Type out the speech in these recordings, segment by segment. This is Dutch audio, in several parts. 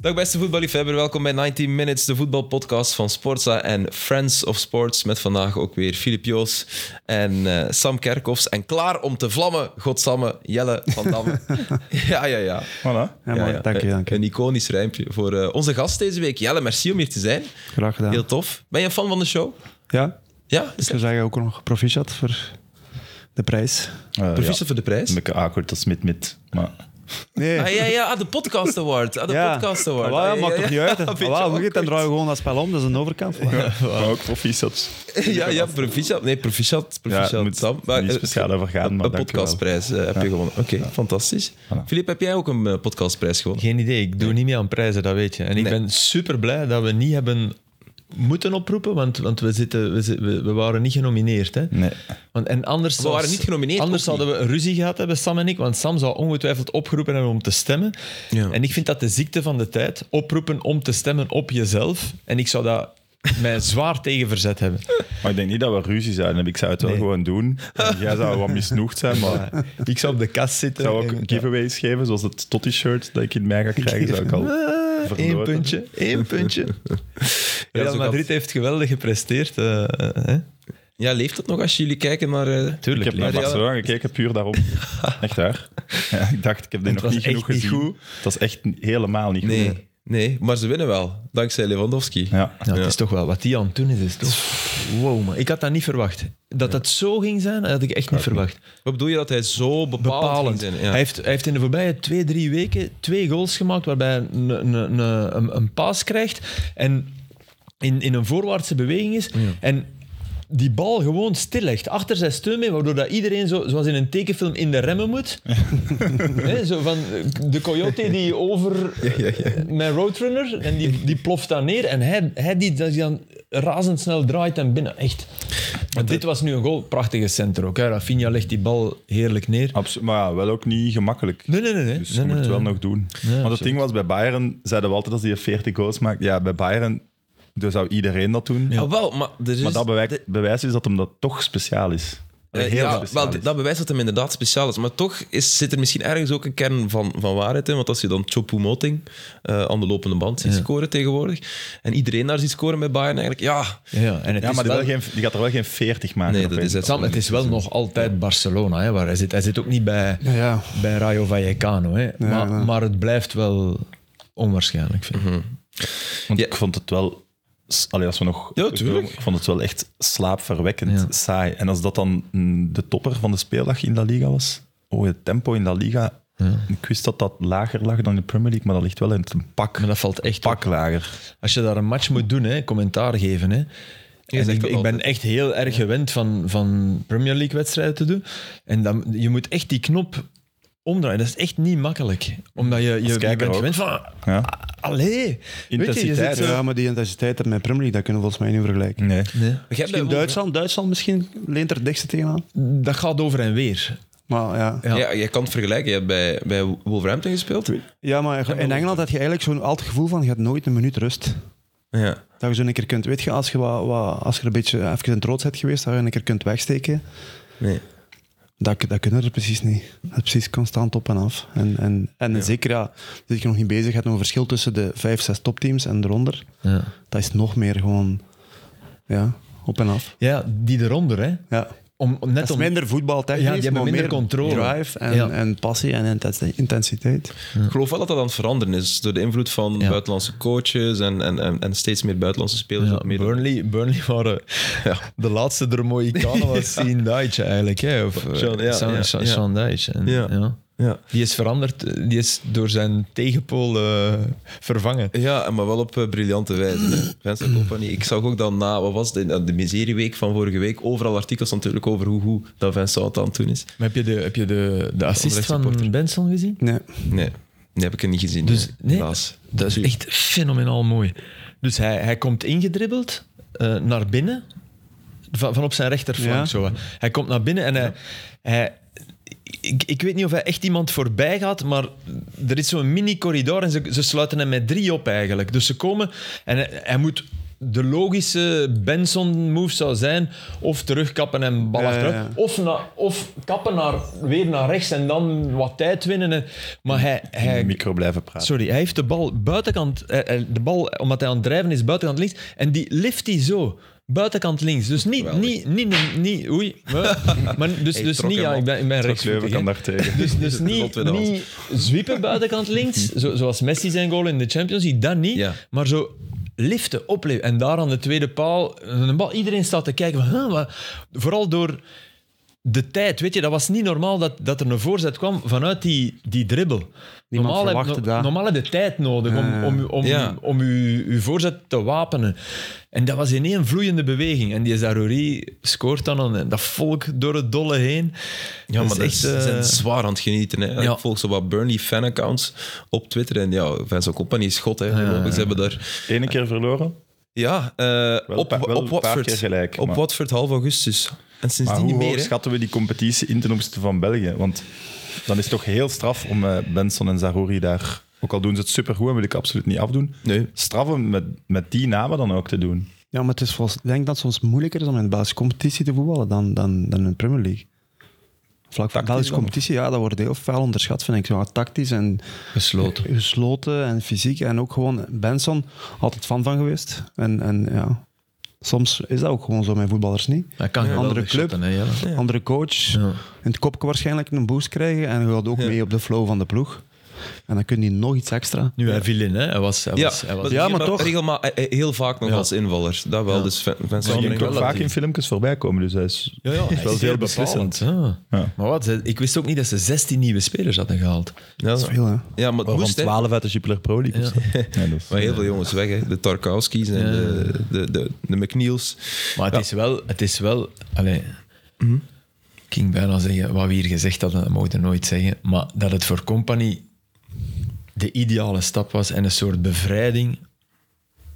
Dag beste voetballiefhebber, welkom bij 19 Minutes, de voetbalpodcast van Sportza en Friends of Sports. Met vandaag ook weer Filip Joos en eh, Sam Kerkhoffs. En klaar om te vlammen, godsamme, Jelle van Damme. ja, ja, ja. Voilà. Ja, mooi. Dank je, dank je. Een iconisch rijmpje voor eh, onze gast deze week. Jelle, merci om hier te zijn. Graag gedaan. Heel tof. Ben je een fan van de show? Ja, Ja? ik zou zeggen ook nog proficiat voor de prijs. Proficiat voor de prijs? Eh, Een beetje awkward als mid-mid. Maar Nee. Ah, ja, ja, ah, de podcast award. Ah, de podcast award. Voilà, Ah, ja, maakt ja, toch niet ja. uit. hè. Een beetje Voilà, hoe awkward. je dan draai je gewoon dat spel om, dat is een overkant. Voilà. maar ook proficiat. Ja, ja, proficiat. Nee, proficiat. Ja, Proficiat, je moet Sam. niet eh, speciaal over gaan, maar een dank je podcastprijs eh, heb je gewonnen. Oké, fantastisch. Filip, heb jij ook een eh, podcastprijs gewonnen? Geen idee, ik doe niet mee aan prijzen, dat weet je. En ik ben super blij dat we niet hebben moeten oproepen, want, want we, zitten, we, zi- we, we waren niet genomineerd. Hè? Nee. Want, en anders We waren zou- niet genomineerd, Anders ook niet. zouden we een ruzie gehad hebben, Sam en ik, want Sam zou ongetwijfeld opgeroepen hebben om te stemmen. Ja. En ik vind dat de ziekte van de tijd, oproepen om te stemmen op jezelf. En ik zou daar mij zwaar tegen verzet hebben. Maar ik denk niet dat we ruzie zouden. Ik zou het wel gewoon doen. En Jij zou wat misnoegd zijn, maar Ik zou op de kast ik zitten. zou ook en- giveaways geven, zoals het Totti-shirt dat ik in mei ga krijgen, zou ik al Eén verloten. puntje, één puntje. is Real ook Madrid heeft geweldig gepresteerd. eh, eh, hè? Ja, leeft dat nog als jullie kijken naar... eh, Ik Tuurlijk. heb naar Real- Barcelona gekeken, puur daarom. Echt waar. Ja, ik dacht, ik heb dit nog was niet genoeg echt niet gezien. goed. Het was echt n- helemaal niet goed. Nee, nee, maar ze winnen wel. Dankzij Lewandowski. Ja. Ja, Het is toch wel wat die aan het doen is. is toch... Wow, man. Ik had dat niet verwacht. Dat dat zo ging zijn, dat had ik echt niet verwacht. Wat bedoel je dat hij zo bepalend, Bepalend. ging zijn? Hij, heeft, hij heeft in de voorbije twee, drie weken twee goals gemaakt waarbij hij een, een, een, een, een paas krijgt en in, in een voorwaartse beweging is. En die bal gewoon stillegt achter zijn steun mee, waardoor dat iedereen zo, zoals in een tekenfilm in de remmen moet. Hè, zo van de coyote die over mijn roadrunner en die, die ploft dan neer en hij, hij die, dat die dan razendsnel draait en binnen. Echt. Want dit was nu een goal. Prachtige center ook. Hè. Rafinha legt die bal heerlijk neer. Absoluut, maar ja, wel ook niet gemakkelijk. Nee, nee, nee. nee. Dus je nee, moet nee, het wel nee. nog doen. Want het ding was, bij Bayern zeiden we altijd als hij 40 goals maakt. Ja, bij Bayern dus zou iedereen dat doen. Ah, wel, maar, er is, Maar dat bewijst, bewijst dus dat hem dat toch speciaal is. eh, Heel ja, speciaal wel, is. dat bewijst dat hem inderdaad speciaal is. Maar toch is, zit er misschien ergens ook een kern van, van waarheid in. Want als je dan Chopu Moting eh, aan de lopende band ziet scoren tegenwoordig, en iedereen daar ziet scoren bij Bayern eigenlijk, ja, Ja, en het Ja, is maar die, wel... wil geen, die gaat er wel geen 40 maken. Nee, op dat één is het. Sam, het is wel nog altijd Barcelona hè, waar hij zit. Hij zit ook niet bij, Ja, ja. bij Rayo Vallecano. Hè. maar, ja. maar het blijft wel onwaarschijnlijk, vind ik. Want Ja. ik vond het wel... s- Allee, als we nog... Ja, tuurlijk. Ik vond het wel echt slaapverwekkend, Ja. saai. En als dat dan mm, de topper van de speeldag in La Liga was... Oh, het tempo in La Liga... Ik wist dat dat lager lag dan in de Premier League, maar dat ligt wel in het pak, Maar dat valt echt op. pak lager. Als je daar een match moet doen, hè, commentaar geven. Hè. En zegt ik, dat ik ben altijd. echt heel erg gewend van, van Premier League-wedstrijden te doen. En dan, je moet echt die knop omdraaien. Dat is echt niet makkelijk. Omdat je, je, je kijker bent ook. gewend van... Ja. ah, Allee. Weet je, je Intensiteit, zit zo- eh, Ja, maar die intensiteit met Premier League, dat kunnen we volgens mij niet vergelijken. Mm. Nee. Nee. Jij hebt bij Misschien Wolver- Duitsland, Duitsland misschien leent er het dichtste tegenaan. Dat gaat over en weer. Maar ja. Ja. Ja. jij kan het vergelijken. Je hebt bij, bij Wolverhampton gespeeld. Ja, maar in Engeland had je eigenlijk zo'n altijd gevoel van, je hebt nooit een minuut rust. Ja. Dat je zo een keer kunt, weet je, als je, wat, wat- als je er een beetje even in het rood bent geweest, dat je een keer kunt wegsteken. Nee. Dat, dat kunnen er precies niet. Dat is precies constant op en af. En, en, en zeker, ja, zit je nog niet bezig, je hebt nog een verschil tussen de vijf, zes topteams en eronder. Ja. Dat is nog meer gewoon, ja, op en af. ja, die eronder, hè. Ja. Om, om, net Dat is om, minder voetbaltechnisch, Ja, die hebben maar minder meer controle. drive en, Ja. en passie en intensi- intensiteit. Ik geloof wel dat dat aan het veranderen is. Door de invloed van Ja. buitenlandse coaches en, en, en, en steeds meer buitenlandse spelers. Ja, ook meer Burnley, Burnley waren de laatste der mooie kanen was Sean Dyche eigenlijk. Hè? Of eh, Sean, ja, Sean, ja, Sean- ja. Sean Dyche. En, Ja. ja. Ja. Die is veranderd, eh, die is door zijn tegenpool eh, vervangen. Ja, maar wel op eh, briljante wijze. hè. Vincent Kompany. Ik zag ook dan na, wat was het, eh, de, de miserieweek van vorige week, overal artikels natuurlijk over hoe, hoe dat Vincent het aan het doen is. Maar heb je de, heb je de, de assist Andere van supporter. Benson gezien? Nee. Nee, die heb ik er niet gezien. Dus, nee, nee, helaas. dat is echt fenomenaal mooi. Dus hij, hij komt ingedribbeld eh, naar binnen, van, van op zijn rechterflank. Ja. Zo. Hij komt naar binnen en hij... hij ik, ik weet niet of hij echt iemand voorbij gaat, maar er is zo'n mini-corridor en ze, ze sluiten hem met drie op eigenlijk. Dus ze komen en hij, hij moet de logische Benson-move zou zijn of terugkappen en bal Ja, achteruit. ja, ja. Of, na- of kappen naar, weer naar rechts en dan wat tijd winnen. En, maar hij, in de hij, micro blijven praten. Sorry, hij heeft de bal buitenkant, eh, eh, de bal, omdat hij aan het drijven is, buitenkant links. En die lift hij zo, buitenkant links. Dus niet, Geweldig. niet, niet, niet, niet- oei. Maar, maar dus, Hey, dus trok niet, hem ja, op. ik ben, ik ben Wat Leuven rechtsvoetig, kan hè. daar tegen. Dus, Is dus het rot niet, weer aan. niet zwiepen buitenkant links, zo, zoals Messi zijn goal in de Champions League, dat niet. Ja. Maar zo liften, opleven. En daar aan de tweede paal, een bal, iedereen staat te kijken. Van, huh, wat? Vooral door de tijd, weet je, dat was niet normaal dat, dat er een voorzet kwam vanuit die, die dribbel. Niemand normaal heb- verwachtte no- dat. Normaal heb je tijd nodig om, om, om, Ja. om je, je voorzet te wapenen. En dat was in één vloeiende beweging. En die Zaruri scoort dan aan dat volk door het dolle heen. Ja, maar dat is- ze eh, zijn zwaar aan het genieten. Hè. ja. Ik volg zo wat Burnley fanaccounts op Twitter. En ja, Vincent Company is god, hè. Logisch, Ze hebben daar... Eén keer verloren. Ja, eh, Wel op, pa- wel op een paar Watford. keer gelijk, op maar- Watford half augustus. En Maar sindsdien hoe niet hoog meer, hè. schatten we die competitie in ten opzichte van België? Want dan is het toch heel straf om eh, Benson en Zahouri daar... Ook al doen ze het supergoed, en wil ik absoluut niet afdoen. Nee. Straf om met, met die namen dan ook te doen. Ja, maar het is volgens, ik denk dat het soms moeilijker is om in de Belgische competitie te voetballen dan, dan, dan in de Premier League. Vlak voor de Belgische dan competitie, ja, dat wordt heel fel onderschat, vind ik. Zo tactisch en Gesloten. gesloten en fysiek. En ook gewoon, Benson, altijd fan van geweest. En, en ja, soms is dat ook gewoon zo met voetballers niet. Hij kan Ja. geweldig Andere club. shotten, hè, Jelle. Andere coach, in het kopje waarschijnlijk een boost krijgen. En je gaat ook Ja. mee op de flow van de ploeg. En dan kun je nog iets extra. Nu, hij viel in, hè. Hij was... Hij Ja, was, hij was maar, Ja, ja, maar toch. Regelma- eh, eh, heel vaak nog Ja. als invaller. Dat wel. Dus Vin- Vincent Dat zie Company ik ook wel vaak dat in filmpjes voorbij komen, dus hij is... ja, ja, hij wel is heel heel beslissend. Ja. Ja. Maar wat, ze- ik wist ook niet dat ze 16 nieuwe spelers hadden gehaald. die- Ja, Dat is veel, hè. ja, maar het Waarvan moest, hè. 12 uit de Jupiler Pro League of zo. Ja, dus, dat is- Maar heel veel jongens weg, hè. De Tarkowski's en Ja. de, de, de, de McNeils. Maar het is wel... Het is wel allee, Ik ging bijna zeggen, wat we hier gezegd hadden, dat mogen we nooit zeggen. Maar dat het voor Company de ideale stap was en een soort bevrijding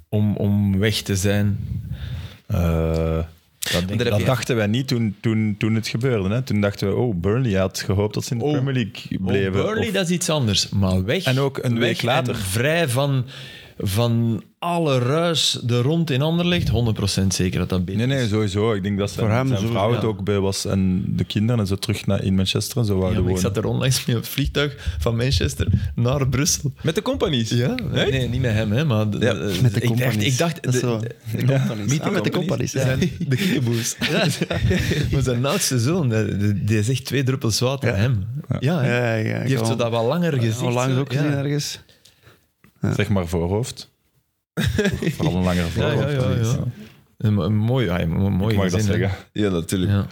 om, om weg te zijn. Eh, dat heb dat je- dachten wij niet toen, toen, toen het gebeurde. Hè? Toen dachten we, oh, Burnley had gehoopt dat ze in de Oh, Premier League Oh, bleven. Burnley, Of- dat is iets anders. Maar weg. En ook een weg week later. en vrij van, van alle ruis er rond in ander ligt. 100% zeker dat dat binnen Nee, nee, sowieso. Ik denk dat zijn, Voor hem zijn sowieso, vrouw ja. het ook bij was en de kinderen en zo terug naar, in Manchester en zo is. Ja, wouden maar ik wonen. zat er onlangs mee op het vliegtuig van Manchester naar Brussel. Met de companies. Ja? Echt? Nee, niet met hem, hè, maar... de- Ja, de- Met de ik dacht, companies. ik dacht Dat is de- zo. de- Meet the Ah, met companies. de companies. zijn de kikkeboers. Ja. Maar zijn oudste zoon, die- die- die is echt twee druppels water aan hem. Ja, hè. Ja, ja, ik die heb heeft zo al- dat wel langer gezien. al lang Eh, ook ja. gezien ergens. Zeg maar voorhoofd. Vooral een langere Ja, voorhoofd. ja, ja. ja. Een mo- een mooi, ja, een mooi Ik mag dat gezin, hè. zeggen. Ja, natuurlijk. Ja.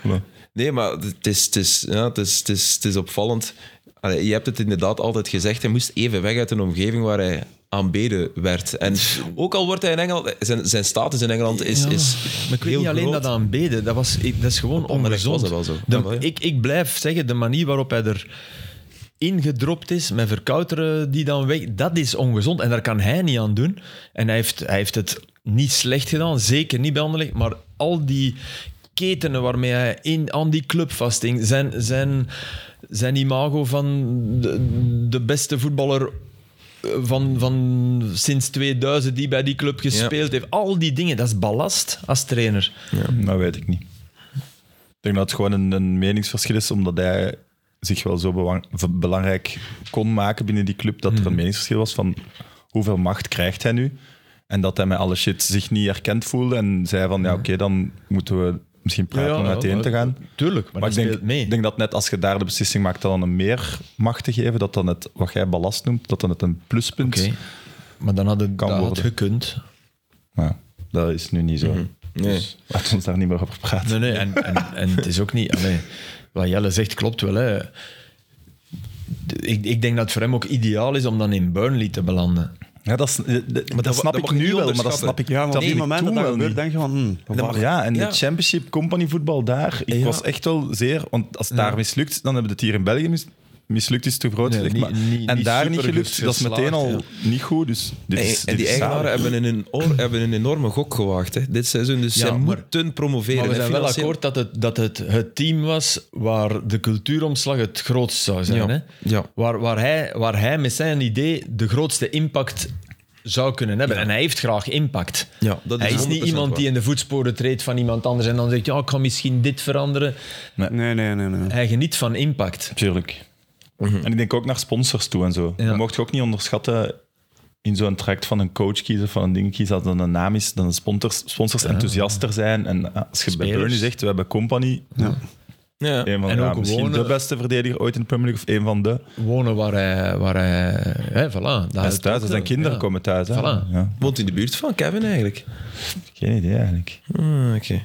Nee, maar het is, het is, ja, het is, het is, het is opvallend. Allee, je hebt het inderdaad altijd gezegd. Hij moest even weg uit een omgeving waar hij aanbeden werd. En ook al wordt hij in Engeland... Zijn, zijn status in Engeland is, Ja, is Maar ik weet heel niet alleen groot. dat aanbeden. Dat, was, ik- dat is gewoon Anderlecht ongezond. was dat wel zo. De- Ja, wel, ja. ik, ik blijf zeggen, de manier waarop hij er ingedropt is, met verkouteren die dan weg... Dat is ongezond en daar kan hij niet aan doen. En hij heeft, hij heeft het niet slecht gedaan, zeker niet bij Anderlecht, maar al die ketenen waarmee hij in, aan die club vasthing, zijn, zijn, zijn imago van de, de beste voetballer eh, van, van sinds 2000 die bij die club gespeeld heeft. Al die dingen, dat is ballast als trainer. Dat weet ik niet. Ik denk dat het gewoon een, een meningsverschil is, omdat hij zich wel zo belang- v- belangrijk kon maken binnen die club, dat er Mhm. een meningsverschil was van hoeveel macht krijgt hij nu? En dat hij met alle shit zich niet erkend voelde en zei van, ja oké, dan moeten we misschien praten om uiteen te gaan. Tuurlijk, Mhm. maar, Maar ik dat denk, speelt mee. ik denk dat net als je daar de beslissing maakt dan een meer macht te geven, dat dan het, wat jij ballast noemt, dat dan het een pluspunt Oké. Maar dan had het Kan dat had worden. gekund. Nou, dat is nu niet zo. Dus laten we ons daar niet meer over praten. Nee, nee, en, en, en het is ook niet... allee, wat Jelle zegt klopt wel, hè. De- Ik, ik denk dat het voor hem ook ideaal is om dan in Burnley te belanden. Ja, dat, is, eh, de- maar dat wa- snap dat ik mag je nu niet wel, maar dat onderschatten. snap ik Ja, maar op dat die ik moment toen dat dat wel gebeurt, niet. denk je van... hmm, dat was- Ja, en ja. de Championship Company voetbal daar, ik Ja. was echt wel zeer... Want als het daar mislukt, dan hebben we het hier in België mis- mislukt, is het te groot. Nee, gezegd, niet- maar- niet- en niet daar niet super gelukt, dat is geslaagd, meteen al ja. niet goed. Dus dit En, is, en die dit is eigenaren zalig. hebben een, een, oor- hebben een enorme gok gewaagd. Hè. Dit seizoen, dus Ja, zij maar- moeten promoveren. Maar we hè, zijn wel financieel. akkoord dat het, dat het het team was waar de cultuuromslag het grootst zou zijn. Ja. Hè? Ja. Waar, waar, hij, waar hij met zijn idee de grootste impact zou kunnen hebben. En hij heeft graag impact. Ja, dat is hij is 100% niet iemand waar. die in de voetsporen treedt van iemand anders en dan zegt, ja, ik ga misschien dit veranderen. Nee, nee, nee. nee. Hij geniet van impact. Tuurlijk. En ik denk ook naar sponsors toe en zo. Ja. Je mocht je ook niet onderschatten in zo'n traject van een coach kiezen, van een ding kiezen, als dat een naam is, dat de sponsors, sponsors enthousiaster zijn. En eh, als je bij Spelers. Burnley zegt, we hebben Company, Ja. een van En ja, ook misschien gewoon, de eh, beste verdediger ooit in de Premier League, of een van de. Wonen waar hij... Waar hij hè, voilà. Hij is thuis, dus zijn kinderen komen thuis. hè. Voilà. Ja, Woont in de buurt van Kevin eigenlijk. geen idee eigenlijk. Ah, Oké.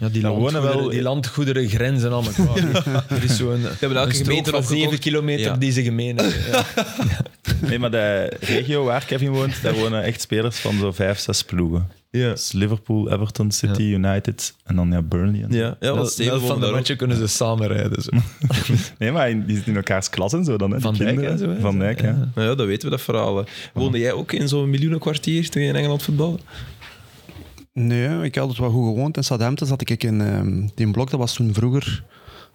Ja, die, Dan wonen landgoederen, wel- die landgoederen grenzen aan elkaar. er is zo'n hebben elke een strook gemeente van opgekocht. 7 kilometer Ja. die ze gemeen hebben. Ja. Nee, maar de regio waar Kevin woont, daar wonen echt spelers van zo vijf, zes ploegen. Ja. Dus Liverpool, Everton, City, United en dan ja, Burnley. en zo. Ja, ja want Steven woonde van daar de ook. matchen kunnen ze samen rijden. Zo. Nee, maar in- die zitten in elkaars klas en zo dan. Hè, die Van Dijk kinderen. en zo, hè. Van Dijk, ja. Nou ja, dat weten we, dat verhaal. hè. Woonde jij ook in zo'n miljoenenkwartier toen je in Engeland voetbalde? Nee, ik had het wel goed gewoond. In Southampton zat ik in ehm, die blok, dat was toen vroeger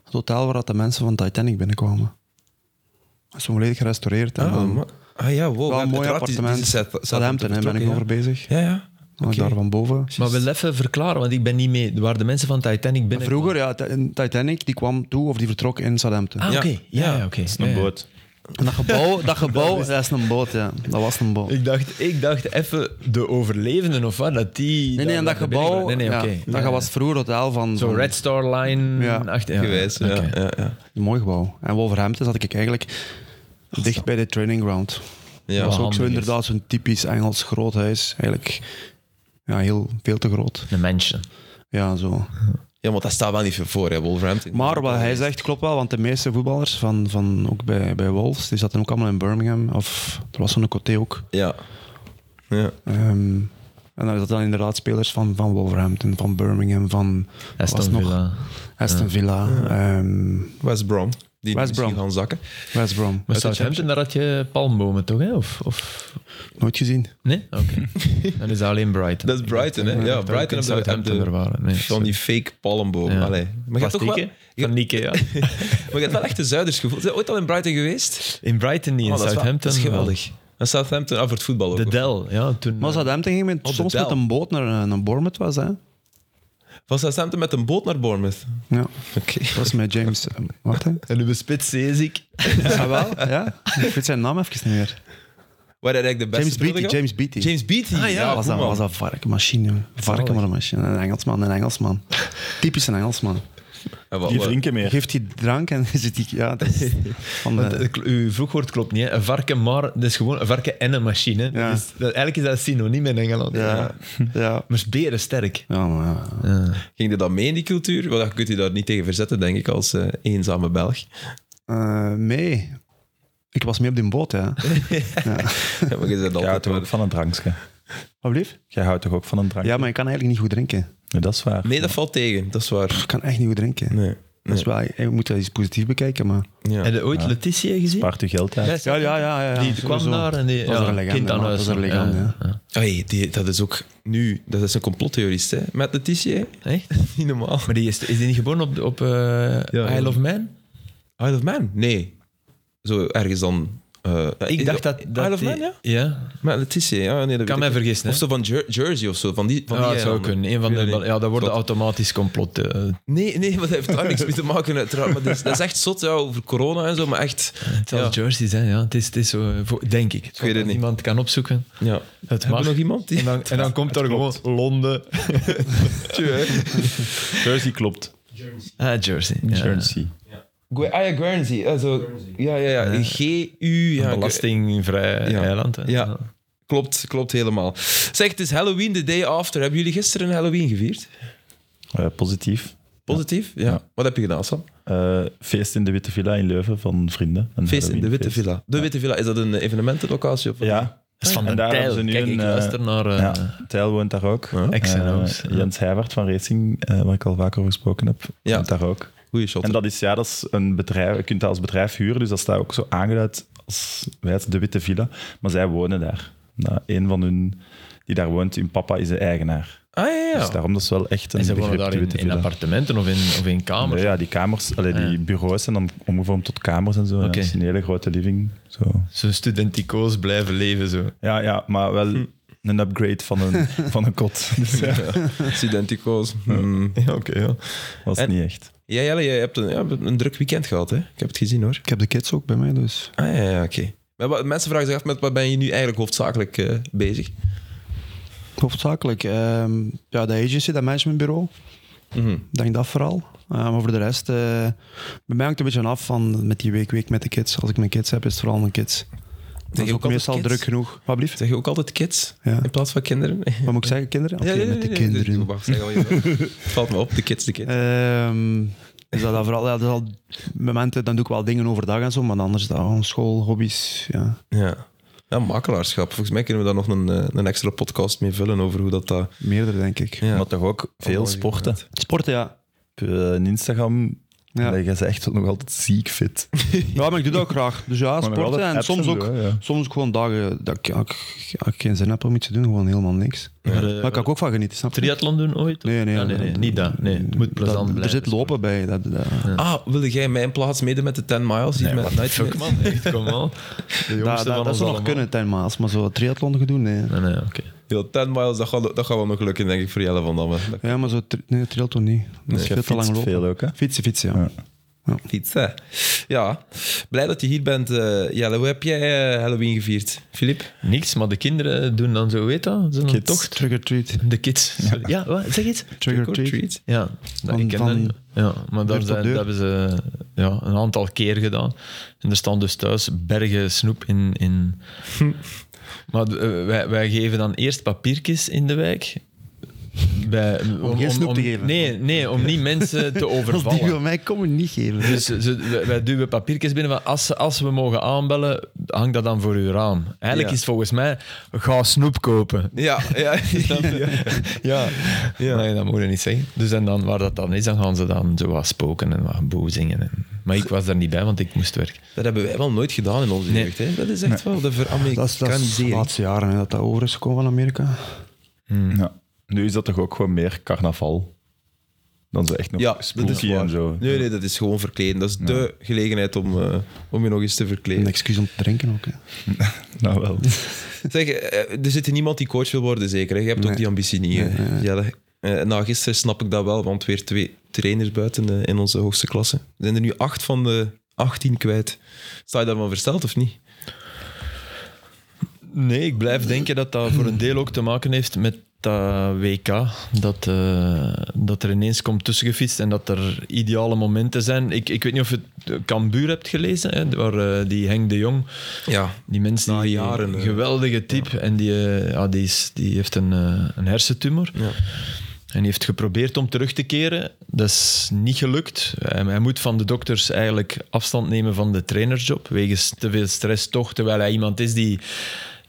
het hotel waar dat de mensen van Titanic binnenkwamen. Dat is volledig gerestaureerd. en Ah, dan- maar- ah ja, wow. wel ja, een mooi uiteraard, die- die appartement. is uit- uit- Southampton hè, ben ik vertrokken, over bezig. Ja, ja. ja. Maar Oké. Daar van boven. Maar wil even verklaren, want ik ben niet mee waar de mensen van Titanic binnen. Vroeger, ja, Ti- Titanic die kwam toe of die vertrok in Southampton. Ah, Ja. oké. Ja, Ja. oké. Dat is een Ja, ja. boot. En dat gebouw, dat, gebouw dat, is een boot, ja. Dat was een boot. Ik dacht, ik dacht even de overlevenden of wat, dat die... Nee, nee, daar- en dat daar binnen- gebouw, Nee, nee, ja, oké. dat Ja. was vroeger het hotel van... Zo van- Red Star Line... Ja. achter- ja, Gewijs, ja, oké. ja, ja. Een mooi gebouw. En Wolverhampton zat ik eigenlijk dicht bij de training ground. Ja. dat was ook Oh, handig zo is. inderdaad zo'n typisch Engels groot huis. Eigenlijk ja, heel, veel te groot. Een mensje. Ja, zo. Ja, want dat staat wel niet veel voor, hè, Wolverhampton. Maar wat hij zegt klopt wel, want de meeste voetballers van, van ook bij, bij Wolves, die zaten ook allemaal in Birmingham. Of er was zo'n Coté ook. Ja. Ja. Ehm, en daar zaten dan inderdaad spelers van, van Wolverhampton, van Birmingham, van wat was Aston het nog? Villa. Aston Villa, ehm, West Brom. Die West misschien Brom. gaan zakken. West Brom. Maar Southampton, daar had je palmbomen toch, hè? Of... of... Nooit gezien. Nee? Oké. Dan is dat alleen Brighton. Dat is Brighton, hè? Ja, Brighton op de- op de- Southampton er waren. Nee, Van die fake palmboom. Ja. Allee. Maar je hebt toch wel, Plastieken? Van Ikea. maar je hebt wel echt de Zuiders gevoeld. Zijn ooit al in Brighton geweest? In Brighton niet, in Oh, dat, is wel- Southampton. dat is geweldig. En Southampton, ah, voor het voetbal ook. De hoor. Del, ja. Toen, Maar Southampton ging met, de soms Del. met een boot naar, naar Bournemouth was, hè? Van Southampton met een boot naar Bournemouth. Ja, Oké. dat was met James... eh, Wat, hè? en uw spits Zezik. Ah, wel? Ja? Ik weet zijn naam even niet meer. Waar hij eigenlijk de beste James Beattie, speelde James Beattie. James Beattie. Ah, ja, was, goed dat, man. was dat varkenmachine, jongen. Varken maar een machine. Een Engelsman, een Engelsman. Typisch een Engelsman. En wat- Die wat- drinken meer. Geeft hij drank en zit hij... Ja, dat is van de, Eh, Uw vroegwoord klopt niet, hè. Een varken maar... Dat is gewoon een varken en een machine. hè. Ja. Dat is, dat, eigenlijk is dat een synoniem in Engeland. ja, ja. Maar is beren sterk. Ja, maar ja. Ging je dan mee in die cultuur? Want dan kunt je daar niet tegen verzetten, denk ik, als eh, eenzame Belg. Eh, mee. Ik was mee op die boot, ja. maar je bent Jij houdt altijd toch wel... ook van een drankje? Wat blieft? Jij houdt toch ook van een drankje? Ja, maar ik kan eigenlijk niet goed drinken. Nee, dat is waar. Nee, dat valt tegen. Dat is waar. Ik kan echt niet goed drinken. Nee. Dat is wel, je moet dat iets positiefs bekijken, maar... Ja. Heb je ooit Letitia gezien? Spaart je geld uit. Ja, ja, ja. ja, ja Die kwam sowieso. daar en die... Dat is ja, een legende, kind aan man. huis. Dat is een legende, Ja, ja. ja. Oei, die, dat is ook nu... Dat is een complottheorist, hè. Met Letitia. Echt? Niet normaal. Maar die is, is die niet geboren op, op eh, ja. Isle of Man? Isle of Man? Nee. Zo ergens dan... eh, Ik eh, dacht dat... dat Isle of die- Man, ja? Ja. Met Letitia, ja. Nee, dat Kan weet mij ik. vergissen, hè. Of zo van Jer- Jersey of zo. Van die, van Ja, die eh, dat zou eilanden. kunnen. Een van Ik de, weet het niet. ja, dat worden Zot. automatisch complotten. eh, Nee, nee, maar dat heeft daar niks mee te maken, uiteraard. Maar dat is, dat is echt zot, ja, over corona en zo, maar echt... Het zal Ja. jerseys zijn, ja. Het is, het is zo, eh, voor- denk ik. Ik weet het niet. Iemand kan opzoeken. Ja. Het Hebben mag. we nog iemand? Die... En dan, en dan komt er gewoon Londen. Jersey klopt. Ah, jersey. Ja. Jersey. Gu- ah ja, Guernsey. Ah, zo. Ja, ja, ja. G-U... Ja, ik- Belastingvrij Ja. eiland. hè. Ja, klopt, klopt helemaal. Zeg, het is Halloween, the day after. Hebben jullie gisteren Halloween gevierd? Eh, positief. Positief? Ja. Ja. Wat heb je gedaan, Sam? Eh, feest in de Witte Villa in Leuven van vrienden. eh, Een Feest in de Witte Halloweenfeest. Villa. De Witte Villa, is dat een evenementenlocatie? Of... Ja. Dat is van En de daar Tijl. hebben ze nu Kijk, ik een, eh, luister naar... eh, ja. Tijl woont daar ook. Ex en Eh, O's. Jens Heijvaart van Racing, eh, waar ik al vaker over gesproken heb, Ja. woont daar ook. Goeie shot. En dat is, ja, dat is een bedrijf. Je kunt dat als bedrijf huren, dus dat staat ook zo aangeduid als wij het de Witte Villa. Maar zij wonen daar. Nou, een van hun die daar woont, hun papa is de eigenaar. Ah ja, ja. Dus daarom dat is wel echt een En ze wonen begrip, daar de in, Witte in Villa. appartementen of in, of in kamers. Nee, ja, die kamers, allee, die bureaus zijn dan omgevormd tot kamers en zo. Ja, Oké. dat is een hele grote living. Zo. Zo'n studentico's blijven leven zo. Ja, ja, maar wel een upgrade van een, van een kot. Dus ja, Studentico's. Hmm. Ja, oké. ja. was En- niet echt. Ja, Jelle, jij hebt een, ja, een druk weekend gehad, hè? Ik heb het gezien, hoor. Ik heb de kids ook bij mij, dus... Ah ja, ja oké. Maar wat- mensen vragen zich af, met wat ben je nu eigenlijk hoofdzakelijk eh, bezig? Hoofdzakelijk. ehm, ja, de agency, dat managementbureau. Mhm. Ik denk dat vooral. Eh, maar voor de rest, eh, bij mij hangt het een beetje af van met die week, week met de kids. Als ik mijn kids heb, is het vooral mijn kids. Dat je is ook ook altijd meestal kids? druk genoeg. Wat blieft? Zeg je ook altijd kids Ja. in plaats van kinderen? Wat moet ik zeggen, kinderen? Oké, met de kinderen. dus- Wacht, zeg al je- Het valt me op, de kids, de kids. Ehm, is dat dan vooral, ja, dat is al momenten, dan doe ik wel dingen overdag en zo, maar anders is dat gewoon school, hobby's. Ja. Ja. ja, makelaarschap. Volgens mij kunnen we daar nog een, eh, een extra podcast mee vullen over hoe dat... eh, dat Meerdere, denk ik. ja. Maar toch ook veel mooi sporten. Sporten, ja. Op eh, een Instagram, Ja. ja. jij is echt nog altijd ziek fit. ja, maar ik doe dat ook graag. Dus ja, nog sporten altijd en apps soms en ook, zo, hè, ja. soms ook gewoon dagen dat ik, ja, ik- ja, ik geen zin heb om iets te doen, gewoon helemaal niks. Maar, eh, Maar ik kan ik ook van genieten, snap je? Triathlon doen ooit? Nee, nee, Ah, nee, nee, nee. niet dat. Nee, het moet plezant Dat- blijven. Er zit lopen bij. Dat, dat, Ah, wilde jij mijn plaats mede met de 10 miles? hier Nee, met what the Nightmare? fuck, man. Echt, kom aan. De dat, jongste dat, dat van ons zou allemaal. nog kunnen, ten maas, maar zo triathlon gedoe, nee. Nee, nee, oké. Ja, 10 miles, dat gaat, dat gaat wel nog lukken, denk ik, voor Jelle van Damme. Dat Ja, maar zo tri- nee, triathlon niet. Dat is jij veel te lang fietst lopen. veel ook, hè? Fietsen, fietsen, ja. fietsen. Ja, blij dat je hier bent, eh, Jelle. Hoe heb jij eh, Halloween gevierd, Filip? Niks, maar de kinderen doen dan zo, weet dat? Zo'n Kids. tocht. Trigger treat. De kids. sorry. Ja, wat? zeg iets. Trigger treat. Ja, dat Van- ik ken van dat. Ja, maar daar tot zijn, dat deur. hebben ze ja, een aantal keer gedaan. En er staan dus thuis bergen snoep in. in. maar eh, wij, wij geven dan eerst papiertjes in de wijk. Bij, geen snoep te geven. Nee, nee om niet mensen te Als die overvallen. van mij komen niet geven. Dus ze- wij- wij duwen papiertjes binnen van als, ze- als we mogen aanbellen, hang dat dan voor uw raam. Eigenlijk Ja. is het volgens mij, ga snoep kopen. Ja, ja. Ja, Ja. Nee, dat moet je niet zeggen. Dus en dan, waar dat dan is, dan gaan ze dan zo wat spoken en wat boezingen. En... Maar ik was daar niet bij, want ik moest werken. Dat hebben wij wel nooit gedaan in onze Nee. jeugd. Hè? Dat is echt wel de Dat is, dat is de veramerikanisering. laatste jaren hè, dat dat over is gekomen van Amerika. Hm. Ja. Nu is dat toch ook gewoon meer carnaval dan zo echt nog Ja, dat is spooky en waar. zo. Nee, nee, dat is gewoon verkleden. Dat is de gelegenheid om, eh, om je nog eens te verkleden. Een excuus om te drinken ook. Hè. Nou wel. Zeg, eh, er zit hier niemand die coach wil worden, zeker. hè? Je hebt ook Nee. die ambitie niet, hè, Jelle. Eh, na gisteren snap ik dat wel, want weer twee trainers buiten eh, in onze hoogste klasse. Er zijn er nu acht van de 18 kwijt. Sta je daarvan versteld of niet? Nee, ik blijf denken dat dat voor een deel ook te maken heeft met dat WK. Dat, eh, dat er ineens komt tussengefietst en dat er ideale momenten zijn. Ik, ik weet niet of je het eh, Cambuur hebt gelezen, hè, waar eh, die Henk de Jong... Ja. Die mens die Na jaren, eh. geweldige type en die, eh, ja, die, is, die heeft een, eh, een hersentumor. Ja. En die heeft geprobeerd om terug te keren. Dat is niet gelukt. Hij, hij moet van de dokters eigenlijk afstand nemen van de trainersjob. Wegens te veel stress toch. Terwijl hij iemand is die.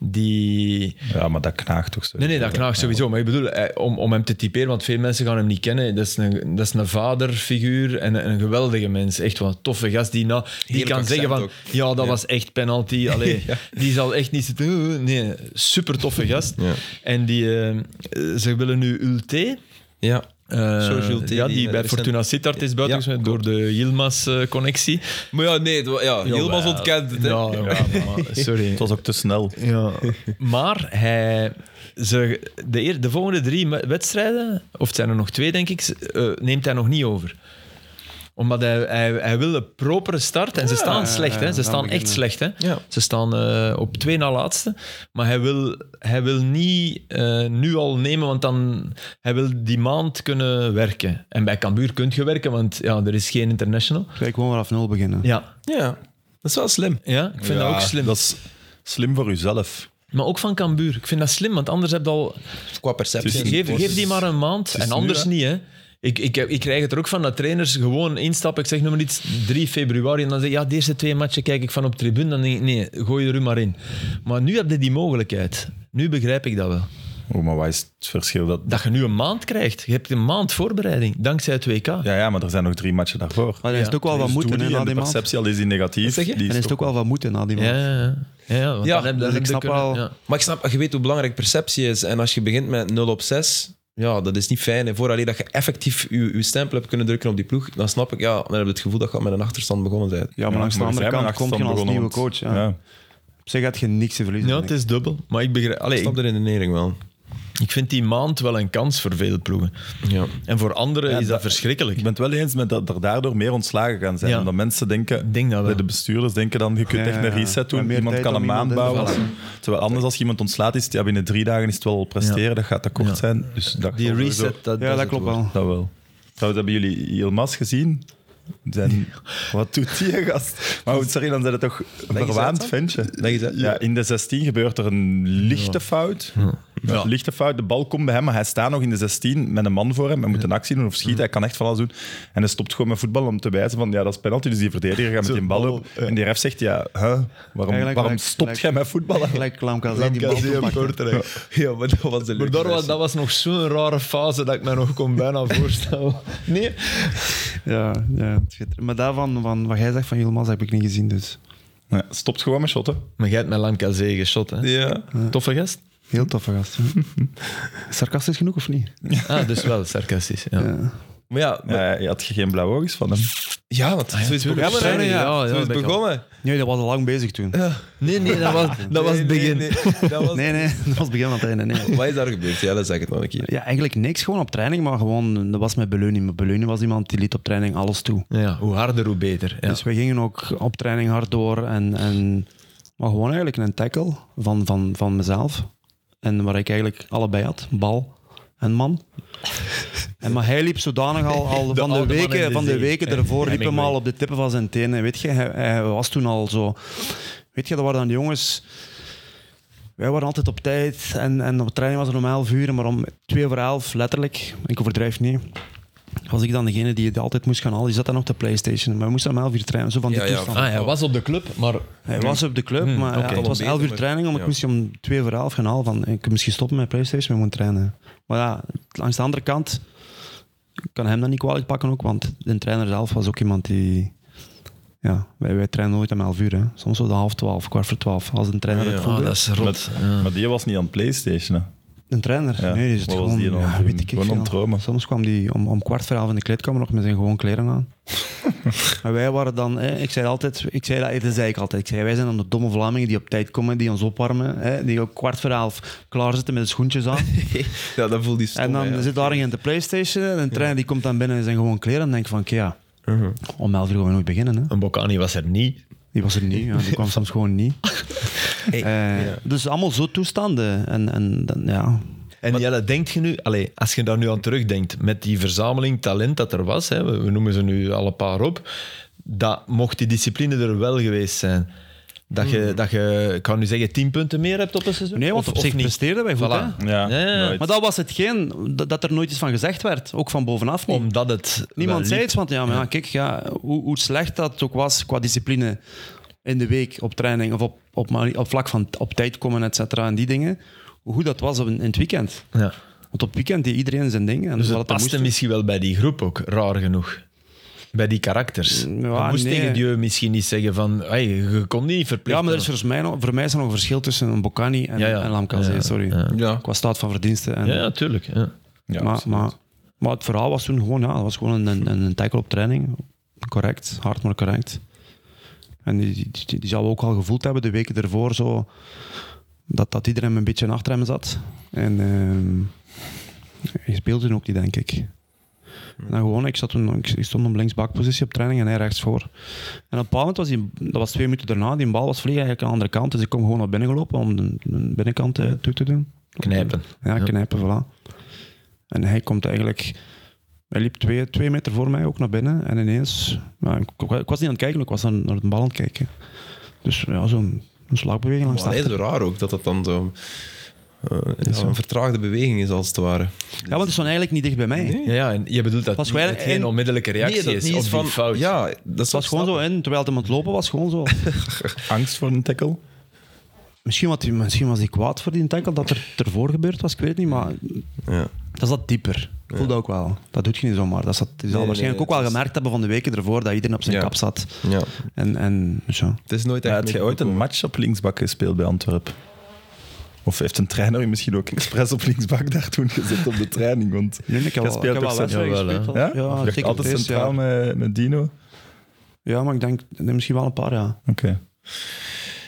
die Ja, maar dat knaagt toch zo. Nee, nee, dat knaagt sowieso. Maar ik bedoel, eh, om, om hem te typeren, want veel mensen gaan hem niet kennen. Dat is een, dat is een vaderfiguur en een, een geweldige mens. Echt wel een toffe gast die, na, die Heerlijk kan accent zeggen van... ook. Ja, dat was echt penalty. Allee, Die zal echt niet zitten... "Uh, uh." Nee, super toffe gast. Ja. En die, eh, eh, ze willen nu Ulte... ja. eh, Serge Ulte, ja, die, die eh, bij recent- Fortuna Sittard is Ja, buitengesloten door de eh, Yilmaz-connectie. Maar ja, nee, het wa- ja, Yilmaz ontkent het. hè. Ja, ja, maar sorry. Het was ook te snel. Ja. Maar hij, ze, de, eer- de volgende drie me- wedstrijden, of het zijn er nog twee, denk ik, ze- eh, neemt hij nog niet over. Omdat hij, hij, hij wil een propere start. En ze staan slecht, hè. ja, Ze dan staan echt beginnen. slecht, hè. Ja. Ze staan eh, op twee na laatste. Maar hij wil, hij wil niet eh, nu al nemen, want dan... Hij wil die maand kunnen werken. En bij Cambuur kun je werken, want ja, er is geen international. Kijk, gewoon vanaf nul beginnen. Ja. Ja, dat is wel slim. Ja, ik vind Ja, dat ook slim. Dat is slim voor uzelf. Maar ook van Cambuur. Ik vind dat slim, want anders heb je al... Qua perceptie. Het is- Dus Geef, geef die maar een maand en nu, anders hè? niet. Hè. Ik, ik, ik krijg het er ook van dat trainers gewoon instappen. Ik zeg noem maar iets, 3 februari. En dan zeg ik, ja, de eerste twee matchen kijk ik van op tribune. Dan denk ik, nee, gooi er u maar in. Maar nu heb je die mogelijkheid. Nu begrijp ik dat wel. Oh, maar wat is het verschil? Dat... Dat je nu een maand krijgt. Je hebt een maand voorbereiding, dankzij het WK. Ja, ja, maar er zijn nog drie matchen daarvoor. Maar dan is het ook wel wat Dus doe moeten hè, die na en de die maand. perceptie al is die negatief. zeg je? Die Dan is het ook wel wat moeten na die ja, maand. ja. ja, ja, want Ja, dan heb, dan dus heb ik je snap kunnen- wel- ja. Maar ik snap, je weet hoe belangrijk perceptie is. En als je begint met 0 op 6, ja, dat is niet fijn. En vooraleer dat je effectief je, je stempel hebt kunnen drukken op die ploeg, dan snap ik, ja, dan heb je het gevoel dat je al met een achterstand begonnen bent. Ja, maar langs de maar andere zij kant hebben komt je als achterstand nieuwe begonnen, coach. Ja. want- Op zich had je niks te verliezen. Ja, denk het ik. is dubbel. Maar ik begrijp... Allee, Ik ik, snap de redenering wel. ik vind die maand wel een kans voor vele ploegen. Ja. En voor anderen Ja, is dat, dat- verschrikkelijk. Ik ben het wel eens met dat er daardoor meer ontslagen gaan zijn. Ja. Omdat mensen denken, Ik denk dat wel. de bestuurders denken dan, je kunt Ja, echt ja, een ja. reset En doen, meer iemand tijd kan om een maand iemand in te bouwen. Terwijl anders als je iemand ontslaat is, het- ja, binnen drie dagen is het wel presteren, dat gaat te kort Ja. zijn. Dus dat Die zal sowieso- reset, dat, Ja, is dat het klopt woord. wel. Dat wel. Trouwens, hebben jullie Yilmaz gezien? Zijn, wat doet die gast? Maar goed, sorry, dan zijn het toch een eens uit, verwaand Sam. ventje. Leg eens uit. Ja, in de 16 gebeurt er een lichte fout. Ja. Een lichte fout. De bal komt bij hem, maar hij staat nog in de 16 met een man voor hem. Hij moet een actie doen of schieten. Hij kan echt van alles doen. En hij stopt gewoon met voetbal om te wijzen van ja, dat is penalty. Dus die verdediger gaat met die bal op. En die ref zegt ja, huh? waarom, Eigenlijk waarom gelijk- stopt gelijk- jij met voetballen? Gelijk Lamkazé die bal Lamkazé toepakt. Ja, maar dat was de Maar daar was, dat was nog zo'n rare fase dat ik me nog kon bijna voorstellen. Nee? Ja, ja. schitterend. Maar daarvan, van wat jij zegt van Yilmaz, heb ik niet gezien. Dus Ja, stopt gewoon met shotten. Maar jij hebt met Lamkazé geschot, hè? Ja. Toffe gast? heel toffe gast. Sarcastisch genoeg of niet? Ah, dus wel, sarcastisch. Ja. Ja. Maar ja, maar- Eh, Ja, je had geen blauwe oogjes van hem. ja, want zo is het tuurlijk. begonnen. hè. Sorry, ja, ja, Zo is het dat kan. begonnen. Nee, dat was al lang bezig toen. Nee, nee, dat was, dat was het Nee, nee, begin. nee, dat was- Nee, nee, dat was het begin van het einde. Nee. Wat is daar gebeurd? Ja, dat zeg ik het nog een keer. Ja, eigenlijk niks, gewoon op training, maar gewoon, dat was met Beleuning. Maar Beleuning was iemand die liet op training alles toe. Ja, hoe harder, hoe beter. Ja. Dus we gingen ook op training hard door. En, en, maar gewoon eigenlijk een tackle van, van, van mezelf. En waar ik eigenlijk allebei had, bal en man. En, maar hij liep zodanig al, al van, de oude man in weken, de van de zee. weken ervoor, liep hem Hemingway. al op de tippen van zijn tenen. Weet je, hij, hij was toen al zo... Weet je, dat waren dan jongens... Wij waren altijd op tijd en, en op training was het om 11 uur, maar om 2 over 11, letterlijk, ik overdrijf niet, was ik dan degene die het altijd moest gaan halen. Die zat dan op de PlayStation, maar we moesten om 11 uur trainen, zo van die Ja, ja. toestand. Ah, hij was op de club, maar Hij was op de club, maar ja, oké. het was Beter, 11 uur maar- training, omdat ja. ik moest om 2 voor 11 gaan halen. Van, ik kan misschien stoppen met PlayStation, maar ik moet trainen. Maar ja, langs de andere kant ik kan hem dat niet kwalijk pakken ook, want de trainer zelf was ook iemand die. Ja, wij, wij trainen nooit om 11 uur, hè. soms om half 12, kwart voor 12. Als een trainer het voelde. Ah, dat is rot. Met- Ja. Maar die was niet aan het PlayStation. hè. Een trainer? Ja, Nee, die zit wat was gewoon, die dan ja, aan het weet doen? ik Gewoon veel. aan het dromen. Soms kwam die om, om kwart voor elf in de kleedkamer nog met zijn gewoon kleren aan. en wij waren dan, hè, ik zei altijd, ik zei dat, dat zei ik altijd, ik zei wij zijn dan de domme Vlamingen die op tijd komen, die ons opwarmen, hè, die ook kwart voor elf klaar zitten met de schoentjes aan. Ja, dat voelde die stom. en dan hè, ja. zit daar in de Playstation en een trainer die komt dan binnen in zijn gewoon kleren en denkt van, oké ja, Uh-huh. om elf uur gaan we nooit beginnen. Hè. En Bocani was er niet. Die was er niet, ja, die kwam soms gewoon niet. Hey, Eh, Dus allemaal zo toestanden en, en dan, ja, En Jelle, denkt je nu, allee, als je daar nu aan terugdenkt, met die verzameling talent dat er was, hè, we we noemen ze nu al een paar op, dat mocht die discipline er wel geweest zijn. Dat je, dat je ik kan nu zeggen, 10 punten meer hebt op een seizoen? Hmm. Nee, want Of- op zich of niet? presteerden wij goed, Voilà. hè? Ja, Ja, ja, ja. nooit. Maar dat was hetgeen dat, dat er nooit iets van gezegd werd, ook van bovenaf niet. Omdat het... Niemand wel zei liep. iets, want ja, maar ja, kijk, ja, hoe, hoe slecht dat ook was qua discipline in de week op training of op, op, mani- op vlak van t- op tijd komen, et cetera, en die dingen, hoe goed dat was op, in het weekend. Ja. Want op het weekend deed iedereen zijn ding. En Dus wat dat er moest paste misschien wel bij die groep ook, raar genoeg. Bij die karakters. Je moest Mm, nee. tegen Dieu misschien niet zeggen van, hey, je kon niet verplicht Ja, maar er is volgens mij nog, voor mij is er nog een verschil tussen een Bocani en, Ja, ja. en Lamkazé, Ja, sorry. ja. Ja. Qua staat van verdiensten. En, Ja, ja, tuurlijk. Ja. Ja, maar, absoluut. maar, maar het verhaal was toen gewoon, ja, dat was gewoon een, een, een tackle op training. Correct, hard maar correct. En die, die, die, die zou ook al gevoeld hebben de weken ervoor, zo, dat, dat iedereen een beetje achter hem zat. En ehm, hij speelde toen ook die, denk Hm. ik. En dan gewoon, ik, zat toen, ik, ik stond op linksbackpositie op training en hij rechtsvoor. En op een bepaald moment was die, dat was twee minuten daarna, die bal was vliegen eigenlijk aan de andere kant. Dus ik kom gewoon naar binnen gelopen om de, de binnenkant eh, toe te doen. Knijpen. Ja, Ja. knijpen, voilà. En hij komt eigenlijk... Hij liep twee, twee meter voor mij ook naar binnen. En ineens... ja, ik, ik was niet aan het kijken, ik was aan- naar de bal aan het kijken. Dus ja, zo'n een slagbeweging langs de Maar Ah, nee, achter- zo raar ook dat dat dan zo. eh, ja, zo. een vertraagde beweging is, als het ware. Ja, want het stond eigenlijk niet dicht bij mij. Ja, ja, en je bedoelt dat Was was wel het geen een- onmiddellijke reactie dat is niet op van, die fout. Ja, dat Het was gewoon zo in, terwijl het hem aan het lopen was, gewoon zo. Angst voor een tackle? misschien, wat, misschien was hij kwaad voor die tackle, dat er ervoor gebeurd was, ik weet het niet, maar Ja. dat zat dieper. Ik voelde ook wel. Dat doet je niet zomaar. Dat zat, je zal nee, nee, waarschijnlijk ook wel het is- gemerkt hebben van de weken ervoor, dat iedereen op zijn Ja. kap zat. ja, En, en dus ja. het is nooit Ja, echt. had jij ooit een meegekomen. match op linksbak gespeeld bij Antwerpen? Of heeft een trainer u misschien ook expres op linksbak daar toen gezet op de training? Want Nee, nee, ik heb Jij wel, ik speelt heb wel toch wedstrijden centraal wel, gespeeld. al. ja? Ja, Of werd zeker altijd het eerste centraal jaar. met, met Dino? Oké. Ja, maar ik denk nee, misschien wel een paar jaar.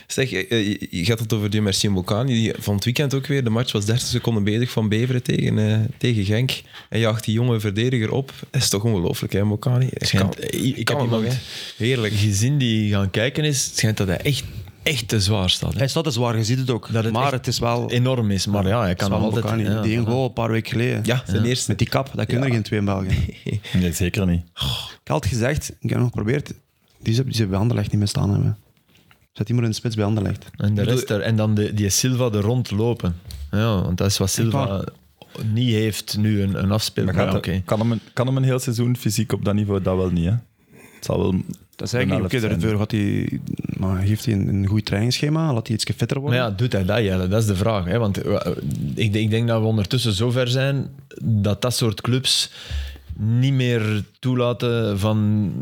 Zeg, eh, je je gaat het over die Mercier Mokani, die van het weekend ook weer. De match was 30 seconden bezig van Beveren tegen, eh, tegen Genk. En jaagt die jonge verdediger op. Dat is toch ongelooflijk, hè, Mokani? Hij Schijnt- kan- ik- hij Eh, ik heb kan het iemand- nog, hè. Heerlijk. Gezien die gaan kijken is, het schijnt dat hij echt, echt te zwaar staat. Hè? Hij staat te zwaar, je ziet het ook. Dat het maar echt het is wel... Enorm is, maar ja, hij het is wel kan nog altijd... Balkan, ja, die een ja. goal een paar weken geleden. Ja, zijn eerste. Met die kap, dat kunnen er geen twee in België. Nee, zeker niet. Ik had gezegd, ik heb nog geprobeerd, die ze, die ze bij Anderlecht niet meer staan hebben. Zet die maar in de spits bij Anderlecht. En, de Bedoel- rest er, en dan de, die Silva er rondlopen. Ja, want dat is wat Silva niet heeft nu, een, een afspeelbaar. Maar gaat Ja, dat- oké. kan, hem, een- kan hem een heel seizoen fysiek op dat niveau? Dat wel niet, hè? Het zal wel... Dat is Een eigenlijk elf niet oké. zijn. Daarvoor gaat hij, maar heeft hij een, een goed trainingsschema, laat hij iets fitter Maar worden. ja, doet hij dat, Jelle? Dat is de vraag. Hè? Want eh, ik, denk- ik denk dat we ondertussen zover zijn dat dat soort clubs niet meer toelaten van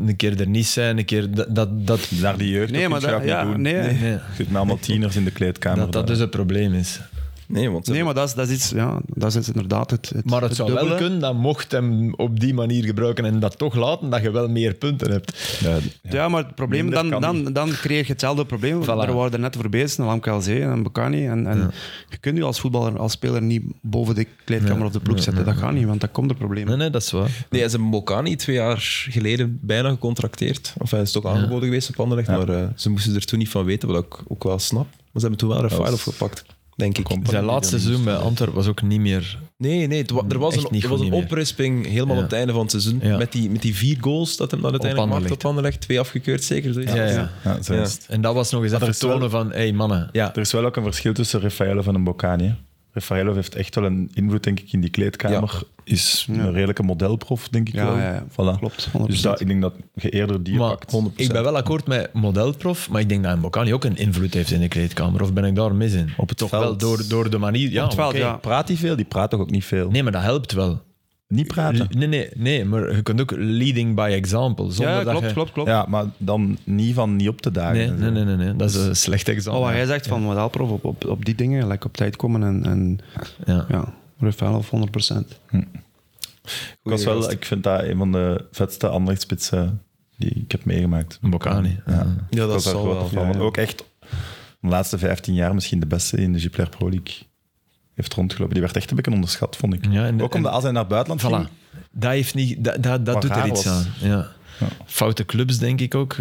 een keer er niet zijn, een keer dat... dat, dat Naar die jeugd Nee, ook maar kun je dat- dat ja, niet doen. nee. Je nee, zit met allemaal tieners in de kleedkamer. dat, dat daar. dus het probleem is. Nee, want ze Nee, maar dat is, dat is iets, ja, dat is inderdaad het, het Maar het zou wel dubbele. kunnen dat mocht hem op die manier gebruiken en dat toch laten, dat je wel meer punten hebt. Ja, Ja, maar het probleem, Minder dan, kan dan, dan creëer je hetzelfde probleem. Er waren er net voor bezig, een Lamkelzee en een Bocani. En, en je kunt je als voetballer, als speler niet boven de kleedkamer of de ploeg zetten. Dat gaat niet, want dan komt er problemen. Nee, nee, dat is waar. Nee, hij is een Mokani twee jaar geleden bijna gecontracteerd. Of hij is toch aangeboden geweest op Anderlecht, maar eh, ze moesten er toen niet van weten, wat ik ook wel snap. Maar ze hebben toen wel Rafael was- opgepakt, denk ik. Zijn laatste seizoen bij Antwerpen was ook niet meer... Nee, nee, het wa- er was Hmm, Echt een, niet er was goed een niet meer. oprisping helemaal Ja. op het einde van het seizoen. Ja. Met, die, met die vier goals dat hem dan uiteindelijk maakte Anderlecht. op Anderlecht. Twee afgekeurd zeker. zoiets. Ja, ja. ja. ja, zo Ja. is het. En dat was nog eens er even is wel- tonen van, hé hey, mannen, Ja. Er is wel ook een verschil tussen Rafaelov en een Bocani. hè. Rafaelov heeft echt wel een invloed, denk ik, in die kleedkamer. Is een redelijke modelprof, denk ik Ja, wel. ja, ja. Voilà. Klopt, 100%. Dus dat, ik denk dat je eerder die Maar pakt. ik ben wel akkoord met modelprof, maar ik denk dat een Bocani ook een invloed heeft in de kleedkamer. Of ben ik daar mis in? Op het Toch veld. wel door, door de manier. Ja, het veld, oké. ja. Praat hij veel? Die praat toch ook niet veel? Nee, maar dat helpt wel. Niet praten? Nee, nee, nee, maar je kunt ook leading by example. Zonder Ja, dat klopt, je- klopt, klopt. Ja, maar dan niet van niet op te dagen. Nee, en zo. nee, nee, nee, nee, dat is een slecht examen. Oh, wat jij zegt van modelprof op, op, op die dingen, like op tijd komen en, en Ja. ja, Rafael 100%. Ik, was wel, ik vind dat een van de vetste anderlechtspitsen die ik heb meegemaakt. Een Bocani. Ja, Ja, Ik dat was daar zal groot wel. van. Ja, ja. Ook echt de laatste 15 jaar misschien de beste in de Jupiler Pro League. Heeft rondgelopen. Die werd echt een beetje onderschat, vond ik. Ja, en- ook omdat als hij naar het buitenland ging, Voilà. Dat, heeft niet, dat, dat, dat Wat doet er raar iets was. aan. Ja. Ja. Foute clubs, denk ik ook.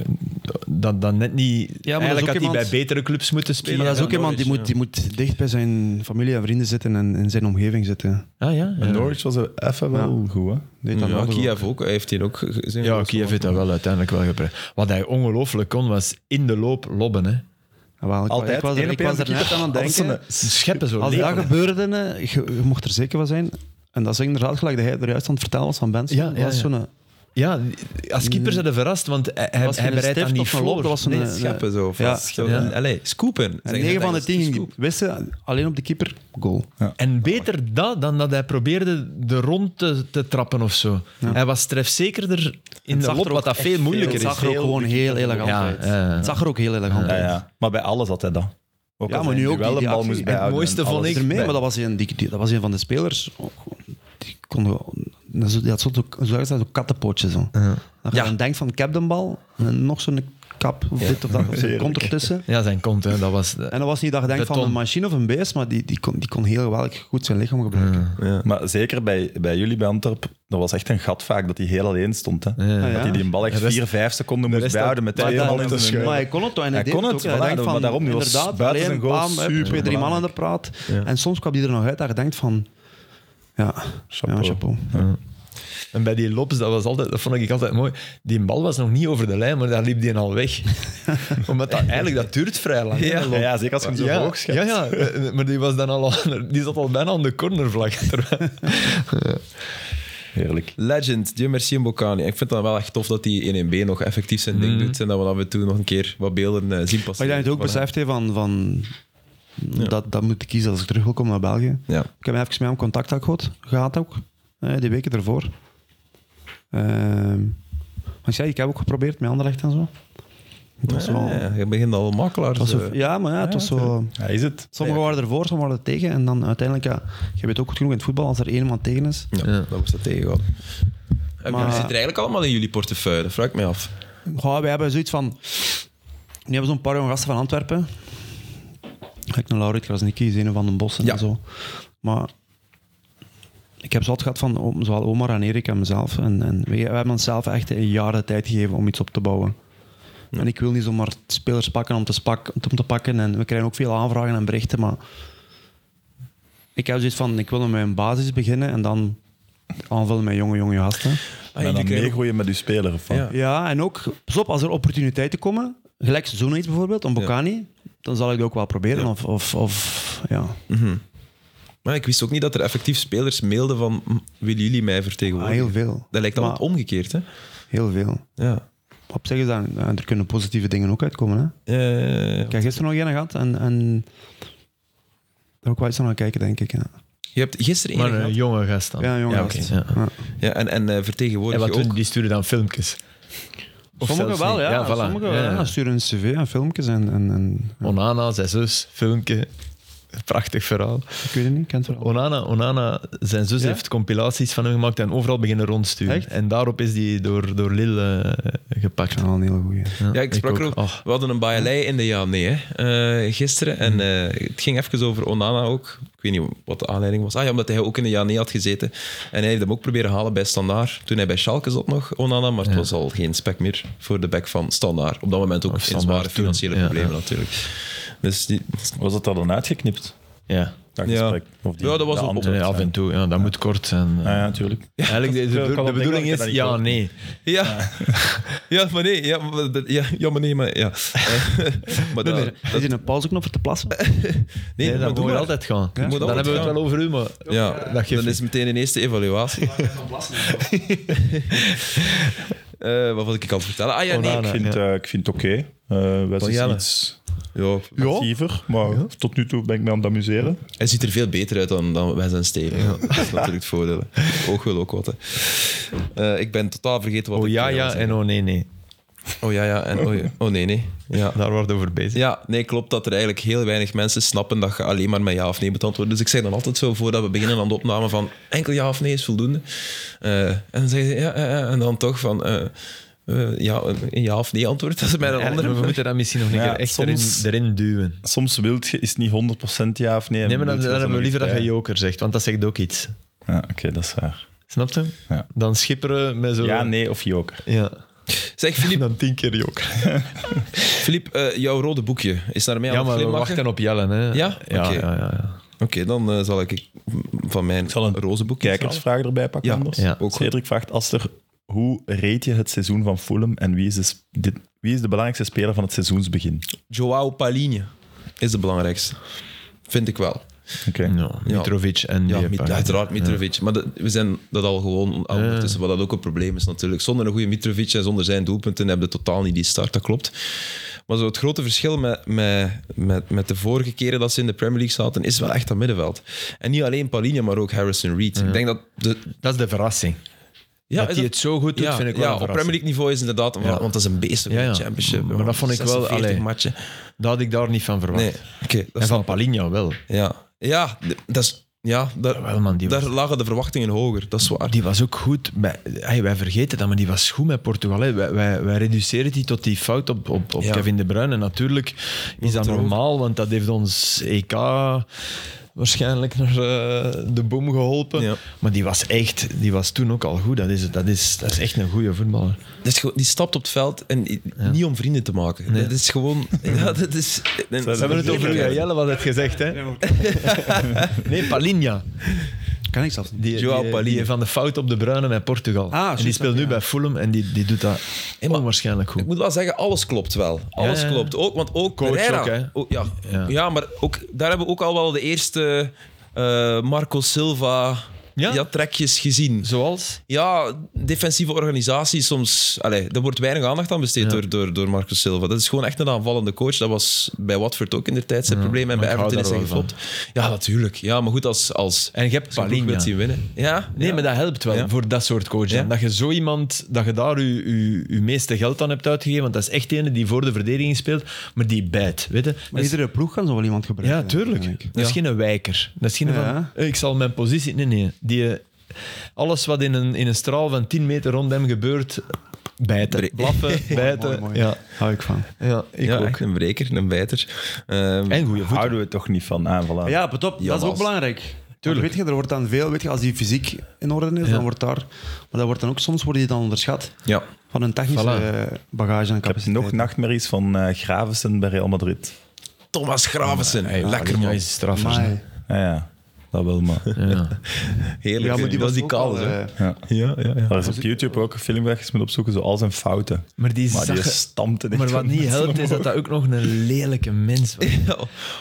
Dat, dat net niet... dat is eigenlijk ook had hij bij iemand- betere clubs moeten spelen. Maar dat is Ja, ook iemand die Norwich, moet, die moet dicht bij zijn familie en vrienden zitten en in zijn omgeving zitten. Ah ja? En Ja, Norwich was er even wel goed, hè? Deed dat Ja, nodig ook. Kiev ook. Hij heeft hier ook ge- gezien. ja Kiev heeft dat wel uiteindelijk wel geprecht. Wat hij ongelooflijk kon, was in de loop lobben. Hè. Jawel, Ah, ik, Altijd ik was er, één op ik één was er op de net keeper. aan het Als ze denken. een- Scheppen zo Als dat leven. gebeurde, eh, je, je mocht er zeker van zijn. En dat is inderdaad gelijk dat hij er juist aan het vertellen was van Benson. Ja, Dat ja, was ja. zo'n- eh, Ja, als keeper zijn ze verrast, want hij, hij, was hij geen bereidt dat stift niet of een voor. loop, dat was een- Nee, eh, scheppen zo. Of ja. als- zo- Ja. Allee, scoopen. En Zeg, 9 dat van de is 10 ging, scoop. wisten alleen op de keeper, goal. En beter dat dan dat hij probeerde er rond te, te trappen of zo. Hij was trefzekerder in de zag loop, er wat ook dat veel moeilijker Het is. zag er ook gewoon heel elegant Ja, uit. ja, ja. Het zag er ook heel elegant Ja, uit. ja. Maar bij alles had hij dat. Ook Ja, als maar hij nu een ook die- duel die een bal actie. moest En het bijhouden mooiste en vond alles ik- Er mee, erbij. maar dat was een, die, die- dat was een van de spelers. Oh, Die, konden, dat zo- die had zo'n zo, ergens dat zo'n kattenpootje. Zo. Dat je Ja. dan denkt van, ik heb de bal, en nog zo'n kap, of dit of dat, of er komt ertussen. Ja, zijn kont, hè, dat was... En dat was niet dat je denkt van Beton. een machine of een beest, maar die, die, kon, die kon heel wel goed zijn lichaam gebruiken. Maar zeker bij, bij jullie bij Antwerp, dat was echt een gat vaak dat hij heel alleen stond. Hè? Ja. Dat hij die bal echt De rest- 4, 5 seconden moest rest bijhouden met had- twee maar man dat- in zijn maar scheur. Maar hij kon het toch en Hij hij, deed kon het het, ook. voilà, Hij denkt maar van, daarom, die was inderdaad, buiten alleen, zijn goal bam, hup, twee, drie superbelangrijk. mannen aan de praat. En soms kwam die er nog uit dat je denkt van... Ja, chapeau. Chapeau. Ja, chapeau. En bij die lobs, dat, was altijd, dat vond ik altijd mooi. Die bal was nog niet over de lijn, maar daar liep die al weg. Omdat dat, eigenlijk, dat duurt vrij lang. hè, een Ja, lob. ja, zeker als je hem zo ja, hoog ja, schept. ja, eh, maar die, was dan al, aan- die zat al bijna aan de cornervlag. Terwijl- Heerlijk. Legend, Jim Mercier Mbokani. Ik vind het dan wel echt tof dat hij in 1B nog effectief zijn ding Hmm. doet. En dat we af en toe nog een keer wat beelden eh, zien Maar passeren. ik denk dat hij ook Van hem. beseft heeft van... van dat, dat moet ik kiezen als ik terug wil komen naar België. Ja. Ik heb even met hem contact ook gehad, gehad ook, eh, die weken ervoor. Eh, Ehm, want ik zei, ik heb ook geprobeerd met Anderlecht en zo. Dat was wel, Ja, je begint al makelaar. het was eh. zo- ja, maar ja, het was zo... Ja, is het? Sommigen waren ervoor, sommigen waren tegen. En dan uiteindelijk, ja, je weet ook goed genoeg in het voetbal, als er één man tegen is, Ja, Ja. dat moest dat tegenhouden. Maar... Maar- zit er eigenlijk allemaal in jullie portefeuille? Dat vraag ik mij af. Goh, wij hebben zoiets van. Nu hebben we zo'n paar jonge gasten van Antwerpen. Kijk naar Laurit Krasnicki, Zeno van den Bossen Ja. en zo. Maar ik heb zo altijd gehad van om- zowel Omar en Erik en mezelf. En, en wij, wij hebben onszelf echt een jaar de tijd gegeven om iets op te bouwen. En ik wil niet zomaar spelers pakken om te, spak, om te pakken. En we krijgen ook veel aanvragen en berichten. Maar ik heb zoiets van: ik wil met een basis beginnen en dan aanvullen met jonge, jonge gasten. Ah, Ah, en dan meegroeien met uw speler. of Van. Ja. Ja, en ook, pas op, als er opportuniteiten komen, gelijk zo'n iets bijvoorbeeld, een Bocani, dan zal ik dat ook wel proberen. Of, of, of ja. Maar ik wist ook niet dat er effectief spelers mailden van "Hm, willen jullie mij Maar vertegenwoordigen? Ah, heel veel. Dat lijkt altijd Maar- omgekeerd, hè? Heel veel. Ja. Op zich is dat, ja, er kunnen positieve dingen ook uitkomen. Hè? Eh, Ik heb gisteren nog een gehad en, en daar ook wel eens naar kijken, denk ik. Ja, je hebt gisteren Maar eh, één een gehad. jonge gast dan. ja jongen. oké, ja. Ja. ja, en, en eh, En vertegenwoordig wat je doen ook. die? Die sturen dan filmpjes. Of Sommigen zelfs wel, niet. ja. voilà. Sommigen Ja, ja, ja. sturen een cv en filmpjes en... en, en Onana, zijn zus, filmpje. Prachtig verhaal. ik weet het niet, ik ken het wel. Onana, Onana zijn zus Ja? heeft compilaties van hem gemaakt en overal beginnen rondsturen. Echt? En daarop is die door, door Lil eh, gepakt. Ja, een hele goeie. Ja, ik sprak er ook. Oh, We hadden een baaielei in de ja nee hè, eh, gisteren. En Mm. eh, het ging even over Onana ook. Ik weet niet wat de aanleiding was. Ah ja, omdat hij ook in de ja nee had gezeten. En hij heeft hem ook proberen halen bij Standaard. Toen hij bij Schalke zat nog, Onana. Maar het was al geen spek meer voor de back van Standaard. Op dat moment ook Of in Oh, Standaard zware toen. financiële Ja, problemen ja. natuurlijk. Dus die, Was dat daar dan uitgeknipt? ja. Dat Ja. gesprek? Of die, Ja, dat was de een- antwoord, Ja, af en toe. Ja, dat moet kort zijn. Ja, ja, natuurlijk. Eigenlijk de, de- kan de dat ding bedoeling ook, is dat niet ja, klopt. nee. Ja. Ja, maar nee. Ja, maar dat- ja, ja, maar nee, maar ja. Eh, maar dat, Is er een pauzeknop voor te plassen? nee, Nee, maar dat doe moet maar. altijd gaan. Dan Moet altijd hebben we het gaan. wel over u, maar Ja, dat geeft dan is meteen een eerste evaluatie. Eh, wat was ik al te vertellen? Ah ja, nee. Onana. Ik vind, eh, ik vind het oké. Eh, Wes is Jelle. iets Ja, actiever, maar tot nu toe ben ik me aan het amuseren. hij ziet er veel beter uit dan, dan wij zijn Steven. Ja, Dat is natuurlijk het voordeel. hè. Oog wil ook wat. Hè. Eh, ik ben totaal vergeten wat Oh ik ja, eh, ja was. en oh nee, nee. Oh ja, ja. En, oh, ja. oh nee, nee. Ja. Daar wordt over bezig. Ja, nee, klopt dat er eigenlijk heel weinig mensen snappen dat je alleen maar met ja of nee moet antwoorden. Dus ik zeg dan altijd zo, voordat we beginnen aan de opname, van enkel ja of nee is voldoende. Eh, en dan zeggen ze ja, eh, eh, en dan toch van eh, eh, ja, een ja of nee antwoord. Dat is bij een Eigenlijk, andere. we moeten dat misschien nog een Ja, keer echt soms- erin, erin duwen. Soms wilt je, is het niet 100% ja of nee. Nee, maar dan, Wilt je dan er hebben we nog liever dat je iets joker zegt, want dat zegt ook iets. bij? eh, Ja, oké, dat is waar. Snap je? Ja. Dan schipperen met zo... Ja, nee of joker. Ja. Zeg, Filip, Dan tien keer joker. Filip eh, jouw rode boekje is naar mij Ja, aan het maar we glimlachen? wachten op Jellen, hè. Ja? Ja, Oké. ja, ja, ja. Oké, dan eh, zal ik van mijn Ik zal een roze boekje halen. kijkersvraag erbij pakken Ja, anders. ja, ook goed. Cedric vraagt, Aster, hoe reed je het seizoen van Fulham en wie is de, sp- dit- wie is de belangrijkste speler van het seizoensbegin? Joao Palinha is de belangrijkste. Vind ik wel. Oké. Ja, Mitrovic en Ja, Diepa. Mit- uiteraard Mitrovic. Maar dat- we zijn dat al gewoon al ondertussen, wat dat ook een probleem is natuurlijk. Zonder een goede Mitrovic en zonder zijn doelpunten hebben we totaal niet die start, dat klopt. Maar zo het grote verschil met, met, met, met de vorige keren dat ze in de Premier League zaten, is wel echt dat middenveld. En niet alleen Paulinho, maar ook Harrison Reed. Ik denk dat... De, Dat is de verrassing. ja, dat is hij het zo goed doet, ja, vind ik wel ja, een op verrassing. Premier League niveau is inderdaad... een- Want dat is een beest van Ja, ja. de championship. Maar dat vond ik wel, 46 allee. matchen. Dat had ik daar niet van verwacht. Nee, oké. dat en is- van Palinha wel. ja. ja, d- dat is... Ja, daar, Jawel, man, die was- daar lagen de verwachtingen hoger. Dat is waar. Die was ook goed. Met, hey, wij vergeten dat, maar die was goed met Portugal. hè. Wij, wij, wij reduceren die tot die fout op, op, op Ja. Kevin De Bruyne. En natuurlijk is dat er ook? normaal, want dat heeft ons EK waarschijnlijk naar eh, de boom geholpen. Ja. Maar die was echt, die was toen ook al goed. Dat is, dat is, dat is echt een goede voetballer. Dat is gewoon- die stapt op het veld en i- niet om vrienden te maken. Dat is gewoon. Ja, dat is, hebben het over u, hè, Jelle, wat het gezegd, hè? Nee, Palinha. Kan ik zelfs niet. Die, eh, Joao die- Palinha. die van de fout op De Bruyne met Portugal. Ah, en die juist, speelt nu ja. bij Fulham en die, die doet dat maar- onwaarschijnlijk goed. Ik moet wel zeggen, alles klopt wel. Alles Ja, ja. klopt. Ook, want ook Coach Pereira. ook, hè? Ook- ja. Ja. Ja. maar ook, daar hebben we ook al wel de eerste eh, Marco Silva Ja. ja, trekjes gezien. Zoals? Ja, defensieve organisatie soms... Allee, daar wordt weinig aandacht aan besteed Ja. door, door, door Marco Silva. Dat is gewoon echt een aanvallende coach. Dat was bij Watford ook in de tijd zijn probleem. En maar bij ik hou Everton is hij daar wel geflopt. Ja, natuurlijk. Ja, maar goed, als, als, En je hebt als je een ploeg Palinha. wilt zien winnen. Ja, Nee, ja. maar dat helpt wel Ja. voor dat soort coachen. Ja. Dat je zo iemand, dat je daar je, je, je meeste geld aan hebt uitgegeven. Want dat is echt ene die voor de verdediging speelt, maar die bijt. Weet je? Dat Maar is- iedere ploeg kan zo wel iemand gebruiken. ja, tuurlijk. denk ik. Dat is Ja. geen een wijker. Dat is geen Ja. van, "Eh, ik zal mijn positie... Nee, nee. Die, eh, alles wat in een, in een straal van 10 meter rond hem gebeurt, bijten. Bre- Blaffen, bijten. mooi, mooi. Ja, Hou ik van. ja, ik ja, ook. echt een breker, een bijter. Ehm, En goede voeten. Houden we toch niet van aanvallen? Ja, pas op, dat Jawel. is ook belangrijk. Tuurlijk. Weet je, er wordt dan veel, weet je, als die fysiek in orde is, dan wordt daar, maar dat wordt dan ook soms worden die dan onderschat ja. van hun technische Voilà. eh, bagage en Ik heb capaciteit. nog nachtmerries van eh Gravensen bij Real Madrid. Thomas Gravensen. Lekker, Palinha man. is straffer. Maar, Ja, ja, dat wel, maar... Ja. Heerlijk. ja, maar dat die was is die ook kaal, wel, hè. eh, Ja. Ja, ja, ja. Daar is op YouTube ook een filmpje moet opzoeken, zoals zijn fouten. Maar die Maar die zag... stampte echt Maar wat van niet mensen helpt, is dat dat ook nog een lelijke mens was.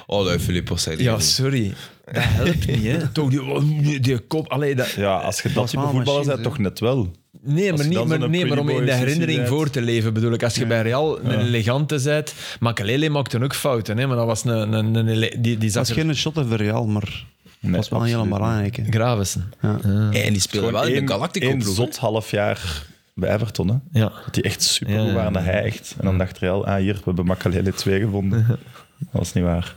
Oh, dat Filip was hij. Ja, sorry. Dat helpt niet, hè? Toch die, die kop. Allee, dat, Ja, als je dat was type wel een voetballer bent, machine, toch net wel. nee, Als maar, je dan niet, maar, zo'n nee, maar om in de pretty boy herinnering ziet, voor te leven, bedoel ik. Als je bij Real een elegante zijt. Makelele maakte ook fouten, hè? Maar dat was een... een, een, ele- die, die dat zag is er- geen shot van Real, maar Nee, dat is wel een hele absoluut belangrijke. Gravesen. Ja. En die speelde wel in één- de één Galactico-ploeg. hè. zot half jaar bij Everton, hè. Ja. Dat die echt super Ja, goed ja, waren. ja. Dat hij echt... En dan dacht Real, ah hier, we hebben Makalele 2 gevonden. Dat was niet waar.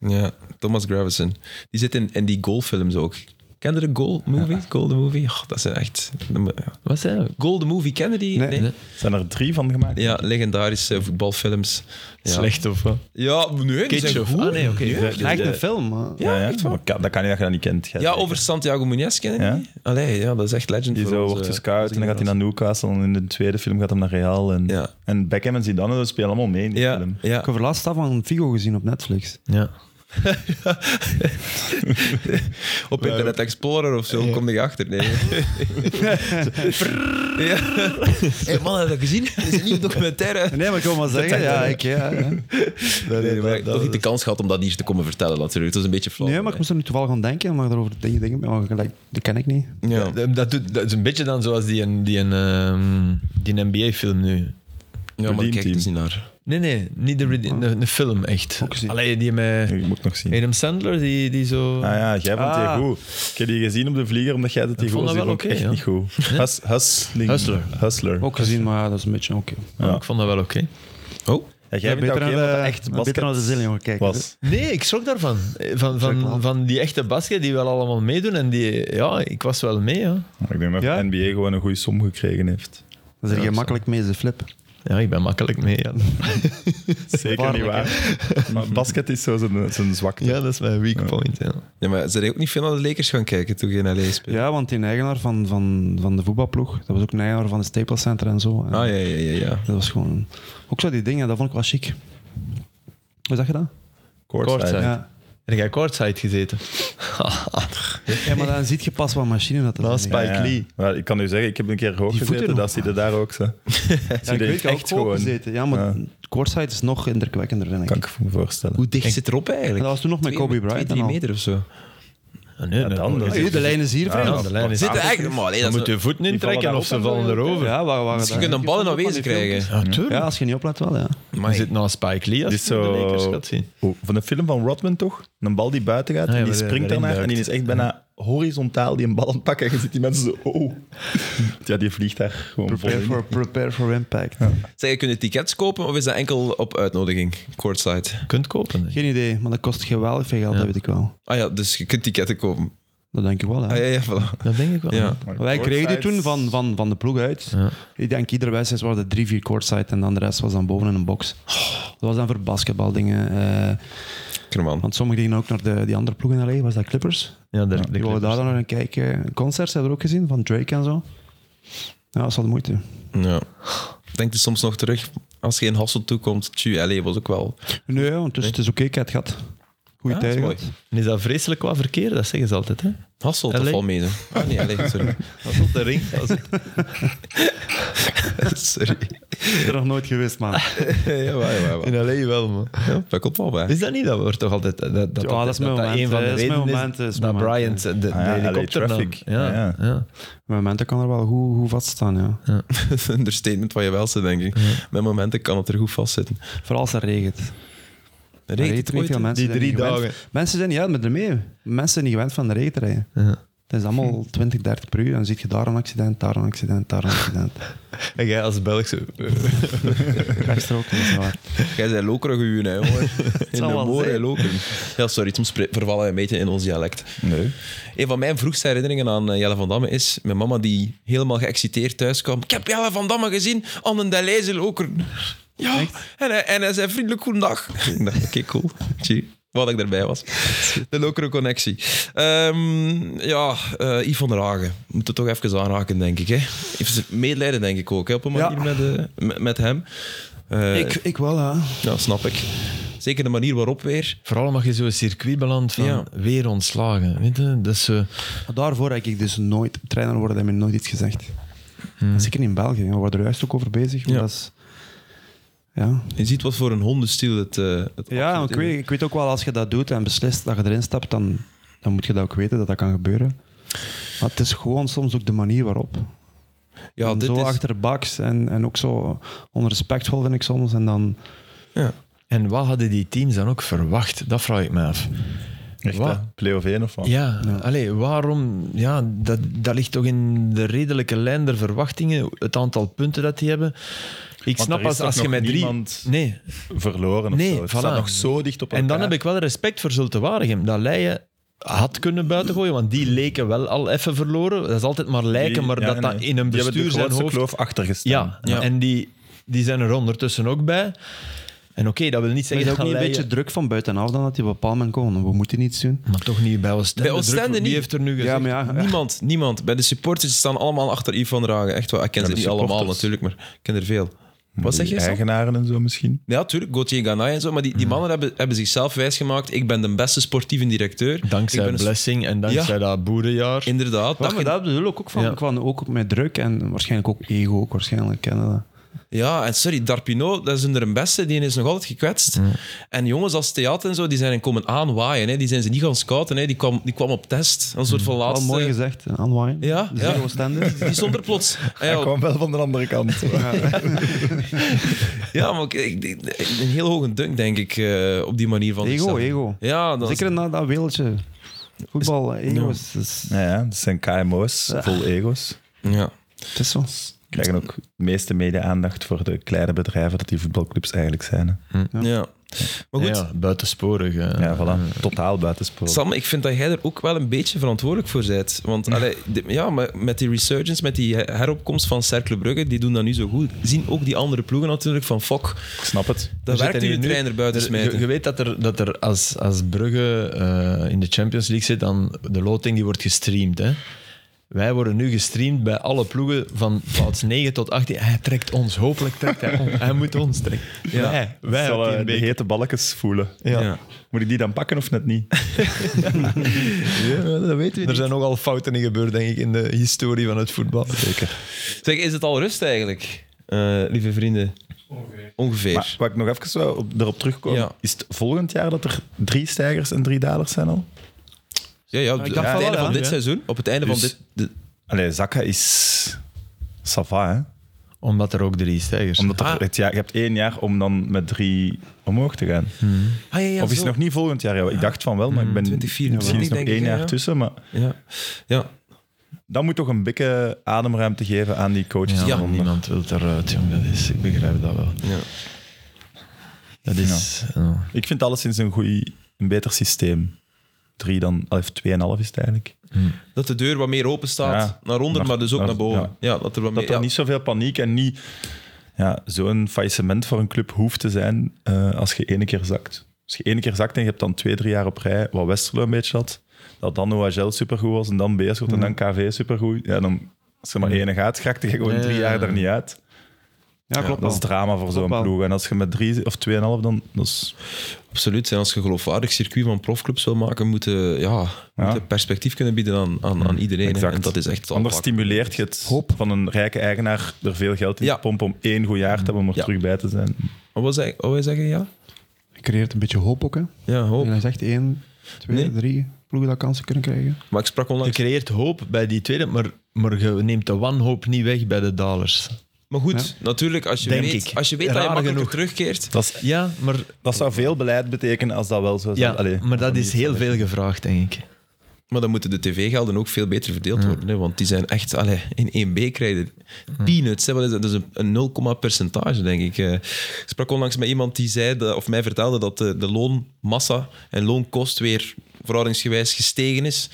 Ja, Thomas Gravison. Die zit in, in die goalfilms ook. Ken je de Goal Movie? Goal the Movie? Oh, dat zijn echt... Wat zei hij? Goal the Movie, ken je die? Nee. Nee. Zijn er drie van gemaakt? Ja, legendarische voetbalfilms. Ja. Slecht, of wat? Ja, nee, die zijn Ketchup. goed. Ah, nee, oké. Ja. Die- Het die- lijkt die- een film. maar- Ja, Ja, ja, echt waar. maar ka- dat kan niet dat je dat niet kent. jij Ja, zeker. over Santiago Muñez ken je Ja. die? Allee, ja, dat is echt legend Die voor eh. zo onze- wordt gescout en dan gaat hij naar Newcastle en in de tweede film gaat hij naar Real. En, Ja. en Beckham en Zidane dat spelen allemaal mee in die Ja, film. ja. Ik heb er laatst dat van Figo gezien op Netflix. Ja. Op Internet Explorer of zo, kom je achter. Nee. ja. Hey, man, heb je dat gezien? Dat is een nieuwe documentaire. Nee, maar ik wil maar zeggen, ja, ik, ja, ja. Nee, maar ik heb toch niet de kans gehad om dat hier te komen vertellen, natuurlijk. Dat is dus een beetje flauw. Nee, maar ik moest er nu toevallig aan denken, maar daarover dingen denken, maar gelijk, dat ken ik niet. Ja. Dat, doet, dat is een beetje dan zoals die, een- die, een, ehm, die NBA-film nu. Ja, maar Redeem kijk er Team. eens niet naar. Nee, nee, niet de, Oh. rede- een, een film echt. Ook gezien. Allee, die met Ik moet nog zien. Adam Sandler, die, die zo. Ah ja, jij vond die Ah. goed. Ik heb die gezien op de vlieger, omdat jij dat die Ik goed vond was. dat Die wel vond ik echt oké, niet goed. Hus, hustling. Hustler. Hustler. Ook gezien, maar ja, dat is een beetje oké. Maar Ja. Ik vond dat wel oké. Oh, Ja, jij Ja, vindt dat oké, beter omdat naar dat de- echt beter basket naar de zin, jongen, kijk. was. Nee, ik schrok daarvan. Eh, Van, van, wel. van die echte basket die wel allemaal meedoen. En die, ja, ik was wel mee. Ja, Maar Ik denk dat Ja? de NBA gewoon een goede som gekregen heeft. Dan zeg Ja, je zo. makkelijk mee, ze flip. ja ik ben makkelijk mee. Ja, Zeker niet Waarlijk, waar. Maar basket is zo zijn, zijn zwakte. ja dat is mijn weak point. Ja. ja, maar zijn jij ook niet veel naar de Lakers gaan kijken toen je in LA speelde? Ja, want die eigenaar van, van, van de voetbalploeg, dat was ook een eigenaar van de Staples Center en zo. En Ah, ja, ja, ja. ja. Dat was gewoon... Ook zo die dingen, dat vond ik wel chic. Hoe zeg je dat? Courtside. Courtside. Ja. En jij courtside gezeten. Ah, ja, maar dan ziet je pas wat machine dat Dat dat is zijn. bij- Ja, ja. Spike Lee. Wel, ik kan nu zeggen, ik heb een keer hoog Die gezeten, voeten dat zie je daar ook. Zo. Ja, Zie ik je weet, ik heb echt ook hoog gewoon. gezeten. Ja, maar courtside is nog indrukwekkender, denk ik. Kan ik me voorstellen. Hoe dicht zit erop eigenlijk? En dat was toen nog met Twee- Kobe Bryant Twee, en drie al. meter of zo. Ah, nee, Ja, nee, dan, nee. dan Hey, de lijn is hier, Ja, vriend. dat- de lijn is Zit daar. er eigenlijk... Maar, allee, Dan dat moet is... je voet Die vallen intrekken daar of ze op, vallen hè? erover. Ja, Ja, waar, waar Je kunt een bal in aanwezig krijgen. tuurlijk. Ja, als je niet oplet wel, ja. Je zit naast Spike Lee als Dit is je de Lakers zo... gaat zien. Oh, van de film van Rodman toch? Een bal die buiten gaat Ah, ja, en die waar- springt waarin daarnaar en duikt. die is echt bijna horizontaal die een bal aan het pakken. En je ziet die mensen zo... Oh. Ja, die vliegt daar gewoon vol Prepare in. for, prepare for impact. Zeg, je kunt tickets kopen of is dat enkel op uitnodiging? Courtside. Je kunt kopen. hè. Geen idee, maar dat kost geweldig veel geld, dat weet ik wel. Ah ja, dus je kunt tickets kopen. Dat denk ik wel, hè. Ah ja, ja, voilà. Dat denk ik wel. Ja. Maar Wij kregen die courtside- toen van, van, van de ploeg uit. Ja. Ik denk iedere wedstrijd waren er drie, vier courtside en dan de rest was dan boven in een box. Dat was dan voor basketbaldingen. eh, Kerman. want sommigen gingen ook naar de, die andere ploeg in LA, was dat Clippers? Ja, de, de Die wilden daar Clippers. dan naar gaan kijken. Concerts hebben we ook gezien, van Drake en zo. Ja, dat is wel de moeite. Ja. Denk er soms nog terug. Als je in Hassel toekomt, tju, LA was ook wel... Nee, want dus, het is oké, ik heb het gehad. Goeie Ah, tijd mooi. gehad. En is dat vreselijk qua verkeer? Dat zeggen ze altijd, hè? Hasselt of Allee. Almere? Ah, nee, allee, sorry. Dat is op de ring. Dat is- sorry. Ik ben er nog nooit geweest, man. Jawel, jawel, jawel. In L.A. wel, man. Ja. Dat komt wel bij. Is dat niet? Dat wordt toch altijd... eh, Dat, dat, Ja, dat is mijn moment, een van de hè. Dat is mijn redenen moment, dat is dat mijn Brian moment, de, de Ah ja, LA helikopter nam. traffic. Ja, Ja. ja. Mijn momenten kan er wel goed, goed vaststaan, ja. Een understatement van je welste, denk ik. Met momenten kan het er goed vastzitten. Vooral als het regent. Regent Regent het niet ooit? veel mensen Die zijn niet drie gewend. dagen. Mensen zijn niet uit met ermee. Mensen zijn niet gewend van de regen te rijden. Ja. Het is allemaal 20, 30 per uur. Dan zie je daar een accident, daar een accident, daar een accident. En jij als Belgische... Rechtstrook, dat is waar. Jij bent lokerig uur, hè, jongen. In zal de wel mooie zijn. lokeren. Ja, sorry, soms pre- vervallen we een beetje in ons dialect. Nee. Een van mijn vroegste herinneringen aan eh, Jelle van Damme is mijn mama die helemaal geëxciteerd thuis kwam. Ik heb Jelle van Damme gezien aan een Deleuze loker. Ja, en hij, en hij zei vriendelijk goedendag. Ik dacht, oké, cool. Tjie. Wat ik erbij was. De lokere connectie. Ehm, ja, eh Yves van der Hagen. Moet het toch even aanraken, denk ik. Hè? Even medelijden, denk ik ook, hè, op een Ja. manier met, eh, met, met hem. Eh, Ik, ik wel, ja. Ja, snap ik. Zeker de manier waarop weer. Vooral mag je zo'n circuit beland van Ja. weer ontslagen. Weet je? Dat is, eh, Maar Daarvoor heb ik dus nooit trainer worden, heb ik nooit iets gezegd. Zeker in België, we worden er juist ook over bezig. maar Ja. Dat is, ja. Je ziet wat voor een hondenstiel het, eh het ja absoluut is. ik, weet, ik weet ook wel, als je dat doet en beslist dat je erin stapt, dan, dan moet je dat ook weten dat dat kan gebeuren. Maar het is gewoon soms ook de manier waarop. ja, En dit zo is, achterbaks en, en ook zo onrespectvol vind ik soms. En dan, ja. En wat hadden die teams dan ook verwacht? Dat vraag ik me af. Echt, Wat? hè? Play of 1 of wat? Ja, Ja. Allee, waarom? Ja, dat, dat ligt toch in de redelijke lijn der verwachtingen, het aantal punten dat die hebben. Ik Want snap er is als, toch als je nog met drie. niemand Nee, verloren of Nee, zo. Het voilà. staat nog zo dicht op en elkaar. dan heb ik wel respect voor Zulte Waregem. Dat Leien had kunnen buitengooien, want die leken wel al even verloren. Dat is altijd maar Die- lijken, maar ja, dat dat nee. in een Die hebben bestuur de zijn grootste hoofd... kloof achtergestaan. Ja, Ja. en die, die zijn er ondertussen ook bij. En oké, dat wil niet is zeggen het ook dat niet een Leien- beetje druk van buitenaf dan dat die op een bepaald moment komen. We moeten iets doen. Maar toch niet bij Oostende. Bij Oostende Druk- niet. Wie heeft er nu gezegd? Ja, maar ja, Niemand, niemand. Bij de supporters staan allemaal achter Yves van Dragen. Echt wel. Ik ken Ja, ze de niet allemaal supporters. natuurlijk, maar ik ken er veel. Maar Wat zeg die je, Sam? Eigenaren en zo misschien. Ja, natuurlijk. Gauthier Ganay en zo. Maar Hmm. die, die mannen hebben, hebben zichzelf wijsgemaakt. Ik ben de beste sportieve directeur. Dankzij Ik ben een- Blessing en dankzij dat boerenjaar. Inderdaad. Dat, dat maar je- dat bedoel ik ook van, Ja. van ook met druk en waarschijnlijk ook ego ook waarschijnlijk kennen dat. Ja, en sorry, Darpino, dat is onder een beste. Die is nog altijd gekwetst. En jongens als Theat en zo, die zijn hen komen aanwaaien. Hè. Die zijn ze niet gaan scouten. Hè. Die, kwam, die kwam op test. Een soort van Mm. Wel laatste... mooi gezegd, aanwaaien. eh, Ja, De ja. zero standards. Die stond er plots. En Hij ja, kwam wel van de andere kant. Ja, maar ik, ik- ik- een heel hoge dunk, denk ik, eh, op die manier van Ego, zichzelf. ego. Ja, dat is- Zeker na dat wereldje. Voetbal, ego is, is- ja, ja, dat zijn KMO's, vol ego's. ja. het is zo. Krijgen ook de meeste mede-aandacht voor de kleine bedrijven dat die voetbalclubs eigenlijk zijn. hè. Ja. Maar goed, Ja, buitensporig. hè. Ja, voilà. Totaal buitenspel. Sam, ik vind dat jij er ook wel een beetje verantwoordelijk voor bent. Want allee, de- ja, maar met die resurgence, met die heropkomst van Cercle Brugge, die doen dat nu zo goed. Zien ook die andere ploegen natuurlijk van, fuck, Ik snap het. daar werkt We zitten nu hier een trainer buiten er- Je, smijten. je weet dat er, dat er als, als Brugge eh, in de Champions League zit, dan de loting die wordt gestreamd. Hè. Wij worden nu gestreamd bij alle ploegen van plaats 9 tot 18. Hij trekt ons, hopelijk trekt hij ons. Hij moet ons trekken. Ja. Wij, Wij wij op die eh, de beker. hete balkjes voelen. Ja. Ja. Moet ik die dan pakken of net niet? dat weten Er zijn nogal fouten in gebeurd, denk ik, in de historie van het voetbal. Zeker. Zeg, is het al rust eigenlijk, eh, lieve vrienden? Ongeveer. Maar wat ik nog even zou op, erop terugkomen, Ja. is het volgend jaar dat er drie stijgers en drie dalers zijn al? Ja, ja, op, ik op het dacht van einde wel, van ja. dit seizoen, op het einde van Dus- dit... de- Allee, Zakka is... Sava, hè? Omdat er ook drie stijgers Omdat er Ah. het jaar, je hebt één jaar om dan met drie omhoog te gaan. Ah, ja, ja, of is zo. het nog niet volgend jaar? Ja, ik dacht van wel, maar ik ben 2024 misschien is nog denk ik, één hè, jaar ja. tussen. Maar Ja, ja. dat moet toch een beetje ademruimte geven aan die coaches. Ja, daaronder. niemand wil eruit, jong. Dat is, ik begrijp dat wel. ja. Dat is... ja. Ik vind alleszins een, goeie, een beter systeem. Drie dan, of tweeënhalf is het eigenlijk. Dat de deur wat meer open staat Ja. naar onder, Naar- maar dus ook naar- naar boven. Ja. ja. dat er wat Dat meer... er ja. niet zoveel paniek en niet ja, zo'n faillissement voor een club hoeft te zijn eh, als je ene keer zakt. Als je ene keer zakt en je hebt dan twee, drie jaar op rij, wat Westerlo een beetje had, dat dan OHL supergoed was en dan Beerschot en dan KV supergoed, ja, dan als er maar ene gaat, raakte je gewoon Ja, drie ja, jaar ja. er niet uit. Ja, klopt. Dat is wel. drama voor zo'n wel. ploeg. En als je met drie of 2,5 dan. Dat is, Absoluut. En als je een geloofwaardig circuit van profclubs wil maken, moet je ja, moet je perspectief kunnen bieden aan, aan, aan iedereen. hè. exact. En dat is echt het Anders aanpakken. stimuleert je het van een rijke eigenaar er veel geld in Ja. te pompen om één goed jaar te hebben om er Ja. terug bij te zijn. Wat wil zeggen- wat wil je zeggen, ja? Je creëert een beetje hoop ook. Hè. Ja, hoop. En hij zegt één, twee, Nee. drie ploegen dat kansen kunnen krijgen. Maar ik sprak Je onlangs... creëert hoop bij die tweede, maar, maar je neemt de wanhoop niet weg bij de dalers. Maar goed, natuurlijk, als je Denk weet, ik. als je weet dat je Raar makkelijker genoeg. terugkeert... Dat, is- Ja, maar, dat zou veel beleid betekenen als dat wel zo zou ja, Mm. Allee, maar dat niet is zo heel veel gevraagd, denk ik. Maar dan moeten de tv-gelden ook veel beter verdeeld worden. Hè? Want die zijn echt... Allee, in 1B krijgen peanuts. Hè? Wat is dat? dat is een, een 0, komma percentage, denk ik. eh. Ik sprak onlangs met iemand die zei... dat- of mij vertelde dat de, de loonmassa en loonkost weer verhoudingsgewijs gestegen is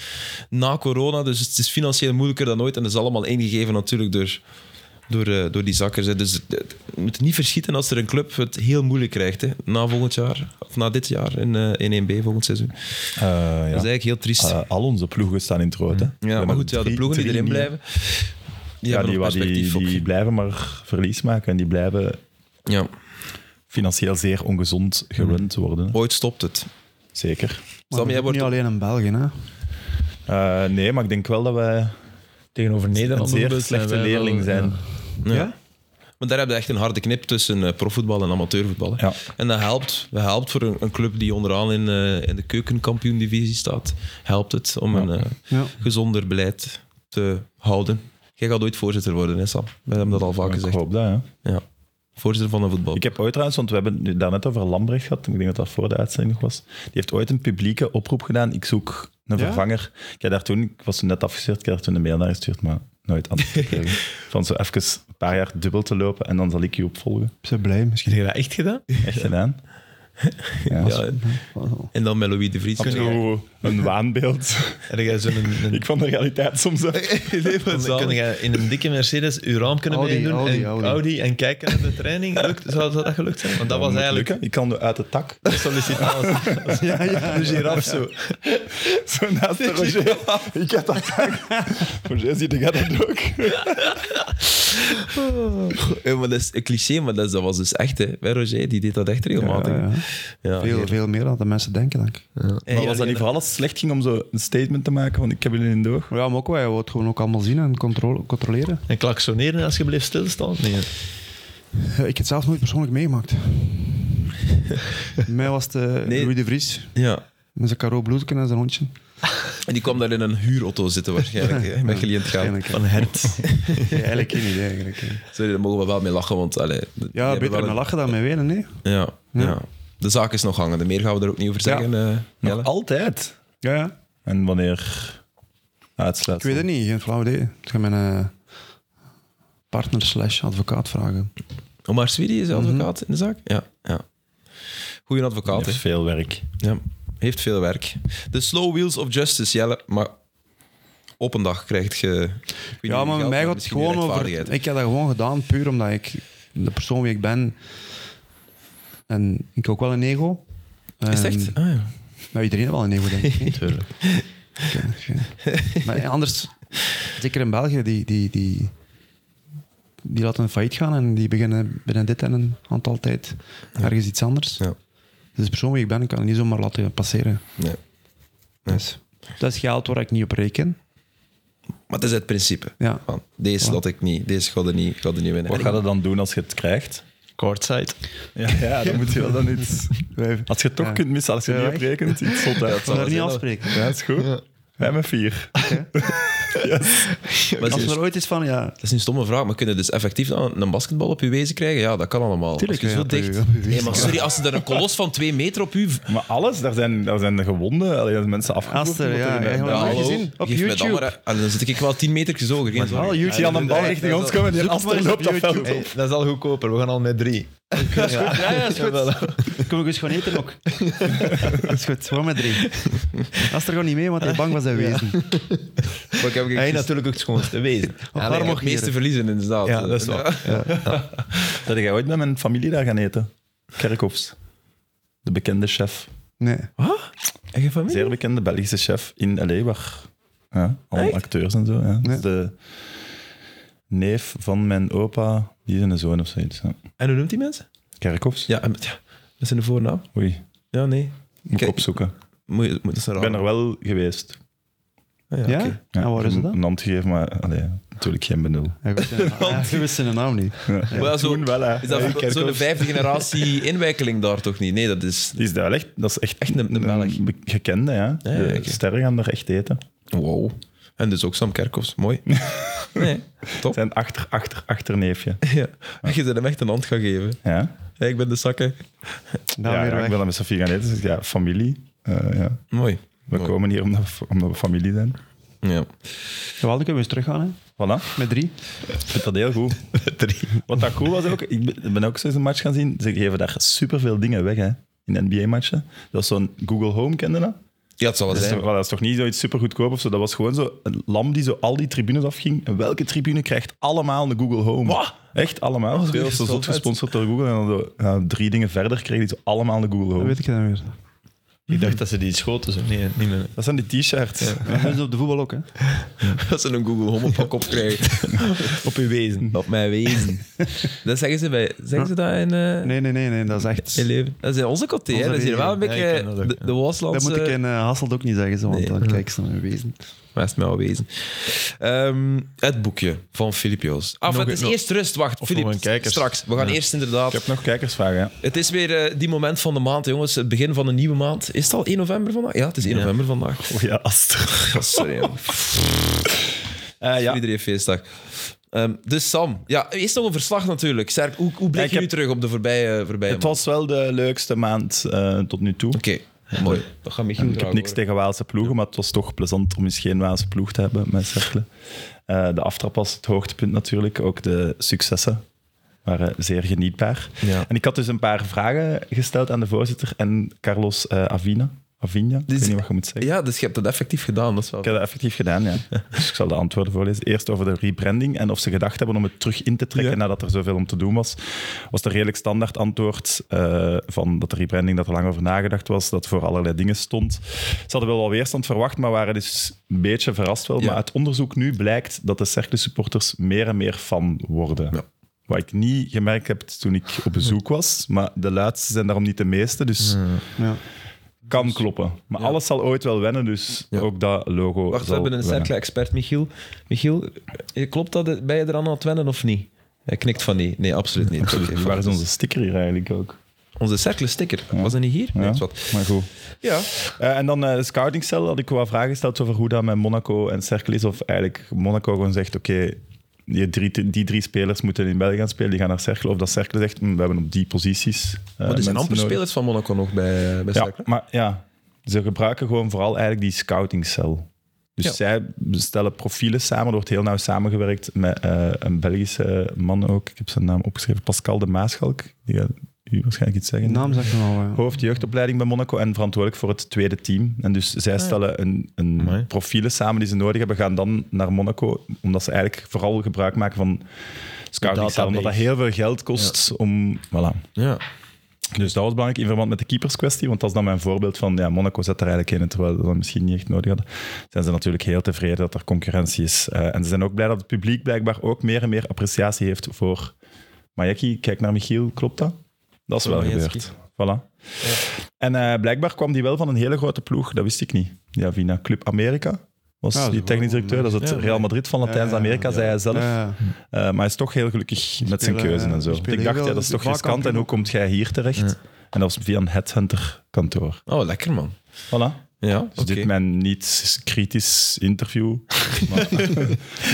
na corona. Dus het is financieel moeilijker dan ooit. En dat is allemaal ingegeven natuurlijk door... Door, eh, door die zakkers. hè. Dus eh, we moeten niet verschieten als er een club het heel moeilijk krijgt. Hè. Na volgend jaar, of na dit jaar in, eh, in 1B volgend seizoen. Eh, ja. Dat is eigenlijk heel triest. Eh, al onze ploegen staan in het rood. hè. We Mm. Ja, maar hebben goed, ja, de drie- ploegen die drie erin nieuwe- blijven, die Ja, hebben die, nog die, perspectief die op. blijven maar verlies maken en die blijven Ja, financieel zeer ongezond Mm. gerund worden. ooit stopt het. Zeker. Sam, Maar dat jij is ook wordt niet ook- alleen in België. Hè. Eh, nee, maar ik denk wel dat wij Tegenover een Nederland zeer slechte leerling zijn. Ja. Maar daar heb je echt een harde knip tussen eh, profvoetbal en amateurvoetbal. hè. Ja. En dat helpt. Dat helpt voor een, een club die onderaan in, eh, in de keukenkampioen-divisie staat. Helpt het om een eh, Ja. gezonder beleid te houden. Jij gaat ooit voorzitter worden, hè, Sam? We hebben dat al vaak ik gezegd. hoop dat, ja. Ja. Voorzitter van een voetbal. Ik heb ooit trouwens, want we hebben het nu daarnet over Lambrecht gehad. Ik denk dat dat voor de uitzending nog was. Die heeft ooit een publieke oproep gedaan. Ik zoek een Ja? vervanger. Ik, heb daar toen, ik was toen net afgestuurd, ik heb daar toen een mail naar gestuurd, maar nooit antwoord gekregen. Van zo even een paar jaar dubbel te lopen en dan zal ik je opvolgen. Ik ben blij misschien. Heb je dat echt gedaan? Echt gedaan. Ja. Ja, en dan met Louis de Vries. Zo een waanbeeld. Heb jij zo'n... Een, Ik vond de realiteit soms echt. Dan kun je in een dikke Mercedes je raam kunnen Audi, meedoen Audi, en Audi. en kijken naar de training. Lukt, zou, zou dat gelukt zijn? Want dat was eigenlijk Ik kan uit de tak. sollicitatie. Ja, ja. Een giraf zo. Zo naast de Roger. Ik heb dat tak. Roger ziet, ik heb dat ook. Ja, maar dat is een cliché, maar dat, is- dat was dus echt. Hè. Bij Roger, die deed dat echt regelmatig. Ja, ja. Ja, Veel, veel meer dan de mensen denken, denk ik. Maar was dat niet vooral als het slecht ging om zo een statement te maken van ik heb jullie in de oog? Maar ja, maar ook wij het gewoon ook allemaal zien en controle, controleren. En klaksoneren als je bleef stilstaan? Nee. Eh, Ik heb het zelf nooit persoonlijk meegemaakt. Bij mij was het eh, Nee. Louis de Vries Ja. met zijn karo bloedken en zijn hondje. En die kwam daar in een huurauto zitten waarschijnlijk, hè, met jullie in het gaan. Eigenlijk, hè. Van hert. Ja, eigenlijk geen idee. Eigenlijk, hè. Sorry, daar mogen we wel mee lachen, want... Allee, d- die ja, hebben beter wel met een- lachen dan met wenen. Nee. Ja, ja. De zaak is nog hangende. Meer gaan we er ook niet over zeggen, eh, Jelle. Nog altijd. Ja, ja. En wanneer uitsluit? Ik weet het niet, geen flauw idee. Ik ga mijn eh, partner slash advocaat vragen. Omar Swidi is Mhm. advocaat in de zaak? Ja, ja. Goeie advocaat, Het is hè. veel werk. Ja. Heeft veel werk. De slow wheels of justice, Jelle. Maar op een dag krijgt je... Ja, maar bij mij gaat het gewoon over... Ik... Ik heb dat gewoon gedaan puur omdat ik de persoon wie ik ben... En ik heb ook wel een ego. Is het En- echt? Ah, ja. Nou, iedereen heeft wel een ego, denk ik. niet? Oké, oké. maar anders, zeker in België, die, die, die, die laten failliet gaan en die beginnen binnen dit en een aantal tijd ergens iets anders. Ja. Dus de persoon wie ik ben, ik kan het niet zomaar laten passeren. Nee. Dus, dat is geld waar ik niet op reken. Maar het is het principe. Ja. Van, deze laat ik niet. Deze gaat er niet, gaat er niet winnen. Wat gaat het dan doen als je het krijgt? Courtside. Ja, dan moet je wel dan iets... Als je het toch Ja. kunt missen, als je Ja, niet echt. oprekent, iets zot uit. zal er niet afspreken. Ja, is goed. Wij met vier. Maar het Als is- er ooit is van, ja... Dat is een stomme vraag, maar kunnen dus effectief dan een basketbal op je wezen krijgen? Ja, dat kan allemaal. Tuurlijk als je zo kun je dicht... dat op je wezen Nee, maar sorry, als er een kolos van twee meter op u... Maar alles, daar zijn, daar zijn de gewonden, allee, daar zijn mensen afgevoerd. Aster, ja, Daar- ja, daar- ja. hallo, gezien? Op geef mij YouTube. Dan, maar, Allee, dan zit ik wel tien meter gezogen. Geen Al zorgen. YouTube die aan een bal Ja, richting dat- ons komen en die Zoek maar Aster eens loopt op dat veld op. YouTube. Hey, dat is al goedkoper. We gaan al met drie. Ja, is goed. Kunnen we eens gewoon eten ook? Dat is goed, gewoon met drie. Als er gewoon niet mee, want hij is bang was zijn wezen. Maar ik heb Hij gisteren- natuurlijk ook het schoonste wezen. Ja, Waarom nee, nog het meeste hier? verliezen, inderdaad. Ja, dat is waar. Dat jij ooit met mijn familie daar gaan eten? Kerkhoffs. De bekende chef. Nee. En je familie? Zeer bekende Belgische chef in L.A. waar ja, allemaal acteurs en zo. Ja. Dat is de neef Dus van mijn opa Die zijn een zoon of zoiets. Ja. En hoe noemt die mensen? Kerkhofs? Ja, en- ja, dat zijn de voornaam. Oei, Ja, nee. moet ik Kijk, opzoeken. Moet je, moet, dat is een Ik raar. ben er wel geweest. Ah, ja, Ja? oké. En waar is het dan? Een hand gegeven, maar allee, natuurlijk geen benul. Ja, je wist zijn naam- ja, je wist zijn naam niet. Maar ja, zo- Toen wel, hè. Is dat Ja, zo'n Kerkhoffs. vijfde generatie inwijkeling daar toch niet? Nee, dat is... Die is daar echt, dat is echt, Echt een- een Belg. be- gekende, ja. ja, de oké. sterren gaan daar echt eten. Wow. En dus ook Sam Kerkhoffs. Mooi. Nee, top. Zijn achter, achter, achterneefje. Ja. Je bent hem echt een hand gaan geven. Ja, Ja, ik ben de zakken. Nou, ja, weer ik weg. ben dan met Sofie gaan eten. Ze zegt, ja, familie. Eh, ja. Mooi. We Mooi. komen hier omdat we, omdat we familie zijn. Ja. Jawel, dan kunnen we eens teruggaan, hè. Voilà. Met drie. Ik vind dat heel goed. Wat dat cool was ook, ik ben- ben ook zo eens een match gaan zien. Ze geven daar superveel dingen weg, hè. In NBA-matchen. Dat is zo'n Google Home, kende dat? Ja, het zal wel Dat is, zijn. toch, wel, dat is toch niet zoiets super goedkoop of zo? Dat was gewoon zo een lam die zo al die tribunes afging. En welke tribune krijgt allemaal een Google Home? Echt allemaal. Dat veel is zo zo zot vet. gesponsord door Google. En dan zo, ja, drie dingen verder kreeg die zo allemaal een Google Dat Home. weet ik dan weer. Ik dacht dat ze die schoten. Zo. Nee, niet meer. Dat zijn die t-shirts. Dat hebben ze op de voetbal ook, hè. Dat ze een Google Home op mijn kop krijgen. Op uw wezen. Op mijn wezen. Dat zeggen ze, bij, zeggen ze dat in, eh Nee, nee, nee, nee, dat is echt... in leven? Dat is in onze kotte, hè? Onze Dat is hier wel een regio. Ja, ik beetje ken dat ook, de, ja. de Dat Waslandse... moet ik in eh, Hasselt ook niet zeggen, zo, want Nee. dan kijk ze naar mijn wezen. Maar is het wel wezen. Ehm, het boekje van Filip Joos. Af, Nog- het is nog- eerst rust. Wacht, nog Filip, een kijkers. straks. We gaan Ja. eerst inderdaad... Ik heb nog kijkersvragen. hè. Het is weer eh, die moment van de maand, jongens. Het begin van een nieuwe maand. Is het al 1 november vandaag? Ja, het is 1 november vandaag. Oh ja, Aster. Ja, Sorry, jongen. Eh, ja. Iedereen feestdag. Ehm, dus Sam, ja, eerst nog een verslag natuurlijk. Serk, hoe, hoe blik Ja, ik je nu heb- terug op de voorbije, voorbije maand? Het was wel de leukste maand eh, tot nu toe. Oké, mooi. Dat gaat Michiel Ik heb niks tegen Waalse ploegen, maar het was toch plezant om eens geen Waalse ploeg te hebben met Cercle. Eh, de aftrap was het hoogtepunt natuurlijk, ook de successen waren zeer genietbaar. Ja. En ik had dus een paar vragen gesteld aan de voorzitter en Carlos eh, Avina. Avina, ik Dit is- weet niet wat je moet zeggen. Ja, dus je hebt dat effectief gedaan. Dat is wel... Ik heb dat effectief gedaan, ja. Dus ik zal de antwoorden voorlezen. Eerst over de rebranding en of ze gedacht hebben om het terug in te trekken Ja. nadat er zoveel om te doen was. Was er redelijk standaard antwoord eh, van dat de rebranding dat er lang over nagedacht was, dat voor allerlei dingen stond. Ze hadden wel wat weerstand verwacht, maar waren dus een beetje verrast wel. Ja. Maar uit onderzoek nu blijkt dat de Cercle supporters meer en meer fan worden. Ja. Wat ik niet gemerkt heb toen ik op bezoek was, maar de laatste zijn daarom niet de meeste, dus Hmm. Ja. kan kloppen. Maar alles zal ooit wel wennen, dus Dus- Ja. ook dat logo Wacht, we zal hebben een wennen. cirkel-expert, Michiel. Michiel, eh, klopt dat? eh, Ben je er aan aan het wennen of niet? Hij knikt van nee. Nee, absoluut niet. Oké, Dus Waar is fijn. onze sticker hier eigenlijk ook? Onze cirkel-sticker. Was hij niet hier? Nee, Ja, dat is wat. maar goed. Ja. Eh, en dan eh, de scoutingcel had ik wat vragen gesteld over hoe dat met Monaco en Cercle is. Of eigenlijk Monaco gewoon zegt, oké, die, drie, die drie spelers moeten in België gaan spelen, die gaan naar Cercle. Of dat Cercle zegt, hm, we hebben op die posities eh, Maar er mensen zijn amper nodig. spelers van Monaco nog bij, bij Ja, cirkel. maar ja, ze gebruiken gewoon vooral eigenlijk die scoutingcel. Dus Ja. zij stellen profielen samen. Er wordt heel nauw samengewerkt met eh, een Belgische man ook. Ik heb zijn naam opgeschreven. Pascal de Maaschalk. Die gaat u waarschijnlijk iets De zeggen. naam zegt me al, ja. Hoofd jeugdopleiding bij Monaco en verantwoordelijk voor het tweede team. En dus zij stellen een, Amai. een profielen samen die ze nodig hebben, gaan dan naar Monaco, omdat ze eigenlijk vooral gebruik maken van scouting, omdat dat Database. heel veel geld kost om... Voilà. Ja. Dus dat was belangrijk in verband met de keeperskwestie, want dat is dan mijn voorbeeld van ja, Monaco zet er eigenlijk in, terwijl ze dat misschien niet echt nodig hadden. Zijn ze natuurlijk heel tevreden dat er concurrentie is. Eh, en ze zijn ook blij dat het publiek blijkbaar ook meer en meer appreciatie heeft voor Majeki. Kijk naar Michiel, klopt dat? Dat is wel Majewski. gebeurd. Voilà. En eh, blijkbaar kwam die wel van een hele grote ploeg, dat wist ik niet. Ja, via Club America was Ja, dat is die technisch wel- directeur. Dat is het ja, Real Madrid van Latijns-Amerika, zei hij zelf. Ja. Eh, maar hij is toch heel gelukkig met zijn spelen- keuze en zo. die spelen Ik dacht, heel ja, veel dat is toch de riskant en hoe komt jij hier terecht? En dat was via een headhunter-kantoor. Oh, lekker man. Voilà. Ja, Dus oké. dit mijn niet-kritisch interview. Maar,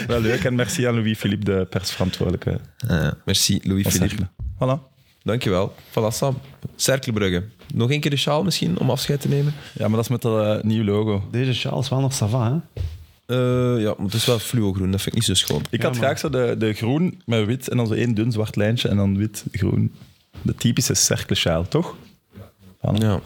wel leuk en merci aan Louis-Philippe, de persverantwoordelijke. Eh, merci, van Louis-Philippe. Cercle. Voilà. Dankjewel. Voilà, Sam. Cerkelbrugge. Nog één keer de sjaal misschien, om afscheid te nemen? Ja, maar dat is met dat eh, nieuwe logo. Deze sjaal is wel nog sava, hè? Eh, ja, maar het is wel fluogroen. Dat vind ik niet zo schoon. Ik Ja, had man. graag zo de, de groen met wit en dan zo één dun zwart lijntje en dan wit, groen. De typische cerkelsjaal, toch? Ja.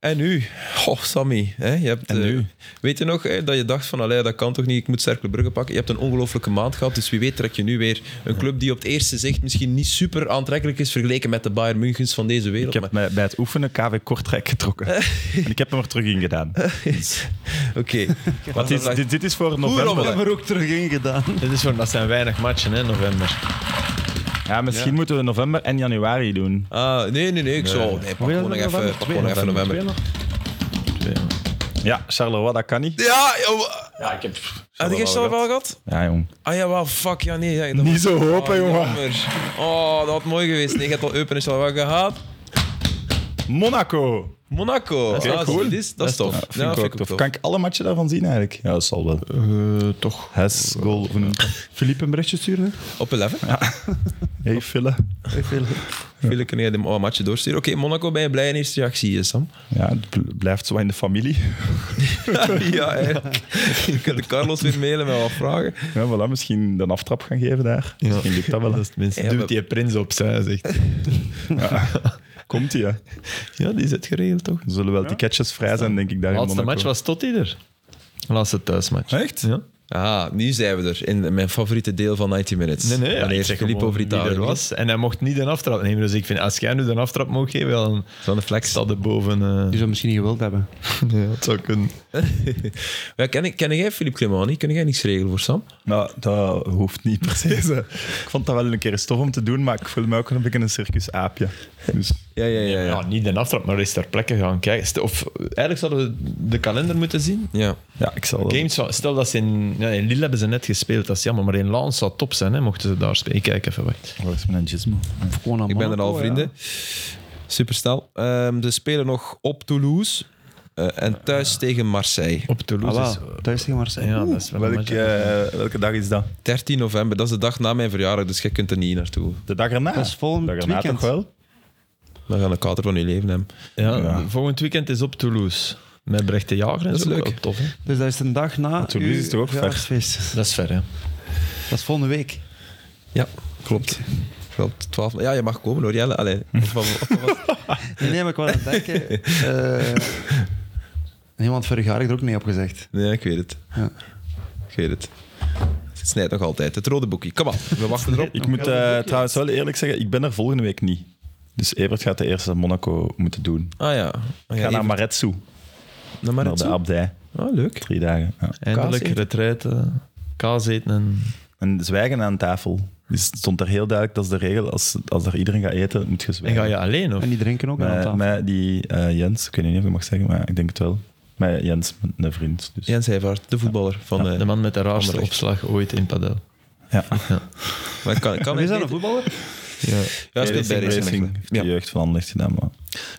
En nu? Goh, Sammy. Hè? Je hebt, En eh, nu? weet je nog hè, dat je dacht van, allee, dat kan toch niet, ik moet Cercle Brugge pakken. Je hebt een ongelofelijke maand gehad, dus wie weet trek je nu weer een club die op het eerste zicht misschien niet super aantrekkelijk is vergeleken met de Bayern Münchens van deze wereld. Ik heb mij bij het oefenen KV Kortrijk getrokken. en ik heb hem er terug in gedaan. maar- Oké. Wat is, dit, dit is voor rommel, november. hè? hè. er ook terug in gedaan. Dit is voor, dat zijn weinig matchen, hè, november. Ja, misschien moeten we november en januari doen. Ah, nee, nee, nee. Ik zou... Nee, pak gewoon nog even, pak gewoon nog even november. Ja, Charleroi, dat kan niet. Ja, ja, Ja, ik heb... had ik gisteren wel gehad? Ja, jong. Ah ja, wel, fuck, ja, nee. Ja, dat Niet was- zo hopen, Ah, jongen. jammer. Oh, dat had mooi geweest. Nee, je hebt al Eupen is al wel gehad. Monaco. Monaco. Ah, Dat is ook cool. Dat is, dat is tof. Ja, Vind ik ook tof. Kan ik alle matchen daarvan zien eigenlijk? Ja, dat zal wel. Eh, toch. Eh, Hes, goal. hoe noemt dat? Philippe een berichtje sturen. hè? Op 11. Hey, Fille. Philip, kun jij de oh, matje doorsturen? Oké, Monaco, ben je blij in eerste reactie, eh, Sam? Ja, het bl- blijft zo in de familie. ja, eigenlijk. Je kunt de Carlos weer mailen met wat vragen. Ja, voilà, misschien een aftrap gaan geven daar. Misschien lukt dat wel. Ja, Duwt maar- die prins opzij, zegt. Komt-ie, hè. Ja, die is het geregeld, toch? Er zullen wel ticketjes vrij zijn, denk ik, daar in laatste Monaco. match was Totti er. Laatste thuismatch. Echt? Ja. Ah, nu zijn we er. In mijn favoriete deel van 90 Minutes. Nee, nee. Wanneer Filippo Vitale er was. En hij mocht niet een aftrap nemen. Dus ik vind, als jij nu een aftrap mocht geven, dan Van de flex. staat er boven... eh, Die zou misschien niet gewild hebben. nee, dat zou kunnen. Ja, ken, ik- ken jij Filip Clement niet? Kun jij niks regelen voor Sam? Nou, dat hoeft niet per se. zo. Ik vond dat wel een keer stof om te doen, maar ik voel me ook een beetje een circusaapje. Dus Ja, ja, ja. Ja, ja. niet een aftrap, maar eens ter plekke gaan kijken. Stel- Of, eigenlijk zouden we de kalender moeten zien. ja. ja, ik zal wel- Games, van- stel dat ze in, ja, in Lille hebben ze net gespeeld, dat is jammer. Maar in Laans zou top zijn, hè, mochten ze daar spelen. Ik kijk even weg. Wat is mijn gizmo? Of gewoon aan Ik ben er Monaco, al, vrienden. Supersnel. Ehm, ze spelen nog op Toulouse eh, en thuis tegen Marseille. Op Ja. Ah, Toulouse is... wel. Thuis tegen Marseille. Ja, dat is wel een match. Welke, eh, welke dag is dat? 13 november, dat is de dag na mijn verjaardag, dus jij kunt er niet naartoe. De dag erna? Dat is volgend dag erna weekend. toch wel? Dan gaan de kater van je leven hebben. Ja, Ja. eh, Volgend weekend is op Toulouse. Met Brecht de Jager en Dat is zo. leuk. Wel Tof, hè? Dus dat is een dag na. Toulouse uw is toch ook ver? verjaarsfeest. Dat is ver, hè? Dat is volgende week. Ja, klopt. Klopt. 12. Ja, je mag komen hoor, Jelle. Allee. Of- of- of- of- Nee, nee, maar ik wou aan het denken. eh iemand vorig jaar heeft er ook nee op gezegd. Nee, ik weet het. Ja. Ik weet het. Het snijdt nog altijd. Het rode boekje. Kom op, we wachten erop. Ik moet eh, trouwens wel eerlijk zeggen, ik ben er volgende week niet. Dus Evert gaat de eerste Monaco moeten doen. Ah ja. Ik ga naar Maretsu, naar naar de Maritsu. abdij. Ah, leuk. Drie dagen. Ja. Eindelijk Kaas eten. retraite, kaas eten en... En zwijgen aan tafel. Dus het stond er heel duidelijk, dat is de regel. Als, als er iedereen gaat eten, moet je En zwijgen. ga je alleen, of? En die drinken ook aan Met, tafel. met die eh, Jens, ik weet niet of ik mag zeggen, maar ik denk het wel. Met Jens, met een vriend. Dus. Jens Heijvaart, de voetballer van... eh, De man met de raarste Anderlecht. opslag ooit in padel. Ja. maar kan, kan hij Is dat een beter? voetballer? Ja. Ja, hij speelt bij Racing. Racing, Racing heeft Ja. de jeugd van Anderlecht gedaan, maar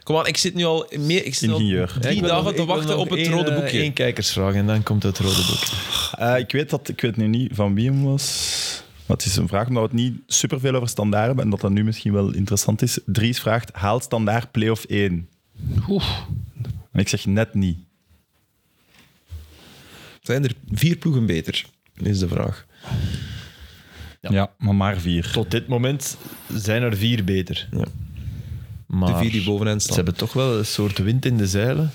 Kom aan, ik zit nu al meer... Ik zit al ingenieur. drie dagen te wachten op het rode boekje. Eén kijkersvraag en dan komt het rode boekje. Eh, ik, weet dat, ik weet nu niet van wie hem was. Maar het is een vraag, omdat we het niet superveel over standaard hebben en dat dat nu misschien wel interessant is. Dries vraagt, haalt standaard play-off 1? En ik zeg net niet. Zijn er vier ploegen beter? Is de vraag. Ja, maar maar vier. Tot dit moment zijn er vier beter. Ja. Maar De vier die bovenaan Ah, ze staan. hebben toch wel een soort wind in de zeilen.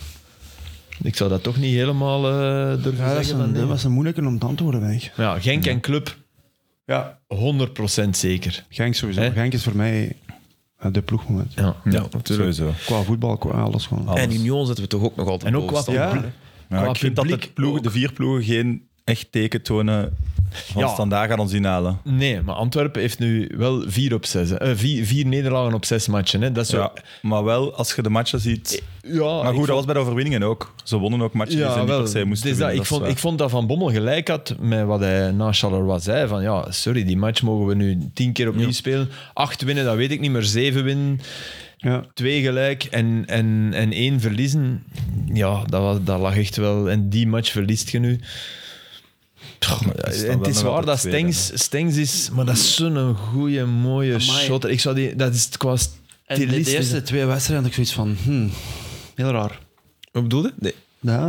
Ik zou dat toch niet helemaal eh durven Ja, dat, is zeggen. een, van, nee. dat was een moeilijke om te antwoorden, denk ik. Maar ja, Genk en Club, Ja. 100% zeker. Genk sowieso. Hè? Genk is voor mij eh, de ploegmoment. Ja. Ja, natuurlijk. Sowieso. Qua voetbal, qua alles gewoon. Alles. En Union zetten we toch ook nog altijd En ook wat boven Ja. staan. Ja, Qua ik vind dat publiek de, ploegen- de vier ploegen geen echt teken tonen van Ja. standaard gaan ons inhalen. Nee, maar Antwerpen heeft nu wel vier, op zes, hè. Eh, vier, vier nederlagen op zes matchen. Hè. Dat is zo- Ja, maar wel als je de matchen ziet. Ja, Maar ik goed, dat vond- was bij de overwinningen ook. Ze wonnen ook matchen die ze Ja, niet wel. per se moesten Dus dat- winnen, ik, vond, dat ik is vond dat Van Bommel gelijk had met wat hij na Charleroi zei. Van ja, sorry, die match mogen we nu tien keer opnieuw spelen. Acht winnen, dat weet ik niet, maar zeven winnen, Ja. twee gelijk en, en, en één verliezen. Ja, dat, was, dat lag echt wel. En die match verliest je nu. Toch, maar dat is dan en het wel is nog waar altijd dat tweede, Stengs, Stengs is, maar dat is zo'n goede, mooie Amai. shot. Ik zou die, dat is qua En de, stilistisch. eerste twee wedstrijden had ik zoiets van, hmm, heel raar. Wat bedoel je? Nee. Ja,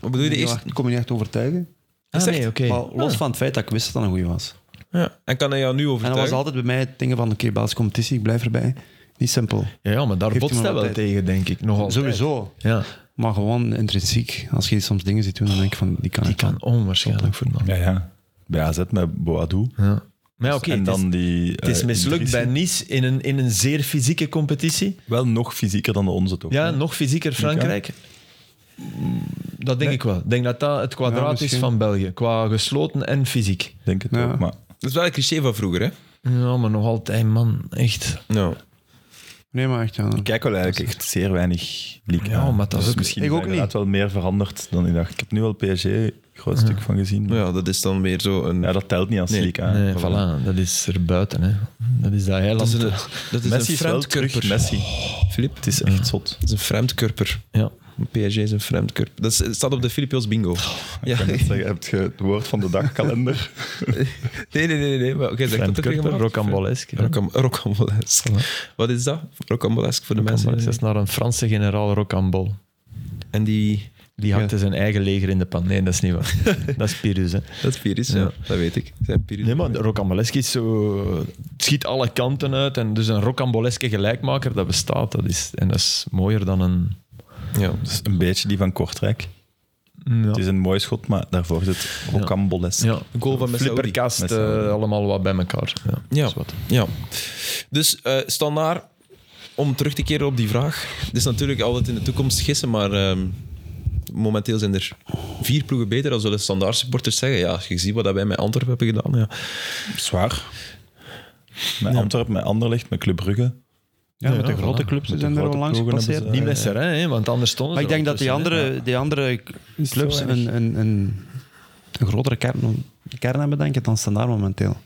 Wat bedoel je de ik eerste? kon me niet echt overtuigen. Ah, Zegt- nee, oké. Maar los van het feit dat ik wist dat dat een goeie was. Ja. En kan hij jou nu En dat overtuigen? was altijd bij mij het ding van, oké, Belgische competitie, ik blijf erbij. Niet simpel. Ja, ja, maar daar Geeft botst hem hij wel wel tijd. tegen, denk ik. Nog Oh, altijd. Sowieso. Ja, Maar gewoon intrinsiek. Als je soms dingen ziet doen, dan denk ik van, die kan die ik kan onwaarschijnlijk voetballen. Ja, ja. Bij AZ met Boadou. Ja. Maar ja, oké, en het, is- dan eh, die... het is mislukt bij Nice in een, in een zeer fysieke competitie. Wel nog fysieker dan de onze, toch? Ja, nog fysieker Frankrijk. Mm, Dat denk ik wel. Ik denk dat dat het Ja, kwadraat is misschien. van België. Qua gesloten en fysiek. Ik Denk het Ja. ook, maar... Dat is wel een cliché van vroeger, hè? Ja, maar nog altijd, man. Echt. Nou, Nee, maar echt, ja. Ik kijk wel eigenlijk echt zeer weinig Ligue Ja, 1. maar dat is Dus ook- misschien Ik is ook dat inderdaad wel meer veranderd dan ik dacht. Ik heb nu al PSG een groot stuk van gezien. maar- ja, dat is dan weer zo een... Ja, dat telt niet als Nee. Ligue 1. nee, voilà. Dat is er buiten, hè. Dat is dat dat heiland. is een, dat is Messi een is wel terug. vreemdkurper. Messi. Filip, Het is echt zot. dat is een vreemdkurper. Ja. PSG is een vreemdkurper. Dat is- het staat op de Filipios bingo. Ja, Ik kan net zeggen, heb je het woord van de dagkalender? nee, nee, nee, nee. Maar, jij zegt dat Kurper, regelmatig. rocambolesk. hè. Rocam- Rocambolesk. Wat is dat? Rocambolesk voor de mensen. Rocambolesk. Dat is naar een Franse generaal rocambol. En die... Die hakte zijn eigen leger in de pan. Nee, dat is niet waar. dat is Pyrrhus, hè. Dat virus, ja. Ja. Dat weet ik. Zijn virus. Nee, maar de rocambolesk is zo... Het schiet alle kanten uit. En dus een rocamboleske gelijkmaker, dat bestaat. Dat is, en dat is mooier dan een... Ja. Dat is een beetje die van Kortrijk. Het is een mooi schot, maar daarvoor zit rocamboles. Ja. Een goal van Messaoudi. Flipperkast, Met Saudi. Eh, eh, allemaal wat bij elkaar. Ja. Ja. is wat. ja. Dus eh standaard, om terug te keren op die vraag. Het is natuurlijk altijd in de toekomst gissen, maar ehm, momenteel zijn er vier ploegen beter. Dan zullen standaard supporters zeggen. Ja, als je ziet wat dat wij met Antwerpen hebben gedaan. Ja. Zwaar. Met Antwerpen, met Anderlecht, met Club Brugge. Ja, met de ja, grote voilà. clubs Met de zijn er al grote langs ploegen gepasseerd. hebben Niet met Serrain, hè, want anders stonden Maar ik ze denk er dat die ondertussen, hè. andere, die andere k- Niet zo clubs erg. een, een, een, een grotere kern, kern hebben, denk ik, dan standaard momenteel.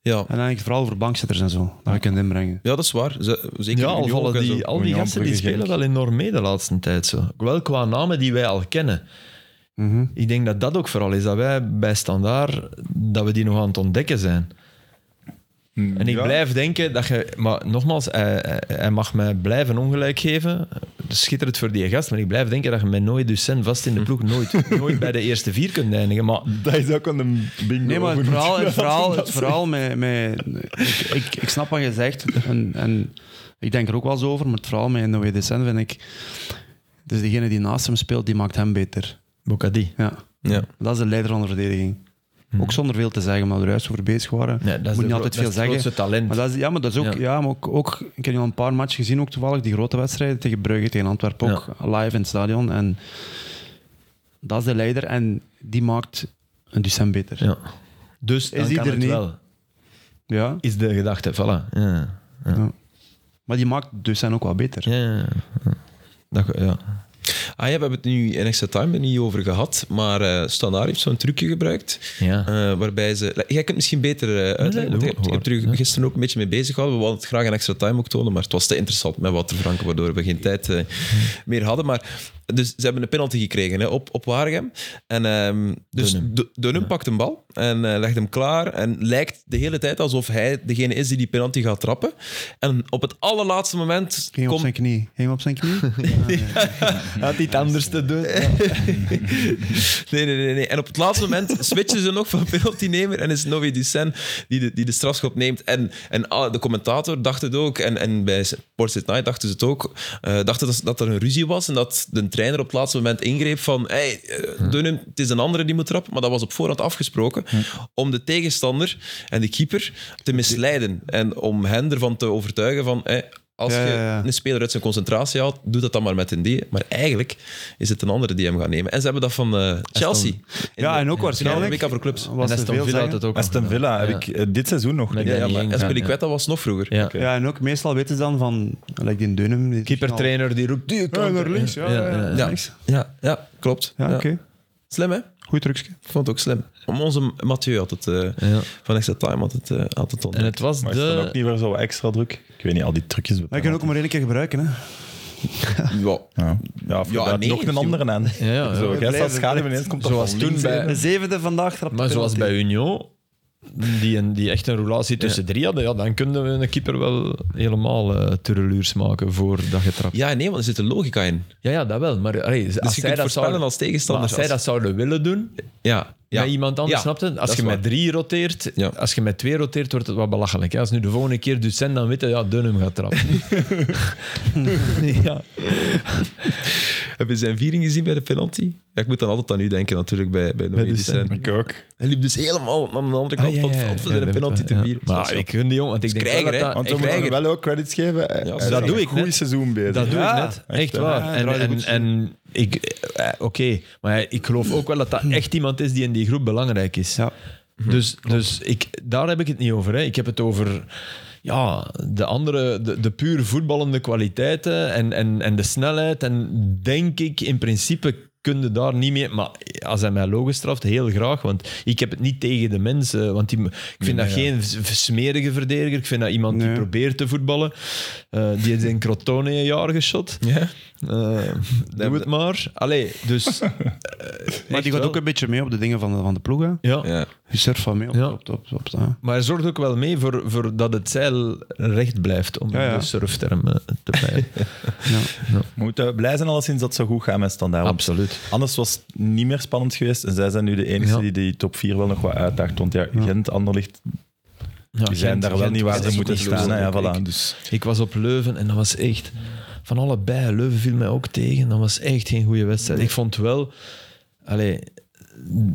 Ja. En eigenlijk vooral voor bankzitters en zo, dat je kunt inbrengen. ja, dat is waar. Ze- zeker Ja, al Union vallen en zo. die, al die Union, gasten die Brugge, spelen Genk. wel enorm mee de laatste tijd. Zo. Wel qua namen die wij al kennen. Mhm. Ik denk dat dat ook vooral is, dat wij bij Standaard dat we die nog aan het ontdekken zijn. En ik Mm, Ja. blijf denken dat je... Maar nogmaals, hij, hij- hij mag mij blijven ongelijk geven. Schitterend voor die gast, maar ik blijf denken dat je met nooit Ducent vast in de ploeg nooit, nooit bij de eerste vier kunt eindigen. Maar Dat is ook wel een bingo. Nee, maar het over- verhaal, het verhaal, het verhaal met... met ik, ik, ik snap wat je zegt en, en ik denk er ook wel eens over, maar het verhaal met Noé Decent vind ik... Dus degene die naast hem speelt, die maakt hem beter. Bocadi. Ja. Ja. Dat is de leider van de verdediging. Ook zonder veel te zeggen, maar we er juist over bezig waren. Nee, Mhm. dat is Moet niet de gro- altijd dat veel is het zeggen. grootste talent. Maar dat is, ja, maar dat is ook... Ja. Ja. maar ook, ook... Ik heb nu al een paar matchen gezien, ook toevallig, die grote wedstrijden tegen Brugge, tegen Antwerpen, ook live in het stadion. En dat is de leider en die maakt een Ducent beter. Ja. Ja. Dus dan Is die kan er het niet? wel. Is de gedachte, voilà. Ja. Maar die maakt Ducent ook wel beter. Ja, ja, ja. Dat, ge- ja. Ah ja, we hebben het nu in extra time er niet over gehad, maar eh Standaard heeft zo'n trucje gebruikt. Ja. eh, waarbij ze. Jij kunt het misschien beter eh, nee, uitleggen. want doe ik heb- maar. ik heb er Ja. gisteren ook een beetje mee bezig gehouden. We wilden het graag in extra time ook tonen, maar het was te interessant met Wouter Franken, waardoor we geen tijd eh, meer hadden. Maar, dus ze hebben een penalty gekregen hè, op, op Waregem. En, ehm, dus Dunham. Dun- Dunham pakt een bal en eh, legt hem klaar. En lijkt de hele tijd alsof hij degene is die die penalty gaat trappen. En op het allerlaatste moment Ging op komt zijn knie. Ging op zijn knie. Had iets anders te doen. Nee, nee, nee, nee. En op het laatste moment switchen ze nog van penaltynemer en is Novi Ducen die de, die de strafschop neemt. En, en ah, de commentator dacht het ook, en, en bij Sports Night dachten ze het ook, eh, dachten dat, dat er een ruzie was en dat de trainer op het laatste moment ingreep van hey, eh, Dunham, het is een andere die moet trappen, maar dat was op voorhand afgesproken om de tegenstander en de keeper te misleiden en om hen ervan te overtuigen van... hey, als Ja, je ja, ja. een speler uit zijn concentratie haalt, doe dat dan maar met een D. Maar eigenlijk is het een andere die hem gaat nemen. En ze hebben dat van eh, Chelsea. Ja, en waarschijnlijk. ook waarschijnlijk. WK voor clubs. Was en te Aston veel Villa had zeggen. het ook. Aston nog Villa heb Ja. ik eh, dit seizoen nog Met niet. die- Ja, ja, maar Ja, Espeliqueta was nog vroeger. gedaan. Ja. Ja, en ook meestal weten ze dan van... Like die Dunham. die- Keepertrainer die roept... Die Ja, kant naar er." links. Ja, ja, ja. Ja, Niks. ja, ja, klopt. Ja, Ja. oké. Slim, hè? Goed trucje. Ik vond het ook slim. Om onze Mathieu had het, eh, Ja. van Extra Time had het, eh, had het En ontdekt. het was Maar is dat ook de... niet weer zo wat extra druk? Ik weet niet, al die trucjes. Maar je kunt ook maar één keer gebruiken. Hè. Ja. Ja, ja, of Ja, inderdaad, nee, nog een viel- andere aan. Ja, ja. Zo, jij staat blijven- schaduw ineens komt dat Zoals van toen links bij- in. De zevende vandaag trapt Maar zoals bij Union die, een, die echt een roulatie tussen drie hadden, ja, dan kunnen we een keeper wel helemaal eh tureluurs maken voordat je trapt. Ja, nee, want er zit een logica in. Dus Ja, ja, dat wel. Maar allee, als, je zij kunt dat voorspellen zouden, als tegenstander, maar als zij als- dat zouden willen doen, Ja. ja. met iemand anders, Ja, snapt het? dat Als is je met waar. drie roteert, Ja. als je met twee roteert, wordt het wat belachelijk. hè. Als nu de volgende keer Ducent, dan weet je, ja, Dunham gaat trappen. ja. Heb je zijn viering gezien bij de penalty? Ja, ik moet dan altijd aan u denken natuurlijk bij, bij Noé Ducent. Ducent. Ik ook. Hij liep dus helemaal aan de andere kant Ah, van het veld voor zijn penalty te vieren. Maar ik gun die jongen, want ik denk krijger, wel hè. dat dat... Want Ik we moeten weiger. hem wel ook credits geven. Hij- dat hij is doe een ik goed net. seizoen bezig. Dat doe Ja, ik net. echt, Echt hè. waar. Ja, hij en draaide en, goed. en ik, eh, oké, maar ik geloof ook wel dat dat echt iemand is die in die groep belangrijk is. Ja. Mhm. Dus, dus ik, daar heb ik het niet over. Hè. Ik heb het over ja, de andere, de, de puur voetballende kwaliteiten en, en, en de snelheid. En denk ik, in principe kun je daar niet mee... Maar als hij mij logisch straft, heel graag. Want ik heb het niet tegen de mensen. Want die, ik vind dat geen v- smerige verdediger. Ik vind dat iemand die Nee. probeert te voetballen. Eh, die heeft in Crotone een jaar geschot. Ja? Eh, doe het maar. Allee, dus... eh, Maar echt die gaat wel. ook een beetje mee op de dingen van de, van de ploeg. Hè? Ja. Ja. Je surft van mee op, Ja. op, op, op, ja. Maar hij zorgt ook wel mee voor, voor dat het zeil recht blijft, om Ja, ja. de surfterm eh, te peilen. Ja. We moeten blij zijn alleszins dat het zo goed gaat met Standaard. want Absoluut. Anders was het niet meer spannend geweest. En zij zijn nu de enige Ja. die die top 4 wel nog wat uitdaagt. Want ja, Gent, Anderlicht, die zijn daar wel niet waar Gent ze is moeten ook niet staan. hè. Ja, gelozen, denk voilà. ik. Dus Ik was op Leuven en dat was echt... Van allebei, Leuven viel mij ook tegen. Dat was echt geen goede wedstrijd. Ik vond wel... Allee,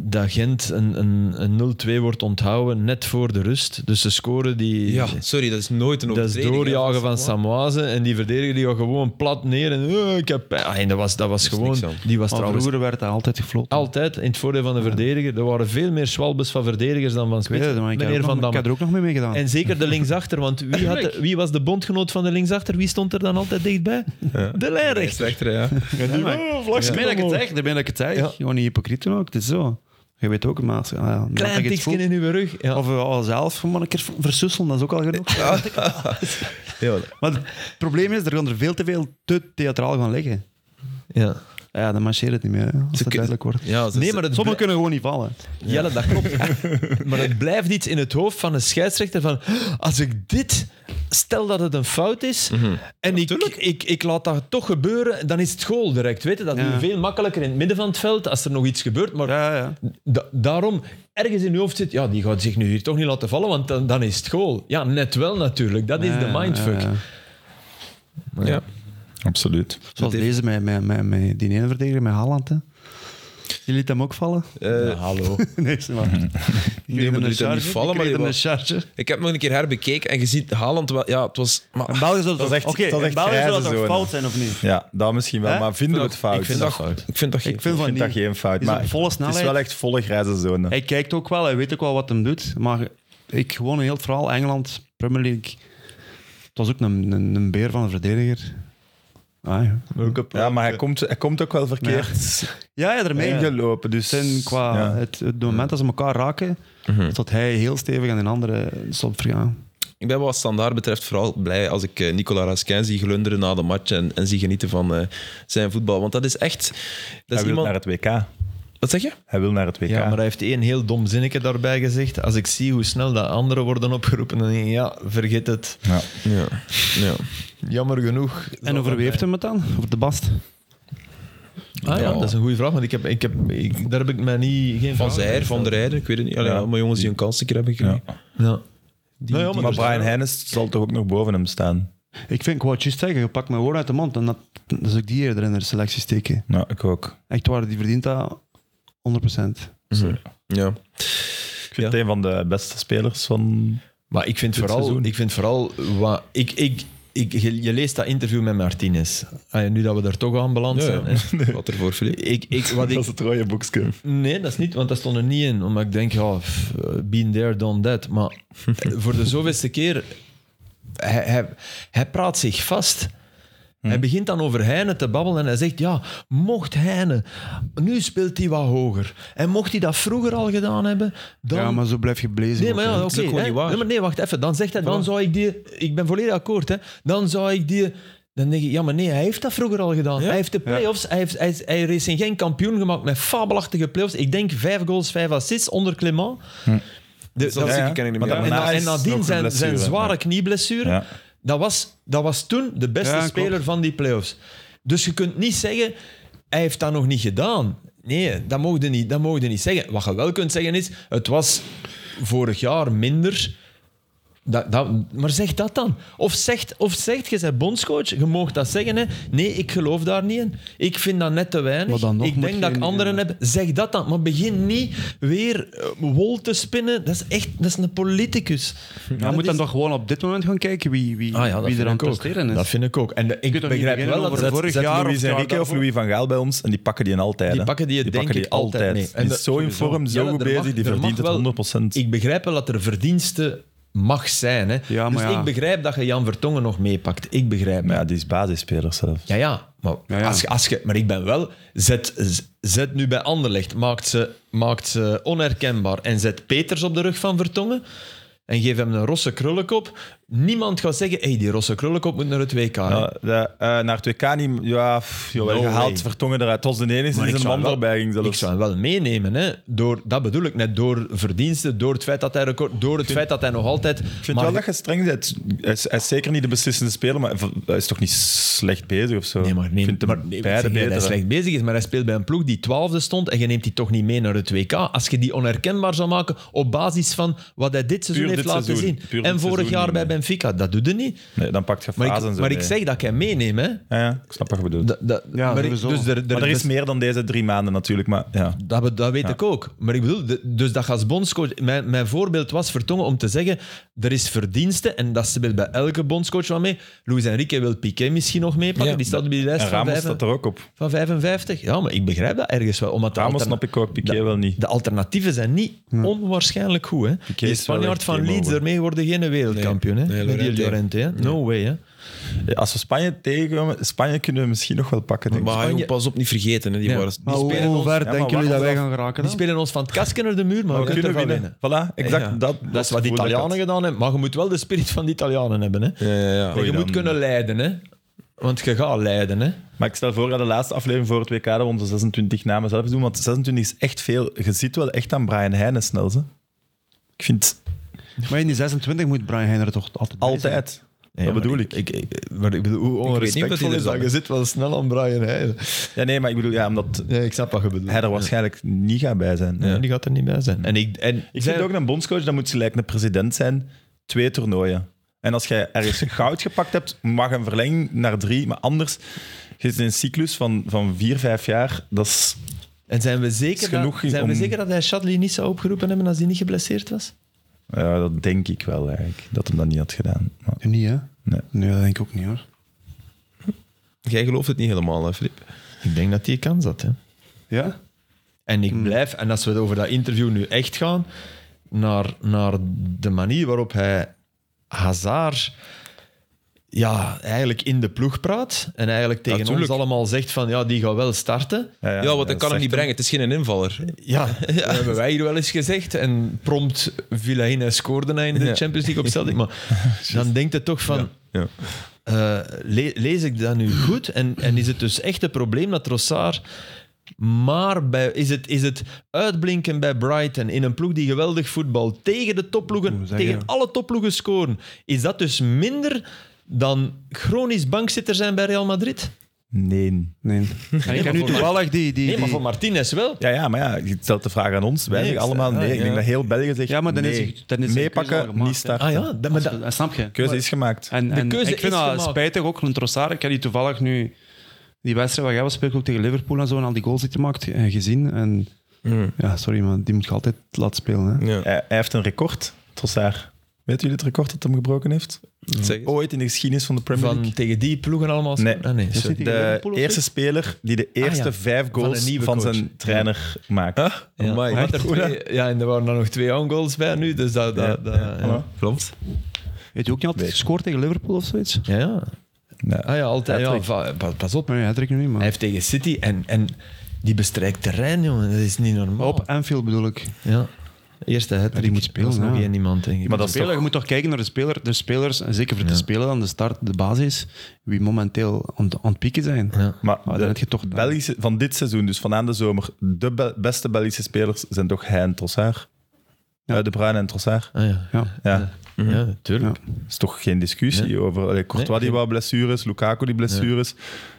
dat Gent een, een, een 0-2 wordt onthouden net voor de rust. Dus de scoren die... ja, sorry, dat is nooit een Dat is overtreding, hè, doorjagen van Samoa. Samoise en die verdediger die gaat gewoon plat neer en eh, ik heb pijn. Ah, en dat was, dat was is gewoon... niks aan. Die was Maar trouwens vroeger werd hij altijd gefloten. altijd in het voordeel van de verdediger. Er waren veel meer zwalbes van verdedigers dan van Ik weet spits. het, maar ik, heb Meneer er ook Van nog- ik Dam. heb er ook nog mee meegedaan. En zeker de linksachter, want wie, had de- wie was de bondgenoot van de linksachter? Wie stond er dan altijd dichtbij? De Echt lijnrechter. slechter, ja. Oh, Daar ben ik het echt, daar ben ik het zeg. Gewoon niet hypocriet doen ook, het is zo. Je weet ook, maar als, ah, ja, dat ik Klein het tikje voel- in uw rug. Ja. Of we al zelf gewoon een keer versusselen, dat is ook al genoeg. ja. Maar het probleem is, er gaan er veel te veel te theatraal gaan liggen. Ah ja. Ja, dan marcheert het niet meer, hè, als het duidelijk wordt. Ja, Nee, maar het Sommigen kunnen gewoon niet vallen. Jelle, dat klopt. maar het blijft iets in het hoofd van een scheidsrechter van... Als ik dit... Stel dat het een fout is en ik, ik, ik laat dat toch gebeuren, dan is het goal direct. Weet je, dat is Ja. veel makkelijker in het midden van het veld als er nog iets gebeurt. Maar Ja, ja. da- daarom, ergens in je hoofd zit, ja, die gaat zich nu hier toch niet laten vallen, want dan, dan is het goal. Ja, net wel natuurlijk. Dat is Ja, de mindfuck. ja, ja. Ja. absoluut. Zoals heeft- deze met, met, met, met die ene verdediger, met Haaland. Hè. Je liet hem ook vallen? Eh, Ja, hallo. nee, ze maar. die liet hem niet vallen, maar die een was- charge. Ik heb hem nog een keer herbekeken en gezien, Haaland wel... Ja, het was... Maar, In België Dat zou dat, is echt- oké, dat is in echt België zou dat grijze toch zone. fout zijn, of niet? Ja, dat misschien wel. Hè? Maar vinden we het fout? ik vind dat... Ik vind dat... geen- Ik vind van niet. dat geen fout. Is op Maar volle het is snelheid. wel echt volle grijze zone. Hij kijkt ook wel, hij weet ook wel wat hem doet. Maar ik gewoon een heel het verhaal, Engeland, Premier League. Het was ook een, een, een beer van een verdediger. Ah, ja. Ja, maar hij komt, hij komt ook wel verkeerd ja, ja, daarmee. ingelopen. Dus Zijn qua ja. het, het moment dat ze elkaar raken, dat hij heel stevig aan een andere stond vergaan. Ik ben wat standaard betreft vooral blij als ik eh, Nicolas Raskin zie glunderen na de match en, en zie genieten van eh, zijn voetbal. Want dat is echt... Dat Hij is wil iemand... naar het WK. Wat zeg je? Hij wil naar het WK. Ja, maar hij heeft één heel dom zinnetje daarbij gezegd. Als ik zie hoe snel dat anderen worden opgeroepen, dan denk ik, ja, vergeet het. Ja. Ja. ja. Jammer genoeg. En over wie heeft hem het dan? Over de Bast? Ah ja, Ja. dat is een goede vraag, want ik heb, ik heb, ik- daar heb ik mij niet, geen Van vraag Zijr, bij Van der Rijden, ik weet het niet. Allee, Ja. Allemaal jongens die een kans een keer hebben gekregen. Ja. Ja. Nou ja, Maar, Brian Heines zal toch ook nog boven hem staan? Ik vind, ik wou het juist zeggen, je pakt mijn woorden uit de mond en dat, dat is ook die eerder in de selectie steken. Ja, ik ook. Echt waar, die verdient dat 100%. Ja. Ik vind Ja. het een van de beste spelers van... Maar ik vind, vooral, seizoen. ik vind vooral... Wat, ik, ik, ik, je, je leest dat interview met Martinez. Ah, ja, nu dat we daar toch aan beland zijn. hè. Wat er voor Filip. Ik, ik, wat ik, het rode boekje. nee, dat is niet, want dat stond er niet in. Omdat ik denk, ja, pff, been there, done that. Maar eh, voor de zoveelste keer... Hij, hij, hij praat zich vast. Hij begint dan over Heine te babbelen en hij zegt, ja, mocht Heine... Nu speelt hij wat hoger. En mocht hij dat vroeger al gedaan hebben, dan... Ja, maar zo blijf je blazen. Nee, maar ja, is ook oké. gewoon hè. niet waar. Nee, maar nee, wacht even. Dan zegt hij, dan zou ik die... Ik ben volledig akkoord, hè. Dan zou ik die... Dan denk ik, ja, maar nee, hij heeft dat vroeger al gedaan. Hij heeft de play-offs, hij, heeft, hij, is- hij is Hm. in geen kampioen gemaakt met fabelachtige play-offs. Ik denk vijf goals, vijf assists onder Clement. De, Zo'n dat- ja, zieke ken ik niet maar meer. daarna- en, na- is en nadien nog een zijn, blessure, zijn zware ja. knieblessure. Ja. Dat, was, dat was toen de beste Ja, klopt. speler van die playoffs. Dus je kunt niet zeggen, hij heeft dat nog niet gedaan. Nee, dat mogen je niet, dat mogen niet zeggen. Wat je wel kunt zeggen is, het was vorig jaar minder. Dat, dat, maar zeg dat dan. Of zegt, of zegt je bent bondscoach, je mag dat zeggen. Hè. Nee, ik geloof daar niet in. Ik vind dat net te weinig. Maar dan nog ik moet denk je dat ik niet- anderen heb. Zeg dat dan. Maar begin niet weer eh, wol te spinnen. Dat is echt dat is een politicus. Je moet dan toch gewoon op dit moment gaan kijken wie, wie, Ah ja, dat wie vind er aan ik het ook. presteren is. Dat vind ik ook. En de- ik kunt toch niet begrijp beginnen wel dat over dat- vorig Zet jaar Louis of jaar Enrique of daarvoor. Louis van Gaal bij ons en die pakken die altijd. Die hè. pakken die, denk pakken ik, altijd mee. En Die dat- is zo in vorm, Ja, zo maar goed er bezig, mag- die er verdient mag het wel- 100%. Ik begrijp wel dat er verdienste mag zijn. Hè. Ja, maar dus ja. ik begrijp dat je Jan Vertongen nog meepakt. Ik begrijp Maar dat. ja, die is basisspeler zelf. Ja, ja. Maar, Ja, ja. Als, je- als je, maar ik ben wel... Zet, z- zet nu bij Anderlecht. Maakt ze, maakt ze onherkenbaar. En zet Peters op de rug van Vertongen. En geef hem een rosse krullenkop. Niemand gaat zeggen... hey, die rosse krullenkop moet naar het WK. hè. Ja, de, eh, naar het WK niet... Ja, pff, jawel, No gehaald, way. vertongen eruit. Het was de enige Maar die ik zijn zou man wel- voorbij ging Ik zelfs. zou hem wel meenemen. Hè. Door, dat bedoel ik net. Door verdiensten, door het feit dat hij, record, door het feit dat hij nog altijd... Ik vind maar- wel dat je streng bent. Hij is, hij is zeker niet de beslissende speler, maar hij is toch niet slecht bezig of zo? Nee, maar, ik neem, vind hem maar nee, zeg beide niet dat beter. hij slecht bezig is, maar hij speelt bij een ploeg die twaalfde stond en je neemt die toch niet mee naar het WK. Als je die onherkenbaar zou maken op basis van wat hij dit seizoen Puur heeft dit laten seizoen. zien. Puur en dit vorig seizoen jaar niet bij mee. Benfica, dat doe je niet. Nee, dan pakt je Maar, fasen ik, zo maar ik mee. zeg dat ik hem meeneem. Hè. Ja, ja, ik snap wat je bedoelt. Dat, dat, Ja, maar ik- sowieso. dus er, er, maar er is dus- meer dan deze drie maanden natuurlijk, maar ja. Dat, be- dat weet ik ook. Maar ik bedoel, de- dus dat je als bondscoach... Mijn, mijn voorbeeld was Vertongen om te zeggen, er is verdienste, en dat speelt bij elke bondscoach wel mee. Luis Enrique wil Piqué misschien nog meepakken, Ja. die staat op die lijst En van, Ramos vijf- staat er ook op. van 55. Ja, maar ik begrijp dat ergens wel. Omdat de Ramos alterna- snap ik ook, Piqué dat- wel niet. De alternatieven zijn niet onwaarschijnlijk goed. Hè? Die is wel Spanjaard echt van game Leeds, over. daarmee worden geen wereldkampioen. Hè? Nee, nee, Met die Llorente. Llorente, hè? No way. Hè? Als we Spanje tegenkomen, Spanje kunnen we misschien nog wel pakken. Denk ik. Maar Spanje- joh, pas op, niet vergeten. Hè. Die, Ja. waren, die Maar hoe, spelen hoe ons- ver Ja, denken maar jullie dat wacht, wij gaan geraken Die dan? spelen ons van het kastje naar de muur, maar we, we kunnen kunnen ervan winnen. winnen. Voilà, exact. Ja. Dat, Dat is wat de Italianen gedaan hebben, maar je moet wel de spirit van de Italianen hebben. Hè? Ja, ja, ja. En je Goeie moet dan. kunnen leiden, hè? Want je gaat leiden, hè? Maar ik stel voor dat de laatste aflevering voor het WK dat we onze 26 namen zelf doen, want 26 is echt veel. Je ziet wel echt aan Brian Heijnen snel, ze. Ik vind Maar in die 26 moet Brian Heijner toch altijd bij zijn? altijd. Ja, dat maar bedoel ik- ik. ik, maar ik bedoel, hoe weet niet of dat hij onrespectvol er is dat? zat. Je zit wel snel aan Brian Heijden. Ja, nee, maar ik bedoel, ja, omdat Ja, ik snap wat je bedoelt. hij er waarschijnlijk niet gaat bij zijn. Ja, die gaat er niet bij zijn. En ik, en Ik zij- vind ook een bondscoach, dat moet gelijk een president zijn. Twee toernooien. En als jij ergens goud gepakt hebt, mag een verlenging naar drie. Maar anders, je zit in een cyclus van, van vier, vijf jaar. Dat is, en zijn we zeker, Is dat, genoeg zijn we om- zeker dat hij Shadley niet zou opgeroepen hebben als hij niet geblesseerd was? ja, dat denk ik wel eigenlijk, dat hem dat niet had gedaan. Maar, Niet, hè? nee. Nee, dat denk ik ook niet, hoor. Jij gelooft het niet helemaal, hè, Filip? Ik denk dat hij kans had. Hè. Ja? En ik blijf, en als we het over dat interview nu echt gaan, naar, naar de manier waarop hij Hazard ja, eigenlijk in de ploeg praat en eigenlijk tegen tuurlijk. ons allemaal zegt van ja, die gaat wel starten. Ja, wat want dat kan hem niet brengen. Het is geen invaller. Ja, dat hebben wij hier wel eens gezegd. En prompt viel hij in en scoorde hij in de Ja. Champions League op Celtic. Maar dan denkt het toch van... Ja. eh, le- lees ik dat nu goed? En, en is het dus echt een probleem dat Trossard maar bij... Is het, is het uitblinken bij Brighton in een ploeg die geweldig voetbal tegen de topploegen, Hoe zeg je tegen dat? alle topploegen scoren, is dat dus minder dan chronisch bankzitter zijn bij Real Madrid? Nee. Nee. En ik heb nu voor mij- toevallig die... die, Nee, maar die- voor Martinez wel. Ja, ja, maar ja, je stelt de vraag aan ons. Wij Nee, zeggen ik- allemaal ah, nee. Ik ja. denk dat heel België zegt Ja, maar dan is- nee. dan is de keuze al Meepakken, gemaakt, niet hè. starten. Ah ja, dat, maar dat- Als- Snap je? Keuze is gemaakt. En, en keuze ik vind is dat gemaakt. spijtig ook, een Trossard. Ik heb die toevallig nu die wedstrijd waar jij was speelt, ook tegen Liverpool en zo, en al die goals die hij maakt, eh, gezien. En ja, sorry, maar die moet je altijd laten spelen. Hè. Ja. Hij, hij heeft een record, Trossard. Weet jullie het record dat hem gebroken heeft? Zeg eens. Ooit in de geschiedenis van de Premier League. van tegen die ploegen allemaal... Nee. Ah, nee, Dat sorry. zit tegen De Liverpool of eerste zoiets? speler die de eerste Ah, ja. vijf Van goals een van, nieuwe coach. zijn trainer maakt. Ja. Oh Amai. Omdat er twee- ja, en er waren dan nog twee own goals bij nu, dus dat... dat, Ja, dat ja. ja. Voilà. Klopt. Weet je ook niet altijd Nee. gescoord tegen Liverpool of zoiets? Ja, ja. Ja. Ah ja, altijd. Ja, Patrick. va- pa- pas op. Nee, hij trekt nu niet, Hij maar... heeft tegen City en, en die bestrijkt terrein, jongen. Dat is niet normaal. Op Anfield bedoel ik. Ja. Eerste het Ja, die moet spelen, Dat is nog ja. geen iemand, denk ik. Maar De dat is speler, toch- Je moet toch kijken naar de, speler, de spelers, en zeker voor de Ja. speler aan de start, de basis, wie momenteel aan, het- aan het pieken zijn. Ja. Maar Maar de dan heb je toch... Belgische, van dit seizoen, dus van aan de zomer, de be- beste Belgische spelers zijn toch hij en Trossard? Ja. Eh, de Bruyne en Trossard. Ah, ja. Ja. Ja, ja, natuurlijk. is toch geen discussie over. Allee, Courtois Nee, die wat blessures, Lukaku die blessures.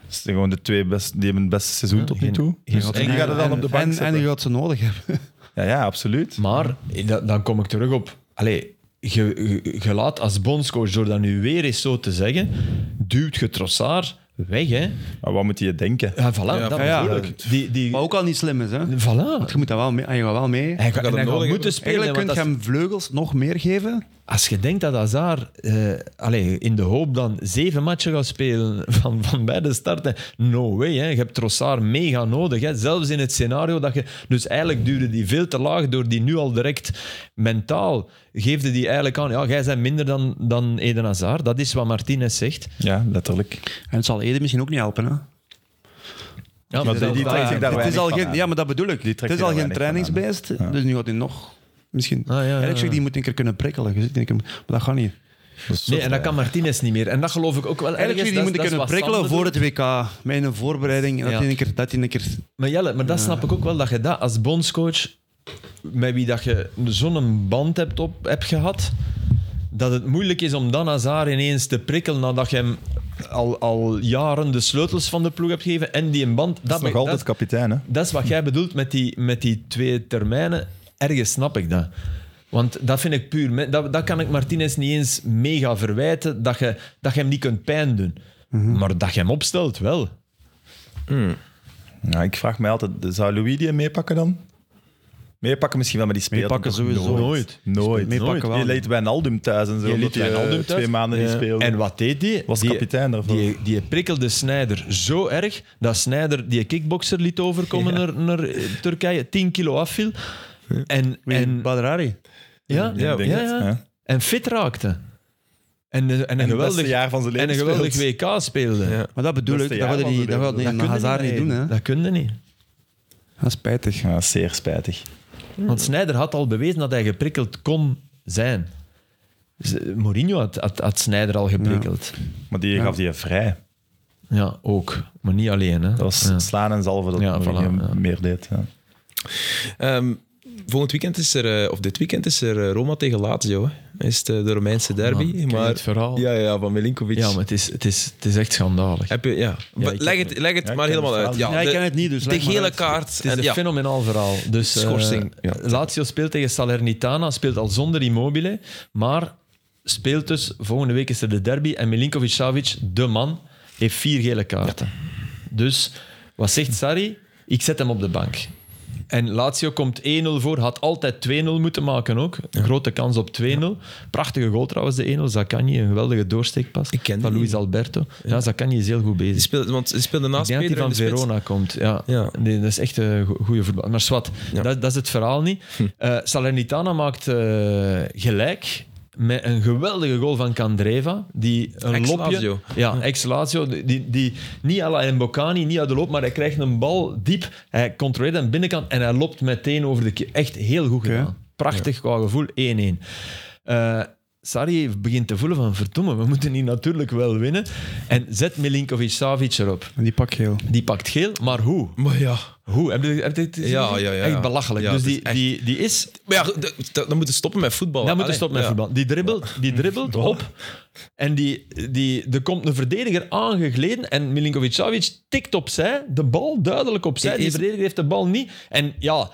Dat zijn gewoon de twee best, die hebben het beste seizoen Ja, tot nu geen- toe. geen- Dus en die gaat het dan op de bank en, en zetten. je gaat ze nodig hebben. Ja, ja, absoluut. Maar eh, da- dan kom ik terug op. Allee, je, je- je laat als bondscoach, door dat nu weer eens zo te zeggen, duwt je Trossard weg. Hè. Maar wat moet je denken? Ja, voilà, dat ja, ja. bedoel ik. Die, die, Maar ook al niet slim is, hè? voilà. Want je moet dat wel mee, en je gaat wel mee. Hij hem gaat, en hij gaat nodig hebben. moeten spelen. Eigenlijk want kun je als, hem vleugels nog meer geven. als je denkt dat Hazard eh allee, in de hoop dan zeven matchen gaat spelen van, van bij de start, hè. no way. Hè. Je hebt Trossard mega nodig. Hè. Zelfs in het scenario dat je... Dus eigenlijk duurde die veel te laag door die nu al direct mentaal geefde die eigenlijk aan, ja, jij bent minder dan, dan Eden Hazard. Dat is wat Martinez zegt. Ja, letterlijk. En het zal Eden misschien ook niet helpen, hè? Ja, Maar die, die trekt zich daar Het is weinig al van geen, aan. ja, maar dat bedoel ik. Die trekt Het is er al wel geen weinig van aan. trainingsbeest, dus nu gaat hij nog... Misschien. Ah, ja, ja, Eigenlijk zeg ja. die moet een keer kunnen prikkelen. Je zit een keer, maar dat gaat niet. Nee, en dat kan Martinez niet meer. En dat geloof ik ook wel ergens. Eigenlijk zou die dat- moeten dat is kunnen wat prikkelen Sander voor doet. het WK. Met een voorbereiding. Dat Ja. hij een keer... Dat hij een keer Maar Jelle, maar dat snap ik ook wel, dat je dat als bondscoach, met wie dat je zo'n band hebt, op, hebt gehad, dat het moeilijk is om dan Hazard ineens te prikkelen nadat je hem al, al jaren de sleutels van de ploeg hebt gegeven en die een band... Dat, dat is nog be- altijd dat, kapitein, hè? dat is wat jij bedoelt met die, met die twee termijnen. Ergens snap ik dat. Want dat vind ik puur... me- Dat, dat kan ik Martinez niet eens mega verwijten, dat je, dat je hem niet kunt pijn doen. Mhm. Maar dat je hem opstelt, wel. Ja, ik vraag mij altijd, zou Louis die meepakken dan? Meepakken misschien wel, maar die speelt Meepakken hem toch sowieso. Nooit. Nooit. Meepakken wel Je niet. leed Wijnaldum thuis en zo. Je omdat liet hij, die eh, Ronaldo thuis. Twee maanden die Ja. speelde. En wat deed die? Was die, kapitein daarvoor. Die, die prikkelde Snyder zo erg dat Snyder die kickboxer liet overkomen naar, naar eh, Turkije, 10 kilo afviel. En, en, Badrari. ja, Ja, ja, ik denk ja, het, ja. ja. en fit raakte. En, eh, en, een, het geweldig, beste jaar van zijn leven en een geweldig speelt. WK speelde. Ja. Maar dat bedoel Dat ik. is de Dat gaat jaarman hij dat gaat die- hij met kun je Hazard niet doen, hè? Dat kun je niet. Dat is spijtig. Ja, zeer spijtig. Want Snyder had al bewezen dat hij geprikkeld kon zijn. Z- Mourinho had, had, had Snyder al geprikkeld. Maar die gaf die vrij. Ja. ook. Maar niet alleen. Hè. Dat was Ja. slaan en zalven dat Ja, Mourinho voilà, ja. meer deed. Ja. Ehm, volgend weekend is er, eh, of dit weekend is er eh, Roma tegen Lazio. Hè. Is het eh, de Romeinse derby. man, ken je maar, het verhaal? Ja, ja, van Milinkovic. Ja, maar het is, het is, het is echt schandalig. Heb je, ja. Maar ik leg ken het, leg het Ja, ik maar ken helemaal het uit. Ja, verhaal. Ja, ik de- ken het niet, dus de leg maar gele uit. kaart. Het is en- een ja. fenomenaal verhaal. Dus, eh, Schorsing, ja. Lazio speelt tegen Salernitana, speelt al zonder Immobile, maar speelt dus, volgende week is er de derby en Milinkovic-Savic, de man, heeft vier gele kaarten. Dus wat zegt Sarri? Ik zet hem op de bank. En Lazio komt 1-0 voor, had altijd 2-0 moeten maken ook. Grote kans op 2-0. Prachtige goal trouwens, de 1-0. Zakani, een geweldige doorsteekpas Ik ken van die. Luis Alberto. Ja, Zakani is heel goed bezig. Die speelde, want ze speelde naast Ik denk Pedro dat in hij de van spits. Verona komt. Ja. Ja. Nee, dat is echt een goede voetbal. Maar zwart, Ja. Hm. dat, dat is het verhaal niet. Eh, Salernitana maakt eh, gelijk met een geweldige goal van Candreva. Die een Ex-Lazio. lopje... Hm. Ja, ex-Lazio. Die, die niet à la Mbokani, niet uit de loop, maar hij krijgt een bal diep. Hij controleert aan de binnenkant en hij loopt meteen over de keer. Echt heel goed gedaan. Prachtig qua gevoel, 1-1. Eh, Sarri begint te voelen van, verdomme, we moeten hier natuurlijk wel winnen. En zet Milinkovic-Savic erop. En die pak geel. Die pakt geel, maar hoe? Maar ja. Hoe? Heb je, heb je het gezien? Ja, ja, ja. Echt belachelijk. Ja, dus het is die, echt- die, die is... Maar ja, d- d- dan moeten we stoppen met voetbal. Dan moet Allee, je stoppen met ja. voetbal. Die dribbelt, die dribbelt op. En die, die, er komt een verdediger aangegleden. En Milinkovic-Savic tikt opzij. De bal duidelijk opzij. Is- Die is- verdediger heeft de bal niet. En ja,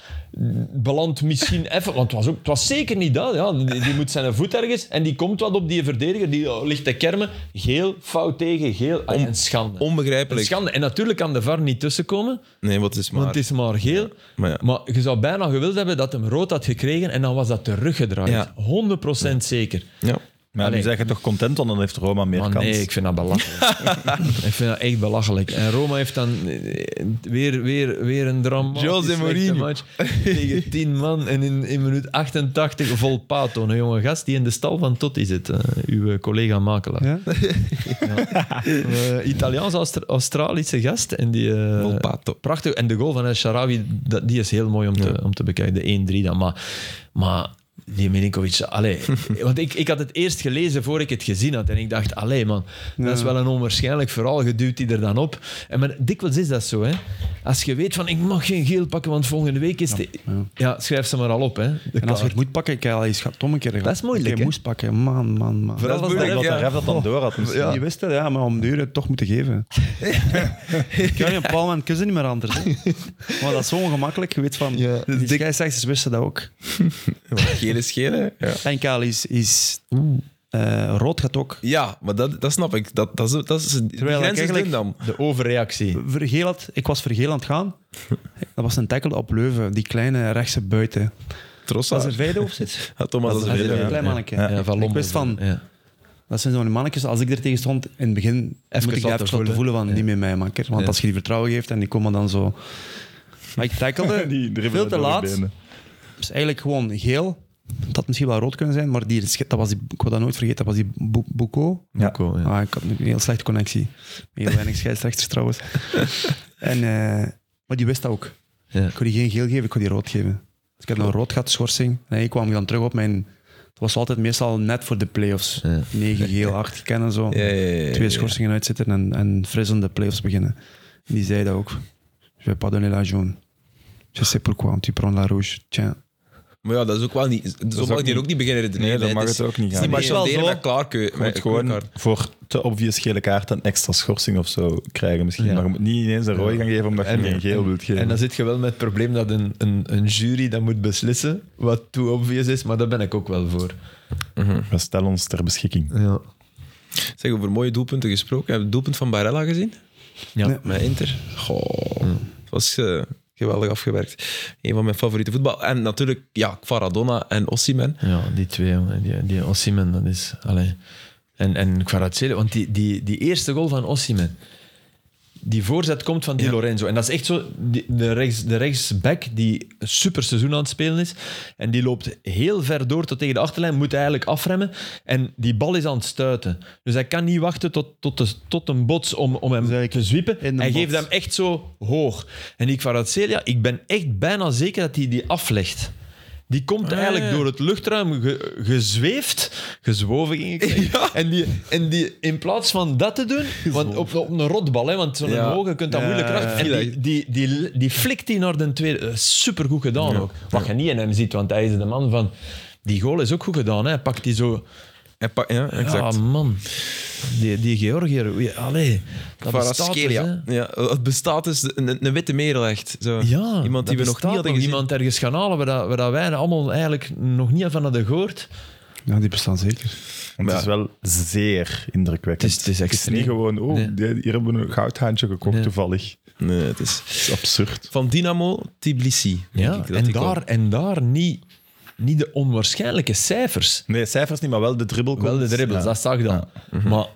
belandt misschien even... Want het was, ook, het was zeker niet dat. Ja. Die, die moet zijn voet ergens. En die komt wat op die verdediger. Die oh, ligt te kermen. Geel, fout tegen, geel. Ay, Om- een schande. Een Onbegrijpelijk. schande. En natuurlijk kan de VAR niet tussenkomen. Nee, wat is maar. Want het is maar geel. maar Maar, ja. je zou bijna gewild hebben dat hem rood had gekregen en dan was dat teruggedraaid. Ja. 100% zeker. Ja. Maar nu Allee. zeg je toch content, want dan heeft Roma meer Maar kans. nee, ik vind dat belachelijk. ik vind dat echt belachelijk. En Roma heeft dan eh, weer, weer, weer een dramatische Jose slechte Mourinho. match tegen 10 man. En in, in minuut 88 Volpato, een jonge gast die in de stal van Totti zit. eh, uw collega makelaar. Ja? Eh, Italiaans-Australische gast. En die, eh, Volpato. Prachtig. En de goal van El Sharawi, dat- die is heel mooi om te, om te bekijken. De 1-3 dan. Maar, maar die Milinkovic... Allee, want ik, ik had het eerst gelezen voor ik het gezien had. En ik dacht, allee man, dat is wel een onwaarschijnlijk verhaal. Je duwt die er dan op. En maar dikwijls is dat zo, hè. als je weet van ik mag geen geel pakken, want volgende week is het... ja. Ja, schrijf ze maar al op. Hè. De En als je kaart. het moet pakken, ik heb al eens gehad, Tom een keer gehad. is moeilijk, Ik hè? moest pakken, man, man, man. Vooral dat als is de moeilijk ref, dat ja. de ref dat dan door had. misschien. Dus Je wist het, ja, maar om de uur het toch moeten geven. ik kan niet op Palma en kussen niet meer anders. hè. Maar dat is zo ongemakkelijk. Je weet van, Ja. die scheidsrechters wisten dat ook. Gele is gele. Ja. En Kaal is, is eh, rood gaat ook. Ja, maar dat, dat snap ik. Dat, dat is, dat is, die Terwijl ik grens is dun eigenlijk- dan. De overreactie. Vergeel had, ik was vergeel aan het gaan. Dat was een tackle op Leuven, die kleine rechtse buiten. Trossa. Was er Veido op zit? Ja, Thomas Dat is Azevedo, een ja. Een klein mannetje. Ja, Ja, van Ik wist van, Ja. dat zijn zo'n mannetjes, als ik er tegen stond, in het begin Even moet ik dat even laten laten voelen. voelen van, niet met mij, makker. Want Ja. als je die vertrouwen geeft en die komen dan zo... Maar ik tackelde, Die dribbelen veel te door de laat. benen. Dus eigenlijk gewoon geel. Dat had misschien wel rood kunnen zijn, maar die, dat was die, ik wil dat nooit vergeten, dat was die Bu- Buko. Ja. Ook wel, ja. Ah, ik had een heel slechte connectie. Heel weinig scheidsrechters trouwens. En, eh, maar die wist dat ook. Ja. Ik kon die geen geel geven, ik kon die rood geven. Dus ik heb nog rood gehad, schorsing. En ik kwam dan terug op mijn... Het was altijd meestal net voor de play-offs. Ja. 9 geel, 8 kennen zo. Ja, ja, ja, ja, Twee ja. schorsingen uitzitten en, en fris aan de play-offs beginnen. En die zei dat ook. Je vais pas donner la jaune. Je sais pourquoi, want tu prends la rouge. Tiens. Maar ja, dat is ook wel niet... Zo ook mag je hier niet- ook niet beginnen redeneren. Nee, dat hè. mag is- het ook niet Het is gaan. niet meer Maar het is wel sonderen zo- met klaarkeu. Je moet gewoon voor te obvious gele kaart een extra schorsing of zo krijgen misschien. Ja. Maar je moet niet ineens een rode gaan geven omdat je En- geen geel wilt geven. En dan zit je wel met het probleem dat een, een, een jury dat moet beslissen wat too obvious is, maar daar ben ik ook wel voor. We stellen ons ter beschikking. Ja. Zeg, over mooie doelpunten gesproken. Heb je het doelpunt van Barella gezien? Ja. Mm. Nee. Met Inter. Goh, het was eh, geweldig afgewerkt. Een van mijn favoriete voetbal. En natuurlijk, ja, Kvaradonna en Ossiman. Ja, die twee, jongen. Die, die Ossiman, dat is... Allee. En, en Kvaratskhelia, want die, die, die eerste goal van Ossiman, die voorzet komt van Di Ja. Lorenzo. En dat is echt zo, die, de, rechts, de rechtsback die een super seizoen aan het spelen is, en die loopt heel ver door tot tegen de achterlijn, moet eigenlijk afremmen, en die bal is aan het stuiten. Dus hij kan niet wachten tot, tot, de, tot een bots om, om hem te zwiepen. in de Hij bots. geeft hem echt zo hoog. En die Kvaratskhelia, ik ben echt bijna zeker dat hij die aflegt. Die komt eigenlijk ja, ja. door het luchtruim ge- gezweefd, gezwoven ging ik zeggen. En, die, en die in plaats van dat te doen, want op, op een rotbal, hè, want zo'n Ja. hoge kunt dat Ja, moeilijk ja, kracht. En ja. die, die, die, die flikt die naar de tweede. Eh, Supergoed gedaan ook. Wat je niet in hem ziet, want hij is de man van... Die goal is ook goed gedaan, hè. Hij pakt die zo... En pa- Ja, exact. Ja, man. Die, die Georgiër, oei, allee. Dat bestaat dus, hè. Kvaratskhelia. Ja, het bestaat dus een, een witte merel echt. Zo. Ja, Iemand die we nog niet hadden gezien. Iemand ergens gaan halen waar, dat, waar dat wij allemaal eigenlijk nog niet van hadden gehoord. Ja, die bestaan zeker. Want het is wel zeer indrukwekkend. Het is- het is extreem. niet gewoon, oh, Nee. die- hier hebben we een goudhaantje gekocht Nee. toevallig. Nee, het is... Dat is absurd. Van Dynamo Tbilisi. denk Ja, ik dat en, die daar, kwam. en daar niet, niet de onwaarschijnlijke cijfers. Nee, cijfers niet, maar wel de dribbel. Wel de dribbles, dat zag ik dan. Mhm. Maar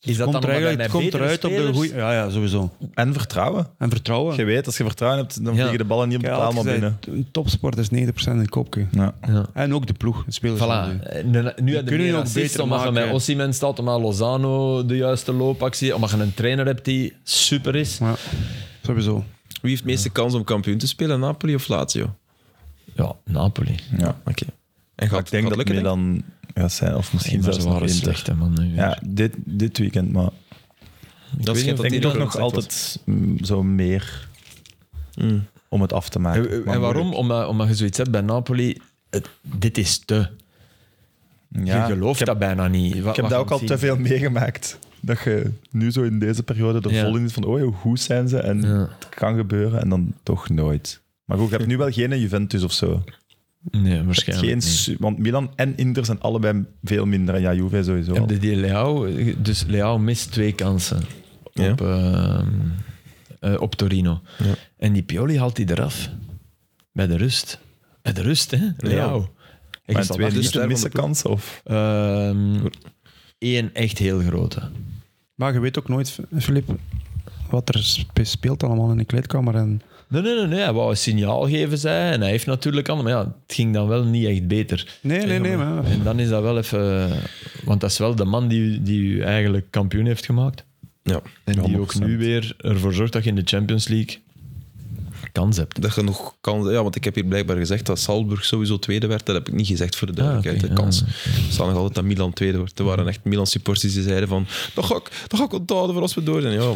is dat Dus komt dan er eigenlijk- omdat hij het komt betere eruit op de spelers- goede... Ja, ja, sowieso. En vertrouwen. En vertrouwen. Je weet, als je vertrouwen hebt, dan Ja. vliegen de ballen niet op de Ja, paal, maar altijd binnen. gezegd, een Topsport is 90% in het kopje. Ja. En ook de ploeg, de spelers. van nu. Voilà. En dan- Eh, Nu heb je kunnen meer je ook assists, beter omdat je maken. met Ossiman staat, omdat Lozano de juiste loopactie, omdat je een trainer hebt die super is. Ja, sowieso. Wie heeft de meeste kans om kampioen te spelen? Napoli of Lazio? Ja, Napoli. Ja. Oké. En gaat, Ik denk gaat dat lukken, denk Milan gaat zijn, of misschien Nee, maar ze zelfs nog waren Inter. slecht, hè, man. nu weer. Ja, dit, dit weekend, maar ik. weet Dat schijnt niet dat die ik denk toch wel nog slecht was. altijd mm, zo meer Mm. om het af te maken. En, Maar en waarom? moeilijk. Omdat, omdat je zoiets hebt bij Napoli. het- dit is te. Ja, je gelooft ik heb, dat bijna niet. Wat- Ik heb wat dat je ook al ziet. te veel meegemaakt. Dat je nu zo in deze periode er Ja. vol in is van, oh ja, hoe zijn ze? En Ja. het kan gebeuren en dan toch nooit. Maar goed, je hebt nu wel geen Juventus of zo. Nee, waarschijnlijk. Geen, niet. su- Want Milan en Inter zijn allebei veel minder. En ja, Juve sowieso. Heb je die Leao? Dus Leao mist twee kansen Ja. op, ehm, eh, op Torino. Ja. En die Pioli haalt die eraf. Bij de rust. Bij de rust, hè? Leao. Ik maar zal twee dat niet niet- te missen kansen. Of? Ehm, Eén echt heel grote. Maar je weet ook nooit, Filip, wat er spe- speelt allemaal in de kleedkamer. En Nee, nee, nee, nee. Hij wou een signaal geven, zei hij. En hij heeft natuurlijk allemaal... Maar ja, het ging dan wel niet echt beter. Nee, nee, nee, maar- En dan is dat wel even... Want dat is wel de man die, u- die u eigenlijk kampioen heeft gemaakt. Ja. En die ook 100%. nu weer ervoor zorgt dat je in de Champions League kans hebt. Dat je nog kan... Ja, want ik heb hier blijkbaar gezegd dat Salzburg sowieso tweede werd. Dat heb ik niet gezegd voor de duidelijkheid. oké, de kans. Er staat nog altijd dat Milan tweede wordt. Er waren echt Milan-supporters die zeiden van... Dat ga ik, dat ga ik onthouden voor als we door zijn. Ja,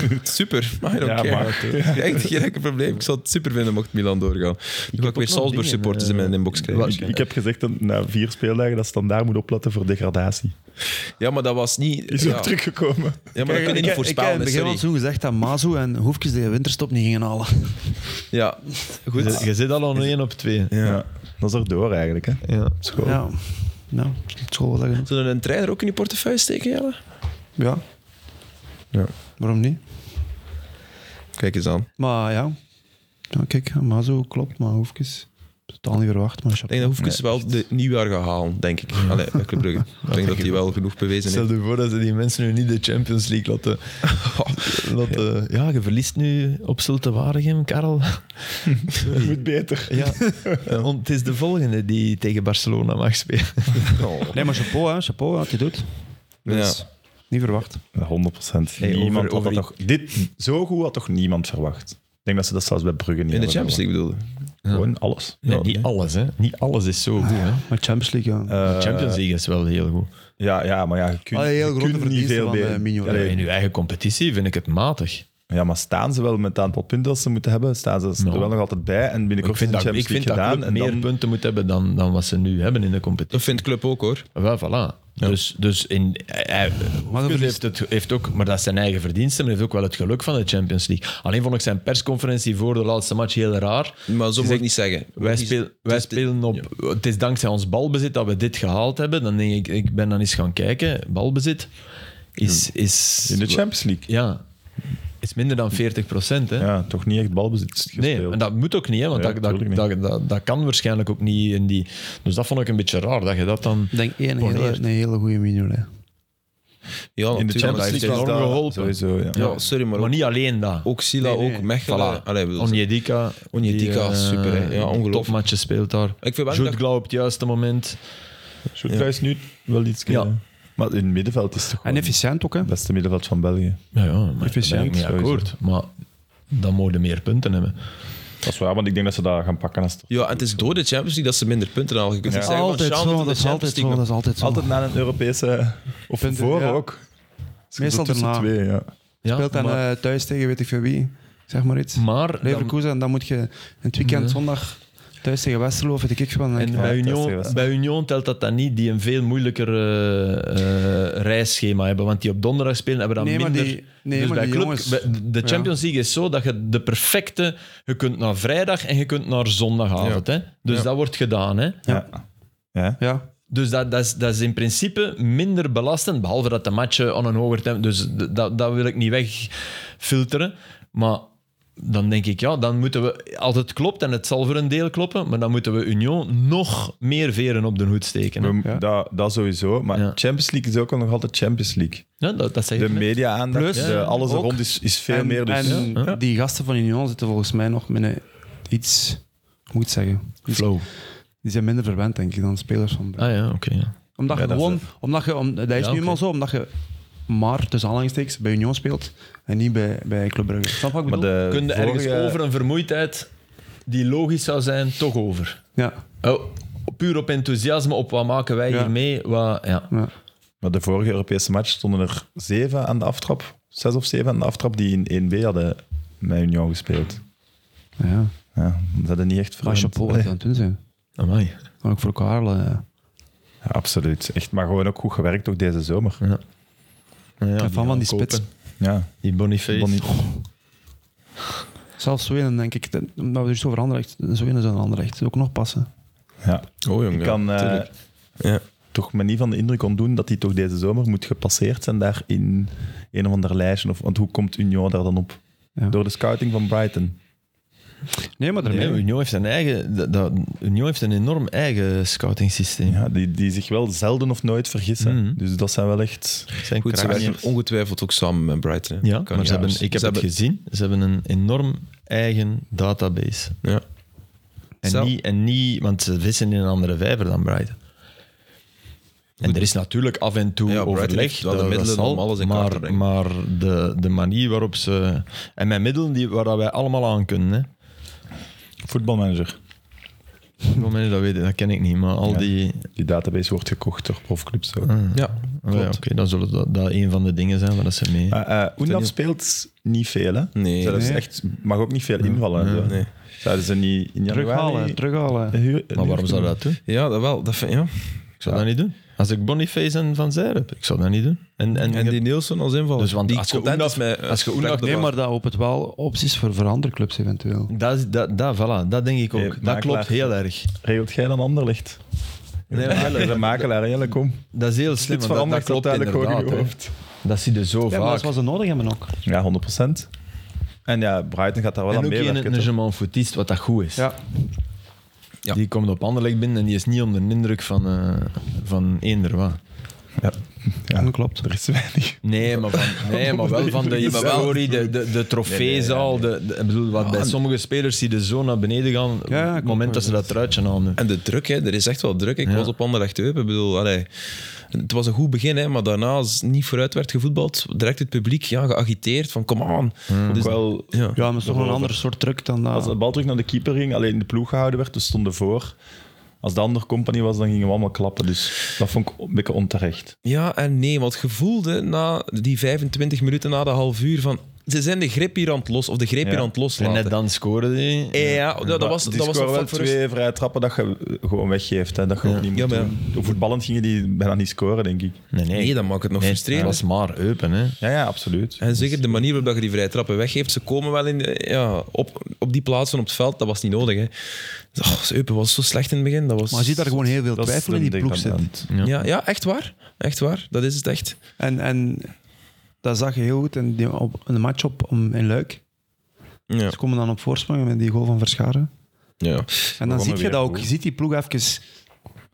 super. I don't Ja, care. maar- Echt geen enkel probleem. Ik zou het super vinden mocht Milan doorgaan. Nu ga ik heb weer ook nog Salzburg-supporters in dingen, mijn inbox eh, krijgen. Ik, ik heb gezegd dat na vier speeldagen dat standaard moet opletten voor degradatie. Ja, maar dat was niet... Is ja. ook teruggekomen. Ja, maar dat kun je niet Ik heb in voorspellen, het begin sorry. al zo gezegd dat Mazu en Hoefkes de winterstop niet gingen halen. Ja, Je, goed. zit- je zit al aan één op twee. Ja. Dat is erdoor eigenlijk. Hè. Ja. School. Ja. Nou, het school was dat genoeg. Zullen we een trainer ook in je portefeuille steken, Jelle? Ja. Ja. Waarom niet? Kijk eens aan. Maar ja. ja kijk, ja, Mazu klopt, maar Hoefkes... Totaal niet verwacht, maar Ik denk dat Hoefkens wel de nieuwjaar gaat halen, denk ik. Allee, bij Club Brugge. Ik denk dat hij wel genoeg bewezen Stel heeft. je voor dat ze die mensen nu niet de Champions League laten. laten ja, je verliest nu op Zulte Waregem, Karel. Dat moet beter. Ja. Want het is de volgende die tegen Barcelona mag spelen. Oh, Nee, maar chapeau, hè. Chapeau, wat hij doet. Dus, niet verwacht. Ja, 100 Hey, over- niemand over had dat toch, dit, zo goed had toch niemand verwacht? Ik denk dat ze dat zelfs bij Brugge niet In de hadden Champions League bedoelde. verwacht. Gewoon alles. Nee, Ja, niet alles, hè. Niet alles is zo goed, hè. Maar Champions League, ja. Eh, Champions League is wel heel goed. Ja, ja, maar ja, je kunt, Allee, heel je grote kunt niet verdiensten veel van, beter. eh, Mignon. Allee, in uw eigen competitie vind ik het matig. ja, maar staan ze wel met het aantal punten dat ze moeten hebben? Staan ze Nou. er wel nog altijd bij? En Ik binnenkort is vind de dat, ik Champions vind League dat gedaan. En club meer dan- punten moet hebben dan, dan wat ze nu hebben in de competitie. Dat vindt Club ook, hoor. Wel, voilà. Dus, dus in, hij, Hoefkens heeft, het, heeft ook, maar dat is zijn eigen verdiensten, maar hij heeft ook wel het geluk van de Champions League. Alleen vond ik zijn persconferentie voor de laatste match heel raar. Maar zo moet ik niet zeggen. Wij, speel- wij spelen op. Het is dankzij ons balbezit dat we dit gehaald hebben. Dan denk ik, ik ben dan eens gaan kijken. Balbezit is. is in de Champions League. Ja, is minder dan 40 procent. Hè? Ja, toch niet echt balbezit gespeeld. nee, en dat moet ook niet, hè, want Ja, dat, dat, tuurlijk niet. dat, dat, dat kan waarschijnlijk ook niet. In die, dus dat vond ik een beetje raar dat je dat dan. Ik denk één hele, Corneert. een hele goede mignolet. Ja, in de natuurlijk. Champions dat heeft League was enorm dat geholpen. Sowieso, ja. Ja, sorry, maar Maar ook, niet alleen dat. ook Sila, Nee, nee. ook Mechelen. Voilà. eh, Allee, bedoel, Onyedika. Onyedika, die, eh, super, hè. Ja, ongelooflijk. Topmatje speelt daar. Ik vind wel Jude dat- Glau op het juiste moment. Sjoerd is nu wel iets... Ja. Maar in het middenveld is het toch En gewoon efficiënt ook, hè. het beste middenveld van België. Ja, ja maar Efficiënt. daar ben ik mee akkoord. Maar dan mogen meer punten hebben. Dat is waar, want ik denk dat ze dat gaan pakken als het Ja, en het is door de Champions League dat ze minder punten halen. Je kunt niet zeggen, Altijd van, Jean zo, doet dat de is altijd Champions zo, dat League is altijd zo. Altijd na een Europese... Of Punten, voor ja. ook. Dus Meestal tussen daarna. Twee, ja. Ja, Speelt dan maar, eh, thuis tegen weet ik veel wie. Zeg maar iets. maar dan- Leverkusen, en dan moet je in het weekend Ja. zondag thuis tegen Westerlo of weet ik veel. en bij, dat is de Union, wedstrijd. bij Union telt dat dan niet, die een veel moeilijker eh, eh, reisschema hebben. Want die op donderdag spelen hebben dan Nee, maar minder... die- nee, dus maar bij die club, jongens- bij- de Ja. Champions League is zo dat je de perfecte... Je kunt naar vrijdag en je kunt naar zondagavond. Hè? Dus dat wordt gedaan. Hè? Ja. Ja. Ja, Dus dat, dat, is, dat is in principe minder belastend, behalve dat de matchen aan een hoger tempo... Dus d- dat, dat wil ik niet wegfilteren. Maar dan denk ik, ja, dan moeten we... Als het klopt, en het zal voor een deel kloppen, maar dan moeten we Union nog meer veren op de hoed steken. hè. We- Dat, dat sowieso. Maar Ja. Champions League is ook nog altijd Champions League. Ja, dat, dat zeg ik De net. media-aandacht, Plus, de- alles er ook. rond is, is veel en, meer. Dus en die gasten van Union zitten volgens mij nog met een iets, hoe moet ik het zeggen? Iets- Flow. Die zijn minder verwend, denk ik, dan spelers van Brugge. Dus- Ah ja, oké. ja. Omdat Ja, je dat is gewoon, omdat je, om, dat is Ja, nu oké. eenmaal zo, omdat je maar tussen aanhalingstekens bij Union speelt en niet bij, bij Club Brugge. Snap je wat ik maar bedoel? de Kun je ergens vorige- over een vermoeidheid die logisch zou zijn, toch over? Ja, Oh, puur op enthousiasme, op wat maken wij Ja. hiermee? Wat, ja. ja. Maar de vorige Europese match stonden er zeven aan de aftrap. Zes of zeven aan de aftrap die in 1B hadden met Union gespeeld. ja. Ja, dat hadden niet echt Maar veranderd. chapeau wat ze aan het doen zijn. Amai. Maar ook voor Karel. eh, Ja, absoluut. Echt, maar gewoon ook goed gewerkt ook deze zomer. Ja. Nou ik Ja, ben fan van die aankopen. spits. Ja. Die Boniface. Bonnie- Zelfs zo in, denk ik, dat- omdat we er zo over Anderlecht, zo in is een Anderlecht. Ook nog passen. ja. Oh, jong, Ik ja, kan eh, tuurlijk. Ja. toch me niet van de indruk ontdoen dat die toch deze zomer moet gepasseerd zijn daar in een of ander lijstje. Of, want hoe komt Union daar dan op? Ja. Door de scouting van Brighton. Nee, maar daarmee. Nee, Union heeft een eigen... dat- dat- Union heeft een enorm eigen scouting systeem. Ja, die, die zich wel zelden of nooit vergissen. Mhm. Dus dat zijn wel echt... Zijn Goed, ze kraniers. werken ongetwijfeld ook samen met Brighton. hè. Ja, Kan maar niet ze hebben, anders. ik heb Ze het gezien. Ze hebben een enorm eigen database. Ja. En Zelf- niet, en niet, want ze vissen in een andere vijver dan Brighton. En er is natuurlijk af en toe Ja, Brighton overleg. heeft wel de dat- dat middelen zal, om alles in kaart te maar, brengen. maar de, de manier waarop ze... En met middelen die, waar dat wij allemaal aan kunnen. Hè. Voetbalmanager. Moment, dat weet ik, dat ken ik niet. Maar al Ja. die... Die database wordt gekocht door profclubs. ook. Ja, Oh ja, Oké, dan zullen dat, dat een van de dingen zijn waar dat ze mee... Maar eh Oendaf speelt niet veel, hè? Nee. Zelfs Nee. echt, mag ook niet veel invallen. en zo. nee. Zouden ze niet in januari... Terughalen, terughalen. Huur- Maar waarom zou dat doen? ja dat wel. Dat vind, ja. Ik zou dat niet doen. Als ik Boniface en Van Zijr heb, ik zou dat niet doen. En, en, En die Nielsen als inval. Dus want die als je content Oendaf- is met, eh, als je Oendaf- Frank de Nee, Waal. maar dat opent wel opties voor, voor andere clubs eventueel. dat, is- dat, dat, voilà, dat denk ik ook. Eh, dat makelaar. klopt heel erg. Regelt jij dan Anderlicht? Nee, maar Jelle, de makelaar. Jelle, kom. Dat is heel slim. Iets want Dat, dat verandert klopt uiteindelijk gewoon in inderdaad. je hè. hoofd. Dat zie je zo Ja, maar dat vaak. is wat ze nodig hebben ook. Ja, 100%. En ja, Brighton gaat daar wel en aan ook een, meewerken. een toch? German footist, wat dat goed is. Ja. Ja. Die komt op Anderlecht binnen en die is niet onder de indruk van, eh van eender wat. Ja. Ja, Dat klopt. Er is weinig. Nee, maar, van, nee, maar wel van de Ja, maar wel. historie, de, de, de trofeezaal. de- de- ik bedoel, wat bij sommige spelers zie je zo naar beneden gaan op Ja, het klopt, moment dat ze dat truitje aan doen. En de druk, hè. er is echt wel druk. Ik was op Anderlecht Eupen. Ik bedoel, allee, het was een goed begin, hè, maar daarna als niet vooruit werd gevoetbald. Direct het publiek ja, geagiteerd van kom aan. Dus, Hmm. Ook wel, ja. Ja, maar het is toch wel een ander soort druk dan dat. als de bal terug naar de keeper ging, alleen in de ploeg gehouden werd, dus stonden voor. Als de andere compagnie was, dan gingen we allemaal klappen. Dus dat vond ik een beetje onterecht. ja en nee, want je voelde na die 25 minuten na de half uur van ze zijn de grip hier aan het los of de greep Ja. hier aan het En loslaten. net dan scoren die. ja, ja, dat was, die dat was scoren een wel vak voor rust. twee vrije trappen dat je eh, gewoon weggeeft. Hè. Dat je ook niet Ja, moet maar ja. doen. Voetballend gingen die bijna niet scoren, denk ik. Nee, nee. Nee, dat maakt het nog nee, het frustrerend. was maar open, hè. Ja, ja, absoluut. En zeker de manier waarop je die vrije trappen weggeeft, ze komen wel in, de- ja, op, op die plaatsen op het veld, dat was niet nodig. Hè. Oh, Eupen was zo slecht in het begin. Dat was... Maar je ziet daar gewoon heel veel Dat is twijfel in die de ploeg zitten. degradant. Ja. Ja, ja, echt waar. Echt waar. Dat is het echt. En, en dat zag je heel goed in, die, op, in de match op, om- in Luik. Ja. Ze komen dan op voorsprong met die goal van Verscharen. ja. En dan Begonnen zie je weer dat ook. goed. Je ziet die ploeg even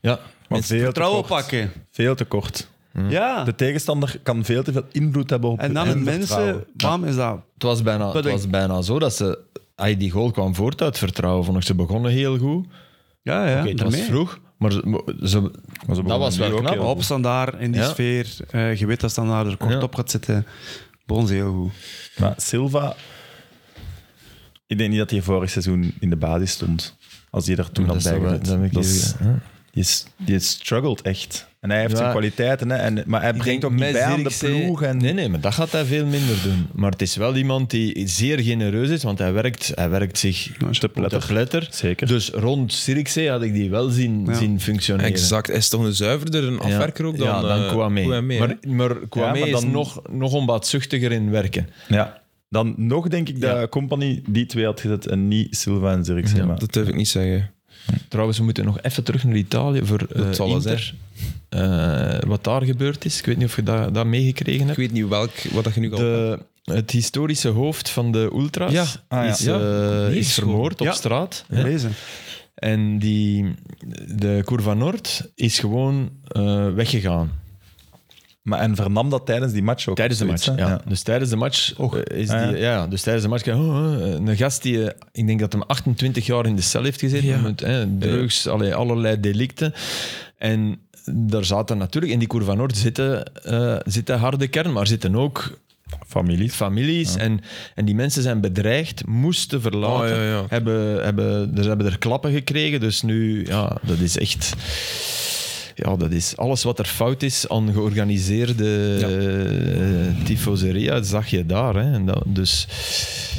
Ja. Maar Mensen Ah. veel te vertrouwen kort. pakken. Veel te kort. Ja. De tegenstander kan veel te veel invloed hebben op En dan hun het mensen, vertrouwen. bam, is dat. Het was bijna, het Pudding. was bijna zo dat ze... Ay, die goal kwam voort uit vertrouwen. Vond ik, ze begonnen heel goed. Ja, ja, Oké, het was daarmee. vroeg, maar ze, maar ze- dat begonnen was nu wel ook knap. Oh, heel Op, Op standaard, in die Ja. sfeer. eh, je weet dat standaard er kort Ja. op gaat zitten. Bons heel goed. Nou, Maar Silva, ik denk niet dat hij vorig seizoen in de basis stond. Als hij er toen dat had is wel- bijgezet. dat heb ik Dat is- hier- hè. je s- Je struggelt echt. En hij heeft Ja. zijn kwaliteiten, hè, en, maar hij brengt ook niet bij aan de ploeg. En, Nee, nee, maar dat gaat hij veel minder doen. Maar het is wel iemand die zeer genereus is, want hij werkt, hij werkt zich te op de pletter. pletter. Zeker. Dus rond Sirikzee had ik die wel zien, Ja. zien functioneren. Exact. Hij is toch een zuiverder, een Ja. afwerker ook dan, ja, dan eh, Kwame. Kouame, hè. maar, maar Kwame maar is dan- nog, nog onbaatzuchtiger in werken. Dus- Ja. Dan nog denk ik dat Company die twee had gezet en niet Silva en Zirkzee. maar dat durf ik niet zeggen. Trouwens, we moeten nog even terug naar Italië voor eh, Dat zal wel Inter. Eh, wat daar gebeurd is. Ik weet niet of je dat, dat meegekregen Ik hebt. weet niet welk, wat dat je nu al... De, het historische hoofd van de ultras Ja. Ah, ja. is, eh, Ja. Nee, is vermoord op Ja. straat. hè. Lezen. En die, de Curva Noord is gewoon eh, weggegaan. Maar en vernam dat tijdens die match ook. Tijdens de match, Zoiets, ja. hè? Dus tijdens de match eh, is die... Ah, Ja. ja. dus tijdens de match... krijg je, oh, oh, een gast die... eh, Ik denk dat hem 28 jaar in de cel heeft gezeten. Ja. Met eh, drugs, allee, allerlei delicten. En daar zaten natuurlijk... In die Cour van Noord zitten, eh, zit de harde kern, maar zitten ook Families. families. En, en die mensen zijn bedreigd, moesten verlaten. Oh, ja, ja. Hebben, hebben, dus hebben er klappen gekregen. Dus nu, ja, dat is echt... Ja, dat is alles wat er fout is aan georganiseerde Ja. eh, tifoseria, zag je daar. Hè. En dat, dus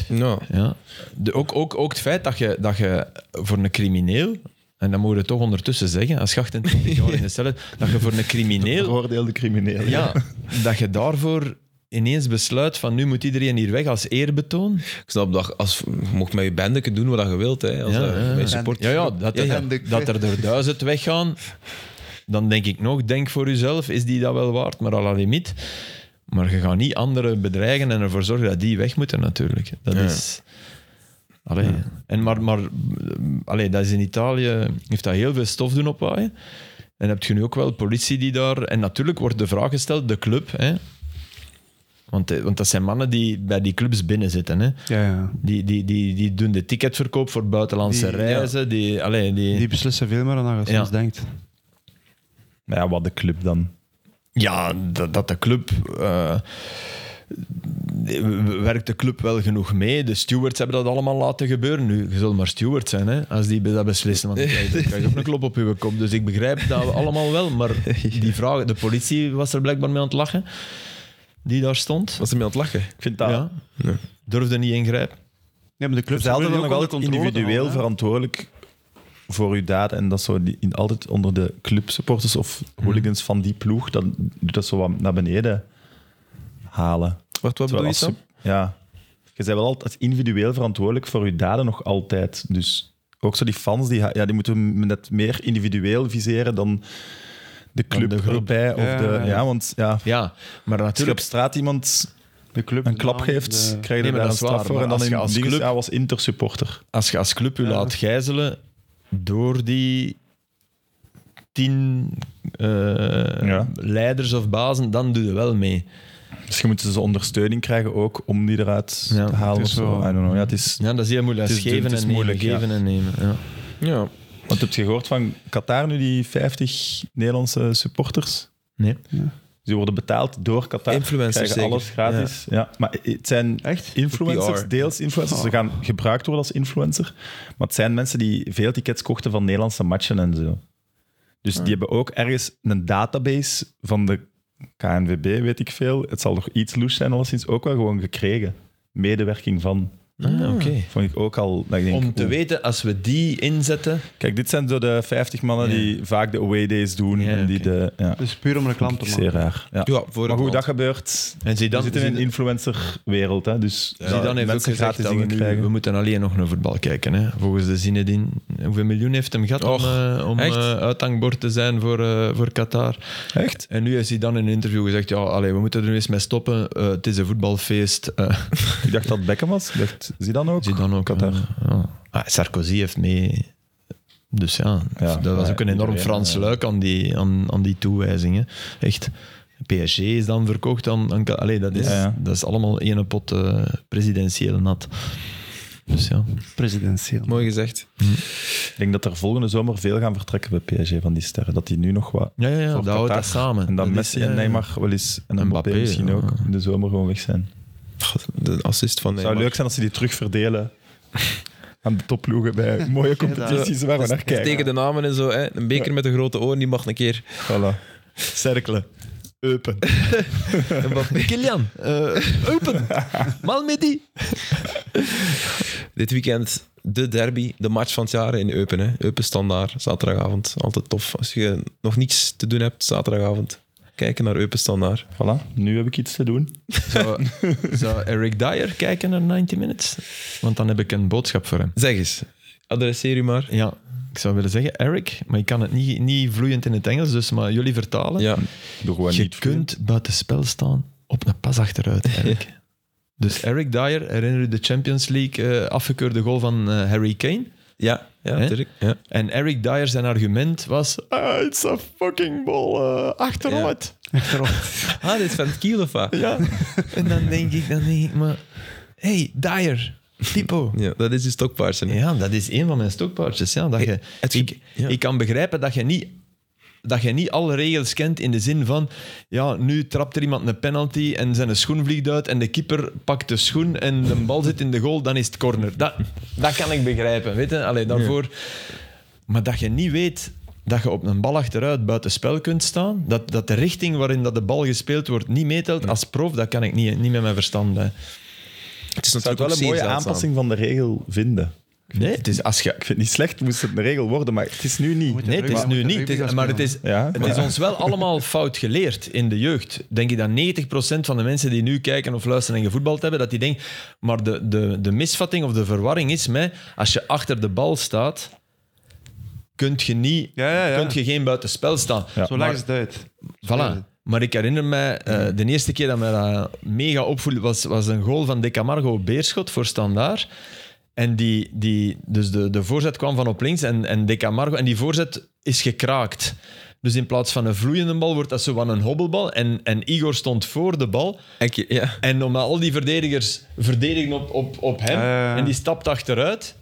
Nou, ja. De, ook, ook, ook het feit dat je, dat je voor een crimineel, en dat moeten we toch ondertussen zeggen, als je 28 jaar in de cel hebt, dat je voor een crimineel Veroordeelde crimineel. ja, dat je daarvoor ineens besluit van nu moet iedereen hier weg als eerbetoon. ik snap dat als, je mocht met je bendeken doen wat je wilt. Hè, als Ja, dat- ja, ja. met support. Ja, ja, dat, er, Ja, ja. dat er er duizend weggaan, dan denk ik nog, denk voor uzelf, is die dat wel waard, maar à la limiet. Maar je gaat niet anderen bedreigen en ervoor zorgen dat die weg moeten natuurlijk. Dat Ja. is... Allee. En maar, maar eh, allee, dat is in Italië, heeft dat heel veel stof doen opwaaien. En heb je nu ook wel politie die daar... En natuurlijk wordt de vraag gesteld, de club, hè. Want, eh, want dat zijn mannen die bij die clubs binnen zitten, hè. Ja, ja. Die, die, die, die doen de ticketverkoop voor buitenlandse Die- reizen. Die, allee, die, Die beslissen veel meer dan dat je Ja. soms denkt. Maar ja, wat de club dan. Ja, dat, dat de club eh, w- werkt de club wel genoeg mee? De stewards hebben dat allemaal laten gebeuren. Nu, je zult maar steward zijn, hè, als die dat beslissen. Want dan krijg je- dan krijg je ook een klop op je kop. Dus ik begrijp dat we allemaal wel. Maar die vraag, de politie was er blijkbaar mee aan het lachen. Die daar stond. Was er mee aan het lachen? Ik vind dat Ja. Durfde niet ingrijpen. Nee, maar de Dus clubs Dus ze hadden willen nog wel de altijd controle individueel houden, hè. verantwoordelijk voor uw daden. En dat zo die, in, altijd onder de clubsupporters of Mhm. hooligans van die ploeg, dat doet dat zo wat naar beneden halen. Wacht, wat bedoel Terwijl je, als Sam? je- Ja. Je bent wel altijd individueel verantwoordelijk voor je daden nog altijd. Dus ook zo die fans, die, ha- ja, die moeten we net meer individueel viseren dan de Dan club de groep. erbij. Of Ja, de, ja, ja, ja. want ja, Ja, als maar je op natuurlijk. straat iemand De club, een klap de- geeft, de- krijg je eh, Nee, maar daar dat een is waar, straf voor. maar En dan als je in als ding is, club- ja, was intersupporter. Als je als club je Ja. laat gijzelen door die tien eh, Ja. leiders of bazen, dan doe je wel mee. Misschien moeten ze ondersteuning krijgen ook om die eruit Ja, te halen. het Of is zo. wel- I don't know. Ja, het is, Ja, dat is heel moeilijk. Het Dat is is geven dun, het is en nemen, moeilijk, ja. geven en nemen. Ja. Ja. want heb je gehoord van Qatar nu die 50 Nederlandse supporters? Nee. Die worden betaald door Qatar. Influencers krijgen zeker. alles gratis. Ja. maar het zijn Echt? influencers, PR. deels influencers. Ze gaan gebruikt worden als influencer. Maar het zijn mensen die veel tickets kochten van Nederlandse matchen en zo. Dus die hebben ook ergens een database van de KNVB, weet ik veel. Het zal nog iets loes zijn, alleszins ook wel gewoon gekregen. Medewerking van. Ah, oké. Vond ik ook al. Dat ik denk, Om te oeh. weten, als we die inzetten... Kijk, dit zijn zo de 50 mannen Ja. die vaak de away days doen. Ja, en die oké. de. Ja, Dus puur om reclame vind ik te zeer maken. raar. Ja. Ja, voor Maar hoe een dat gebeurt. En We Zidane, zitten in een Zidane- influencerwereld, hè? Dus ja, Zidane heeft ook mensen gezegd gratis dat we, dingen nu, krijgen. we moeten alleen nog naar voetbal kijken. Hè. Volgens de Zinedine. Hoeveel miljoen heeft hem gehad Och, om, eh, om echt? eh, uithangbord te zijn voor, eh, voor Qatar? Echt? En nu heeft hij dan in een interview gezegd: ja, allee, we moeten er nu eens mee stoppen. Eh, het is een voetbalfeest. Eh, Ik dacht dat Beckham was. Ik dacht Zidane ook. Zidane ook. Qatar. eh, ja. Ah, Sarkozy heeft mee. Dus ja, Ja, dat was ja, ook een enorm iedereen, Frans eh. luik aan die, aan, aan die toewijzingen. Echt. PSG is dan verkocht aan... aan Ka- allee, dat, is, Ja, ja. dat is allemaal ene pot eh presidentieel nat. Dus ja. Presidentieel. Mooi gezegd. Ik denk dat er volgende zomer veel gaan vertrekken bij PSG van die sterren. Dat die nu nog wat. Ja, ja, ja Voor dat houdt Qatar. dat samen. En dan Dat is, Messi ja, en ja. Neymar wel eens. En Mbappé Mbappé, misschien ja. ook. In de zomer gewoon weg zijn. Het De assist van zou leuk zijn als ze die terugverdelen aan de topploegen bij mooie competities waar we naar kijken. Tegen de namen en zo. Hè. Een beker met een grote oor, die mag een keer. Voilà. Cerkelen. Eupen. Kilian, eh, open. Malmedy. Dit weekend de derby, de match van het jaar in Eupen. Hè. Eupen standaard, zaterdagavond. Altijd tof. Als je nog niets te doen hebt, zaterdagavond. Kijken naar Eupen standaard. Voilà, nu heb ik iets te doen. Zou, zou Eric Dyer kijken naar 90 Minutes? Want dan heb ik een boodschap voor hem. Zeg eens, adresseer u maar. Ja, ik zou willen zeggen Eric, maar ik kan het niet, niet vloeiend in het Engels, dus maar jullie vertalen. Ja, Doe gewoon je niet. kunt buitenspel staan op een pas achteruit, Eric. Dus Eric Dyer, herinner u de Champions League eh, afgekeurde goal van eh, Harry Kane? ja, ja, Hè? natuurlijk. Ja. En Eric Dyer zijn argument was, ah, it's a fucking ball eh, achteruit. Ah, dit is van het Kiel of wat? Ja. En dan denk ik, dan denk ik maar... Hey, Dyer. Tipo. Ja, dat is de stokpaarsen. Ja, dat is een van mijn stokpaardjes. Ja, dat je, Eh, het ge- ik, ja. ik kan begrijpen dat je, niet, dat je niet alle regels kent in de zin van... Ja, nu trapt er iemand een penalty en zijn schoen vliegt uit en de keeper pakt de schoen en de bal zit in de goal, dan is het corner. Dat, dat kan ik begrijpen, weet je. Allee, daarvoor... Maar dat je niet weet dat je op een bal achteruit buitenspel kunt staan, dat, dat de richting waarin dat de bal gespeeld wordt niet meetelt als prof, dat kan ik niet, niet met mijn verstand bij. Het is Ik zou natuurlijk het wel ook een mooie zeer zeldzaam. aanpassing van de regel vinden. Nee, het is, als je, Ik vind het niet slecht, moest het een regel worden, maar het is nu niet. nee, het is Maar- nu moet niet. de Het is- rugby gaan maar het is, Ja, het maar- is ons wel allemaal fout geleerd in de jeugd. Denk ik dat 90% van de mensen die nu kijken of luisteren en gevoetbald hebben, dat die denken... Maar de, de, de misvatting of de verwarring is mij, als je achter de bal staat, kunt je, niet, Ja, ja, ja. Kunt je geen buitenspel staan. Ja. Zo Maar- leggen ze het uit. Voilà. Maar ik herinner mij, eh, de eerste keer dat mij dat mega opvoelde, was, was een goal van De Camargo op Beerschot voor Standaard. En die, die, dus de, de voorzet kwam van op links en, en De Camargo... En die voorzet is gekraakt. Dus in plaats van een vloeiende bal wordt dat zo van een hobbelbal. En, en Igor stond voor de bal. Ik- Ja. En omdat al die verdedigers verdedigen op, op, op hem Ja, ja, ja. en die stapt achteruit,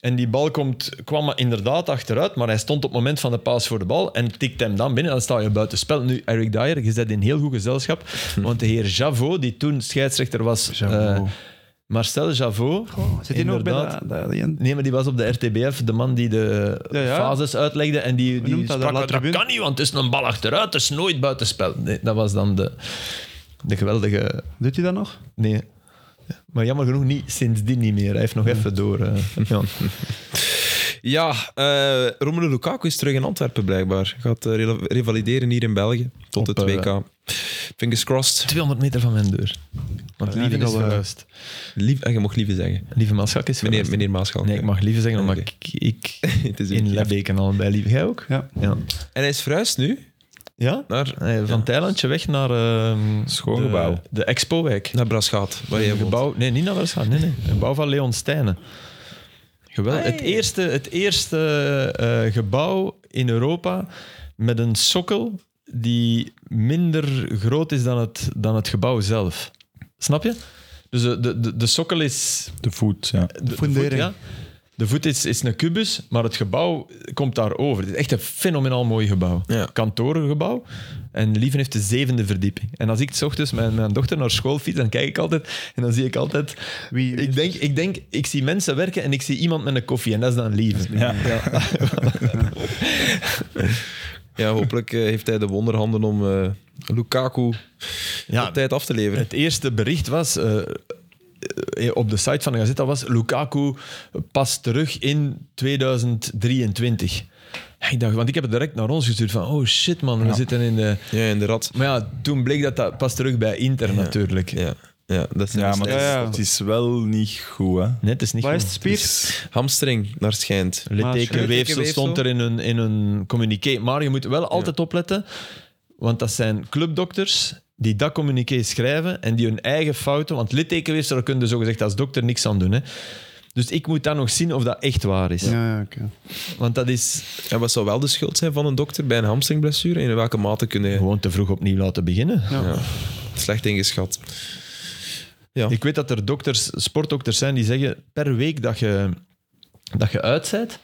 En die bal komt, kwam er inderdaad achteruit, maar hij stond op het moment van de paas voor de bal en tikte hem dan binnen. Dan sta je buiten spel. Nu, Eric Dyer, je zit in heel goed gezelschap. Want de heer Javot, die toen scheidsrechter was, Hm. Javot. eh, Marcel Javot. Zit hij nog bij inderdaad. de, de- die- Nee, maar die was op de RTBF, de man die de Ja, ja. fases uitlegde. En die, die noemt dat? sprak, De La dat, Tribune? kan niet, want het is een bal achteruit, het is nooit buitenspel. Nee, dat was dan de, de geweldige... Doet hij dat nog? Nee. Maar jammer genoeg niet, sindsdien niet meer. Hij heeft nog Hmm. even door. eh, ja. Ja, eh Romelu Lukaku is terug in Antwerpen blijkbaar. Gaat eh, rela- revalideren hier in België tot Op, het eh, WK. Fingers crossed. 200 meter van mijn deur. Want Ja, lieve ik is al, eh, verhuisd. Lief, eh, je mag lieve zeggen. Lieve Maaschak is Meneer, verhuisd. meneer Maaschalk. Nee, ik mag lieve zeggen, omdat Oké. ik, ik Het is in een- Lebbeken al bij lieve. Jij ook? Ja. Ja? En hij is verhuisd nu ja? naar, Eh, Van Thailandje weg naar ehm, Schoongebouw. de, de Expo-wijk. naar Brasgaat, waar Een jij woont. gebouw, nee, niet naar Warschau. Nee, nee. Een gebouw van Leon Stijnen. Geweldig. Hey. Het eerste, het eerste eh, gebouw in Europa met een sokkel die minder groot is dan het, dan het gebouw zelf. Snap je? Dus de, de, de, de sokkel is... De voet, ja. De, de fundering. voet, ja. De voet is, is een kubus, maar het gebouw komt daarover. Het is echt een fenomenaal mooi gebouw. Ja. Kantorengebouw. En Lieven heeft de zevende verdieping. En als ik 's ochtends met mijn dochter naar school fiets, dan kijk ik altijd en dan zie ik altijd... Wie- wie ik, is denk, ik denk, ik zie mensen werken en ik zie iemand met een koffie. En dat is dan Lieven. Ja. Ja, hopelijk eh, heeft hij de wonderhanden om eh, Lukaku Ja, op tijd af te leveren. Het eerste bericht was eh, eh, op de site van de Gazette was Lukaku pas terug in 2023. Ja, Ik dacht, want ik heb het direct naar ons gestuurd van oh shit man, we zitten in de... Ja, in de rat. Maar ja, toen bleek dat dat pas terug bij Inter natuurlijk. Ja, ja dat zijn Ja, de maar slechtste. ja. het is wel niet goed, hè. Net is niet Waar is goed. het Spiers? Hamstring, naar het schijnt. Littekenweefsel Littekenweefsel. stond er in hun, in hun communiqué. Maar je moet wel altijd opletten, want dat zijn clubdokters die dat communiqué schrijven en die hun eigen fouten... Want littekenweefsel, daar kun je zogezegd als dokter niks aan doen. Hè. Dus ik moet dan nog zien of dat echt waar is. Ja, ja, oké. Want dat is En wat zou wel de schuld zijn van een dokter bij een hamstringblessure? In welke mate kun je gewoon te vroeg opnieuw laten beginnen. slecht ingeschat? Ja. Ik weet dat er dokters, sportdokters zijn die zeggen per week dat je, dat je uit zijt,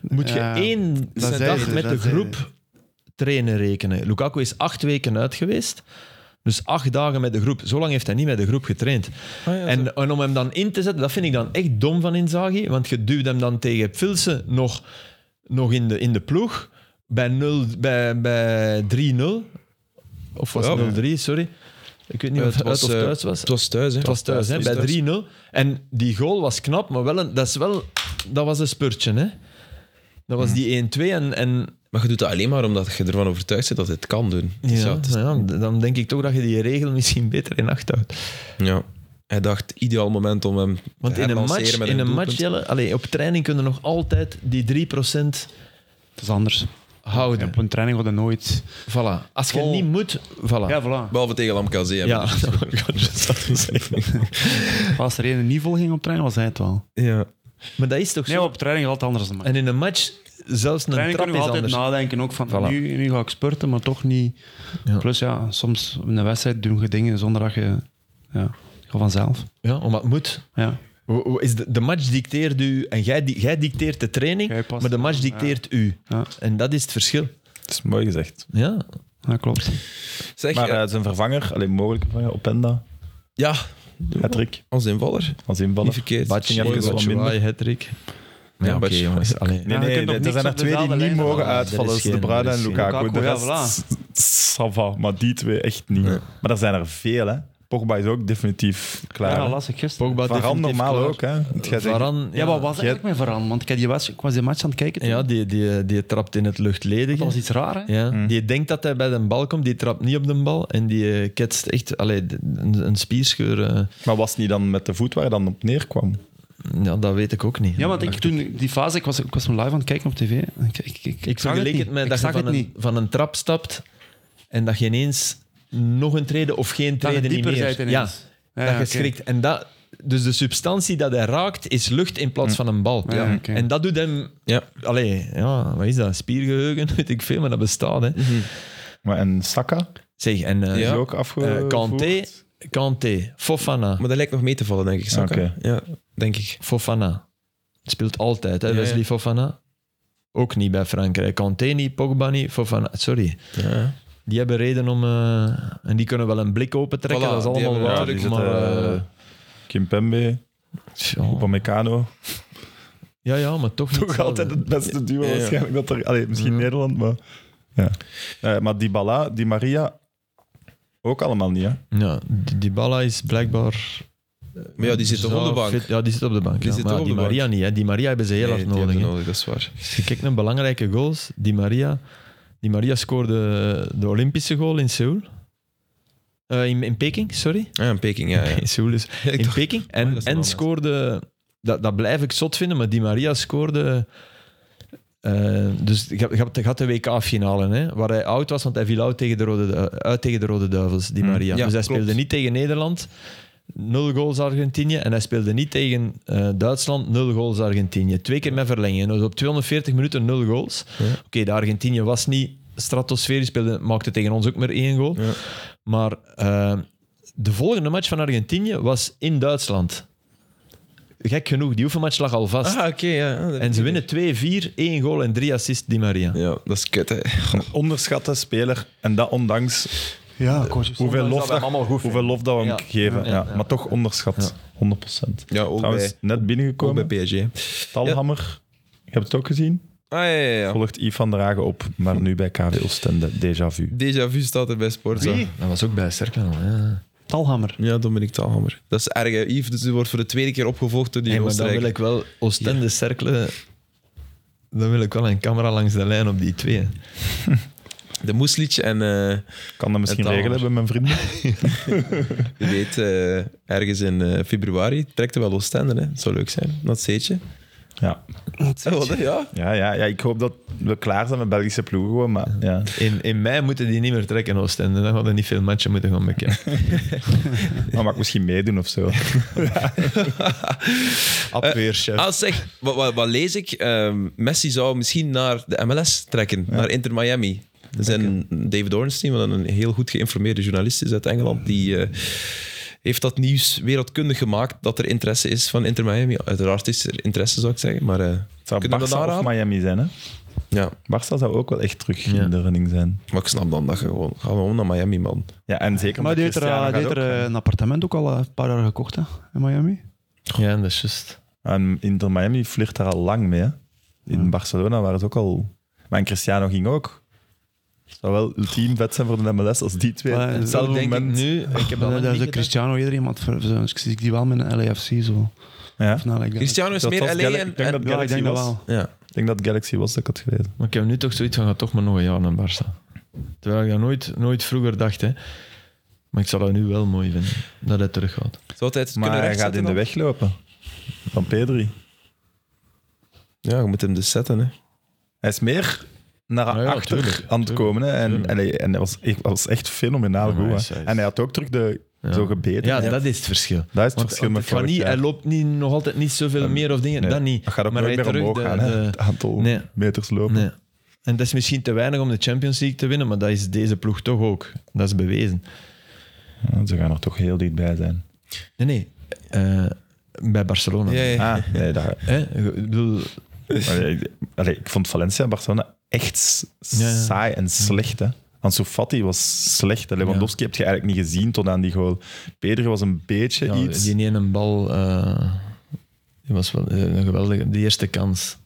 moet je Ja, één dat zeiden dag ze, met dat zeiden de groep trainen rekenen. Lukaku is acht weken uit geweest. Dus acht dagen met de groep. Zo lang heeft hij niet met de groep getraind. en, en om hem dan in te zetten, dat vind ik dan echt dom van Inzaghi. Want je duwt hem dan tegen Filsen nog, nog in, de, in de ploeg. Bij, 0, bij, bij 3-0. Of was Ja. het 0-3, sorry. Ik weet niet Eh, of het uit of eh, thuis was. Het was thuis, hè? Het was thuis, hè, bij 3-0. En die goal was knap, maar wel een, dat, is wel, dat was een spurtje. Hè. Dat was die 1-2 en, en Maar je doet dat alleen maar omdat je ervan overtuigd bent dat het kan doen. Het is- ja, ja, het is- nou ja, d- dan denk ik toch dat je die regel misschien beter in acht houdt. ja. Hij dacht, ideaal moment om hem Want te in een match, herlanceren met in een doelpunt. match Jelle, allee, op training kunnen nog altijd die 3% Het is anders. houden. Op een training wordt dat nooit... Voilà. Als je Vol- niet moet, voilà. Ja, voilà. Behalve tegen Lamkazé. hè. Oh. Ja, ik had het al gezegd. Als er een niet vol ging op training, was hij het wel. ja. maar dat is toch Nee, zo? op training altijd anders dan mij. En in een match, zelfs een Training trap kunnen is we altijd anders. nadenken ook van Voilà. nu, nu ga ik spurten, maar toch niet. Ja. Plus ja, soms in een wedstrijd doen je dingen zonder dat je... Ja, ga vanzelf. Ja, omdat het moet. Ja. Hoe- hoe Is de, de match dicteert u en jij, di- jij dicteert de training, Jij past maar de aan, match ja. dicteert u. Ja. En dat is het verschil. Dat is mooi gezegd. Ja, ja, klopt. Zeg, Maar eh, eh, zijn vervanger, alleen mogelijke vervanger, Openda, ja, Patrick, als invaller. als Niet invaller. verkeerd. Batje Mooi, even wat Batje. minder. Hattrick. Ja, Ja, oké Batje. jongens. Allee. Nee, Ja, je nee, kunt nee, nog er niks zijn er op twee die dezelfde niet lijn mogen hebben. uitvallen. Er Dat is is De geen- Bruyne er is en geen- Lukaku. De Lukaku, rest, ja, Sava. Maar die twee echt niet. Maar er zijn er veel, hè. Pogba is ook definitief klaar. Ja, hè. lastig gisteren. Pogba Varane definitief normaal klaar. ook, hè. Want jij zegt- Varane, Ja, wat was eigenlijk met Varane? Want ik, had die wedst- ik was die match aan het kijken. toen. Ja, die, die, die trapt in het luchtledige. Dat was iets raar, hè? Ja, die denkt dat hij bij de bal komt, die trapt niet op de bal en die eh, ketst echt allee, d- een, een spierscheur. eh, Maar was het niet dan met de voet waar je dan op neerkwam? ja, dat weet ik ook niet. Ja, want ik, toen die fase, ik was, ik was toen live aan het kijken op tv. Ik, ik, ik, Ik zag vergeleek niet. het met Ik dat je zag van het een, niet. van een trap stapt en dat je ineens nog een treden of geen Dat je treden niet dieper meer. zijt ineens. Ja, ja, dat oké. je schrikt. En dat, dus de substantie dat hij raakt is lucht in plaats van een bal. Ja, Ja. Hm. oké. En dat doet hem... Ja. Allee, ja, wat is dat? Spiergeheugen, weet ik veel, maar dat bestaat. Hè. Mhm. Maar en Saka Zeg, en eh, is Ja. ook afgevoerd. eh, Kanté, Kanté, Fofana, Maar dat lijkt nog mee te vallen, denk ik. Saka. Oké. Ja, denk ik. Fofana. Speelt altijd, hè, Ja, ja. Wesley Fofana. Ook niet bij Frankrijk. Kanté niet, Pogba niet, Fofana... Sorry. Ja. Die hebben reden om... eh, en die kunnen wel een blik open trekken, Voilà, dat is die allemaal hebben- ja, waar. die zitten, maar, eh, eh, Kim Pembe, tja. Upamecano. ja, ja, maar toch niet Toch hetzelfde. altijd het beste duo Ja, ja. waarschijnlijk dat er... Allee, misschien Ja. Nederland, maar... Ja. Eh, maar Dybala, Di Maria, ook allemaal niet, hè? Ja, die, die Balla is blijkbaar... Maar ja, die zit toch zo op de bank? fit- Ja, die zit op de bank. Die ja. zit Maar toch ja, op die de Maria niet, hè. Die Maria hebben ze heel Nee, hard die hebben nodig. ze hè. nodig, dat is waar. Als je kijkt naar belangrijke goals, Di Maria, Di Maria scoorde de Olympische goal in Seoul. Eh, in, in Peking, sorry. Ja, Ah, in Peking, ja. ja. In Seoul is. Ja, ik In dacht- Peking. Amai, En, dat is en normaal. scoorde. Dat, dat blijf ik zot vinden, maar Di Maria scoorde. eh, dus je hebt- je hebt- je had de WK-finale, hè, waar hij oud was, want hij viel uit tegen de Rode, Du- eh, uit tegen de Rode Duivels, Di Hmm, Maria. Mm, ja, dus hij klopt. speelde niet tegen Nederland, nul goals Argentinië. En hij speelde niet tegen eh, Duitsland, nul goals Argentinië. Twee keer met verlenging. Dus op 240 minuten nul goals. Ja. Oké, de Argentinië was niet stratosferisch, speelde, maakte tegen ons ook maar één goal. Ja. Maar eh, de volgende match van Argentinië was in Duitsland. Gek genoeg, die oefenmatch lag al vast. Ah, oké, ja. ja, dat en ze weet winnen 2-4, één goal en drie assists Di Maria. ik. Ja, dat is kut, hè. Onderschatte speler. En dat ondanks Ja, coach. hoeveel dat lof we dat, hem allemaal goed hoeveel lof dat we hem Ja. geven. Ja, Ja, ja. Maar toch onderschat. 100%. Ja, ook Trouwens, bij, net ook bij binnengekomen. PSG. Talhammer. Je hebt het ook gezien. Ah, ja, ja, ja. Volgt Yves van Dragen op, maar nu bij KV Oostende. Déjà vu. Déjà vu staat er bij Sportza. Dat was ook bij Sterkland. Ja. Talhammer. Ja, Dominic Taalhammer. Dat is erg, hè. Yves dus die wordt voor de tweede keer opgevolgd door die Hey, maar dan Oostenrijker. wil ik wel Oostende cerkelen. Dan wil ik wel een camera langs de lijn op die twee. hè. De Moeslic en... eh, Kan dat misschien Het regelen Talhammer. hebben, mijn vrienden? Wie weet, eh, ergens in eh, februari trekt er wel Oostende. Hè? Het zou leuk zijn, dat zeetje. Ja. ja. Ja, ja, ja, ik hoop dat we klaar zijn met Belgische ploegen. gewoon, Maar ja. In, in mei moeten die niet meer trekken, Oostende. Dan hadden niet veel matchen moeten gaan bekijken. Dan mag ik misschien meedoen of zo. Abweerchef. Ah, zeg, wat, wat, wat lees ik? Ehm, Messi zou misschien naar de MLS trekken, naar Inter Miami. Er zijn David Ornstein, wat een heel goed geïnformeerde journalist is uit Engeland, die eh, heeft dat nieuws wereldkundig gemaakt dat er interesse is van Inter Miami. Uiteraard is er interesse, zou ik zeggen. Maar eh Het zou kunnen we Barça dat of aanraden? Miami zijn, hè? Ja, Barça zou ook wel echt terug Ja. in de running zijn. maar ik snap dan dat je gewoon... Ga gewoon naar Miami, man. Ja, en zeker Maar die omdat heeft er, Cristiano eh, die gaat heeft er ook, eh, hè. een appartement ook al eh, een paar jaar gekocht hè, in Miami. Ja, dat is juist. En Inter Miami flirt daar al lang mee. Hè? In Ja. Barcelona waren ze ook al. Maar en Cristiano ging ook. Het zou wel ultiem vet zijn voor de MLS als die twee. Maar, op eh, hetzelfde denk ik moment. nu. Ik heb Dat, dat dat is ook Cristiano iedereen, want voor- voor- ik zie die wel met een LAFC zo. Ja. Of nou, ik denk- Cristiano is Dat meer was LA Gal- en... ik denk en- dat- Ja, ik denk dat was. wel. ja. Ik denk dat Galaxy was dat ik had gelezen. Maar ik heb nu toch zoiets van, ga toch maar nog een jaar naar Barça. Terwijl ik dat nooit, nooit vroeger dacht, hè. Maar ik zou dat nu wel mooi vinden, dat hij terug gaat. Zou hij het Maar kunnen hij gaat rechtzetten in de dan? weg lopen. Van Pedri. Ja, je moet hem dus zetten. Hè. Hij is meer naar Nou ja, achter tuurlijk, aan het tuurlijk, komen. Hè? En, tuurlijk. en, hij, en hij was, echt- was echt fenomenaal Ja, maar goed. hij hè. is- hij is- En hij had ook terug de, Ja. zo gebeten. Ja, Ja. dat is het verschil. Dat is het Want, verschil want met het gaat vorig niet, jaar. Ehm, hij loopt niet, nog altijd niet zoveel meer of dingen, Nee, dat niet. Dat gaat ook maar nooit hij meer terug omhoog de- gaan. hè. de- Het aantal Nee. meters lopen. nee. En dat is misschien te weinig om de Champions League te winnen, maar dat is deze ploeg toch ook. Dat is bewezen. Ja, Ze gaan er toch heel dichtbij zijn. Nee, nee. eh, bij Barcelona. Ja, ja. Ah, nee, daar, Hè? Ik bedoel, Allee, ik- allee, ik vond Valencia en Barcelona echt s- Ja, ja. saai en slecht. Hè. Ansu Fati was slecht. hè. Lewandowski heb je eigenlijk niet gezien tot aan die goal. Pedri was een beetje Ja, iets. Die ene bal eh, die was wel eh, een geweldige, de eerste kans.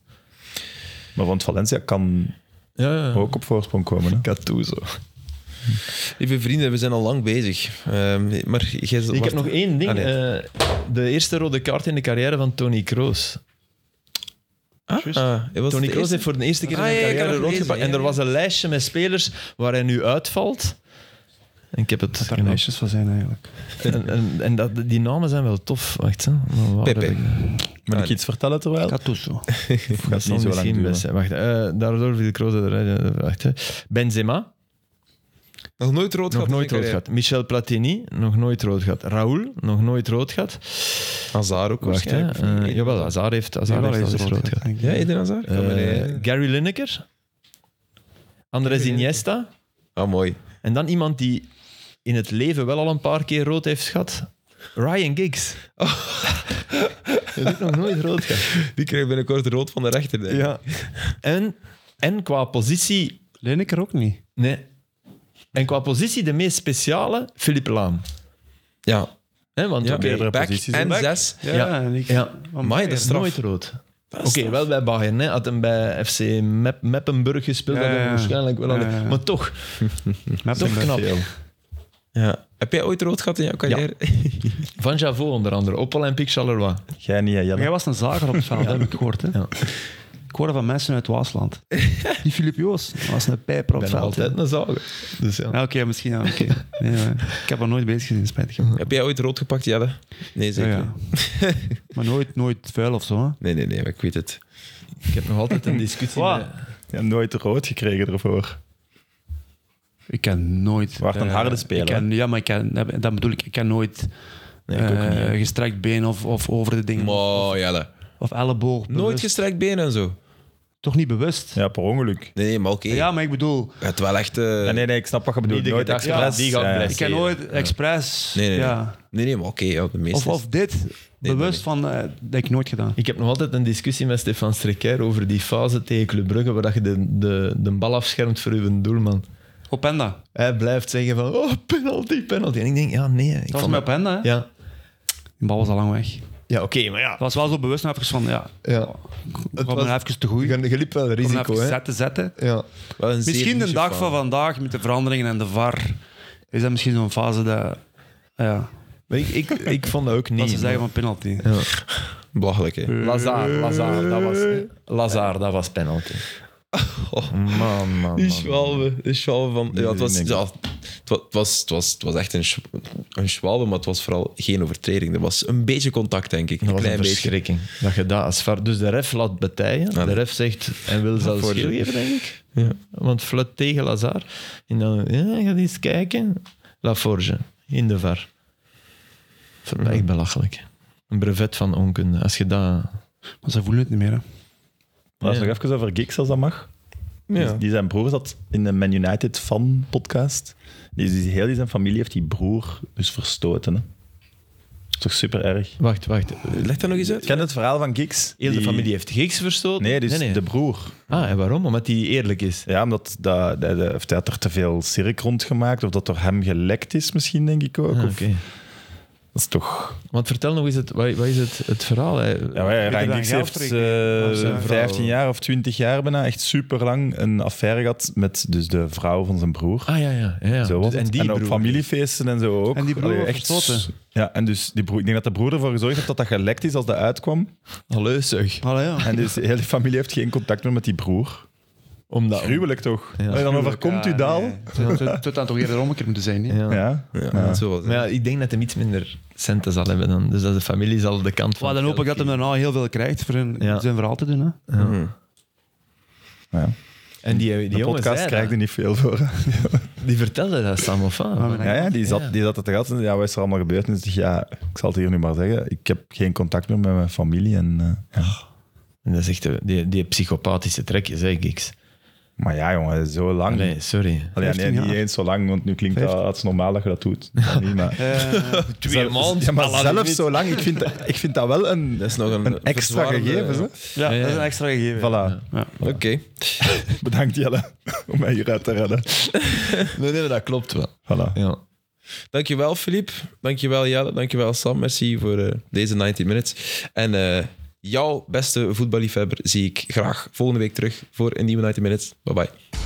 Maar want Valencia kan Ja, ja. ook op voorsprong komen. Hè. Gattuso. Lieve vrienden, we zijn al lang bezig. Ehm, maar jij Ik heb wacht. nog één ding. Ah, nee. eh, de eerste rode kaart in de carrière van Tony Kroos. Ah, was Tony het Kroos eerste? heeft voor de eerste keer Ah, in ja, zijn ja, ik carrière had het rood gelezen, gepakt. En ja, er ja. was een lijstje met spelers waar hij nu uitvalt. En ik heb het... Dat er meisjes van zijn eigenlijk. En, en, en dat, die namen zijn wel tof. Wacht, hè. Maar waar Pepe. heb Oh, ik- Moet Ah, ik iets vertellen terwijl? Gattuso. Of gaat het Dat zal niet zo lang misschien duren? best zijn. Wacht, eh, daardoor viel Kroos eruit. Wacht, hè. Benzema. Nog nooit rood Nog gehad? nooit rood gehad. Michel Platini, nog nooit rood gehad. Raoul, nog nooit rood gehad. Hazard ook Wacht, hè. waarschijnlijk. Eh jawel, Hazard heeft, Hazard Daar heeft is al eens rood gehad. denk ik. Ja, Eden Hazard? Ja, maar nee. Eh, Gary Lineker. Andres Iniesta. Ah, mooi. En dan iemand die in het leven wel al een paar keer rood heeft gehad. Ryan Giggs. Dat is nog nooit rood gehad. Die kreeg binnenkort rood van de rechter. denk ik. Ja. En, en qua positie... Lineker ook niet. Nee. En qua positie de meest speciale, Philippe Laam. ja. Hè, want Ja, oké, meerdere back posities, en hè? zes. Ja, Ja. en ik- Ja. Oh, Amai, dat is dat is straf. nooit rood. Oké, wel bij Bayern. Hè. Had hem bij FC Mep- Meppenburg gespeeld, Ja, had hem ja, ja. waarschijnlijk wel aan de- Ja, ja, ja. Maar toch, maar toch knap. Ja. Heb jij ooit rood gehad in jouw carrière? Van Javot onder andere, op Olympique Charleroi. Jij niet, hè, Jelle. Jij was een zager op het veld, heb ik gehoord. Hè? Ja. Ik hoorde van mensen uit Waasland. Die Filip Joos dat was een pijper op Ik het ben veld. nog hè. altijd een zager. Dus ja. Ja, Oké, misschien. Ja, oké. Nee, maar ik heb hem nooit bezig gezien, spijtig. Heb jij ooit rood gepakt, Jelle? Nee, Ja, zeker ja. Maar nooit, nooit vuil of zo. Hè? Nee, nee, nee, maar ik weet het. Ik heb nog altijd een discussie Wow. met... Je hebt nooit rood gekregen ervoor. Ik ken nooit. Je was een eh, harde speler, ik ken- ja, maar ik ken, dat bedoel ik. Ik ken nooit ik ook eh, niet, hè. gestrekt been of, of over de dingen. Maar Jelle, Of elleboog. nooit bewust. gestrekt been en zo. Toch niet bewust? Ja, per ongeluk. Nee, nee, maar oké. Ja, maar ik bedoel, Het wel echt. eh, Nee, nee, nee, ik snap wat je bedoelt. de Nooit gedachte, expres. ja, die gaat Ja, ja. blijven. ik ken Zie je. nooit expres. nee, nee, nee. ja. Nee, nee, maar oké. ja, de meeste. Of, of dit, nee, bewust van, eh, dat heb ik nooit gedaan. Ik heb nog altijd een discussie met Stefan Strekker over die fase tegen Club Brugge waar dat je de, de, de bal afschermt voor uw doelman. Openda. Dat Hij blijft zeggen van, oh, penalty, penalty. En ik denk, ja, nee. Ik was vond met Openda, hè? Ja, Die bal was al lang weg. ja oké, maar ja. Het was wel zo bewust en even van, ja, ja. ik kwam was- er even te goed. Ik Je, je liep wel kwam er risico, even hè. zetten, zetten. Ja. Wel een zeer Misschien de niche dag fan. van vandaag met de veranderingen en de VAR, is dat misschien zo'n fase dat, ja, Maar ik, ik, ik vond dat ook dat ze niet. zeggen van penalty. Ja. Belachelijk, hè? Lazar, Lazar, dat was, Lazar, dat was penalty. Man, man, Die man. schwalbe, die schwalbe van... Ja, het, was, nee, nee. ja, het, wa- het was, het, was, het was echt een, sch- een schwalbe, maar het was vooral geen overtreding. Er was een beetje contact, denk ik. Een Dat was klein een beetje. verschrikking. Dat je dat als var- Dus de ref laat betijen. Ja. de ref zegt en wil zelfs voor- geel geven, denk ik. Ja. Want flut tegen Lazar. En dan ja, gaat eens kijken. Laforge in de var. Voor mij echt belachelijk. Een brevet van onkunde. Als je dat... Maar ze voelen het niet meer, hè. Maar Ja. nog even over Giggs, als dat mag. Ja. Die, Dus die zijn broer zat in de Man United fan podcast. Dus die, heel die zijn familie heeft die broer dus verstoten. Hè. Dat is toch super erg. Wacht, wacht. Leg dat nog eens uit. Ken je het verhaal van Giggs? Heel de Die- familie heeft Giks verstoten? Nee, dus de broer. Ah, en waarom? Omdat hij eerlijk is. Ja, omdat dat, dat, dat- of hij had er te veel cirk rondgemaakt. Of dat door hem gelekt is misschien, denk ik ook. Ah, Of- Oké. Dat is toch... Want vertel nog eens, het, wat, wat is het, het verhaal? Hè? Ja, maar ja, Weet je Ryan dat Giggs geld heeft terug? eh, Of zijn vrouw? 15 jaar of 20 jaar bijna echt super lang een affaire gehad met dus de vrouw van zijn broer. Ah ja, ja. ja, ja. Zo was Dus- het. en, die op broer. familiefeesten en zo ook. En die broer Allee, wordt verstoten. Ja, en dus die broer, ik denk dat de broer ervoor gezorgd heeft dat dat gelekt is als dat uitkwam. Allee, zeg. Allee, ja. En dus de hele familie heeft geen contact meer met die broer. Omdat, Gruwelijk toch? Allee, dan overkomt Ah, u eh, daal. Tot aan toch eerder om een keer moeten zijn, hè. Ja. Ja. Ja, Ja. Zo was het. Maar ja, ik denk dat hij iets minder centen zal hebben dan. Dus dat de familie zal de kant van. Maar dan hoop ik dat hij daarna heel veel krijgt voor hun- Ja. zijn verhaal te doen, hè. Mhm. Ja. En die, die De jongen podcast zei krijgt er dat. niet veel voor. die vertelde dat Samofa. Maar we Ja, ja, die Ja. zat, die zat er te gast en zei, ja, wat is er allemaal gebeurd? En ik dacht, ja, ik zal het hier nu maar zeggen. Ik heb geen contact meer met mijn familie. En, eh, ja. En dat is echt eh, die, die psychopathische trekjes, hè, Giks. Maar ja, jongen, zo lang. Nee, sorry. Allee, nee, 15 jaar. niet eens zo lang, want nu klinkt dat als normaal dat je dat doet. Dat niet, maar... Eh, Twee maanden. Ja, maar zelf zo lang, ik vind dat, ik vind dat wel een, Dat is nog een, een extra verzwarende- gegeven. Zo. ja, dat is een extra gegeven. Voilà. Oké. Bedankt Jelle om mij hieruit te redden. Nee, nee, dat klopt wel. Voilà. Ja. Dankjewel, Filip. Dankjewel, Jelle. Dankjewel, Sam. Merci voor eh, deze 90 minutes. En eh, jouw beste voetballiefhebber zie ik graag volgende week terug voor een nieuwe 90 minutes. Bye bye.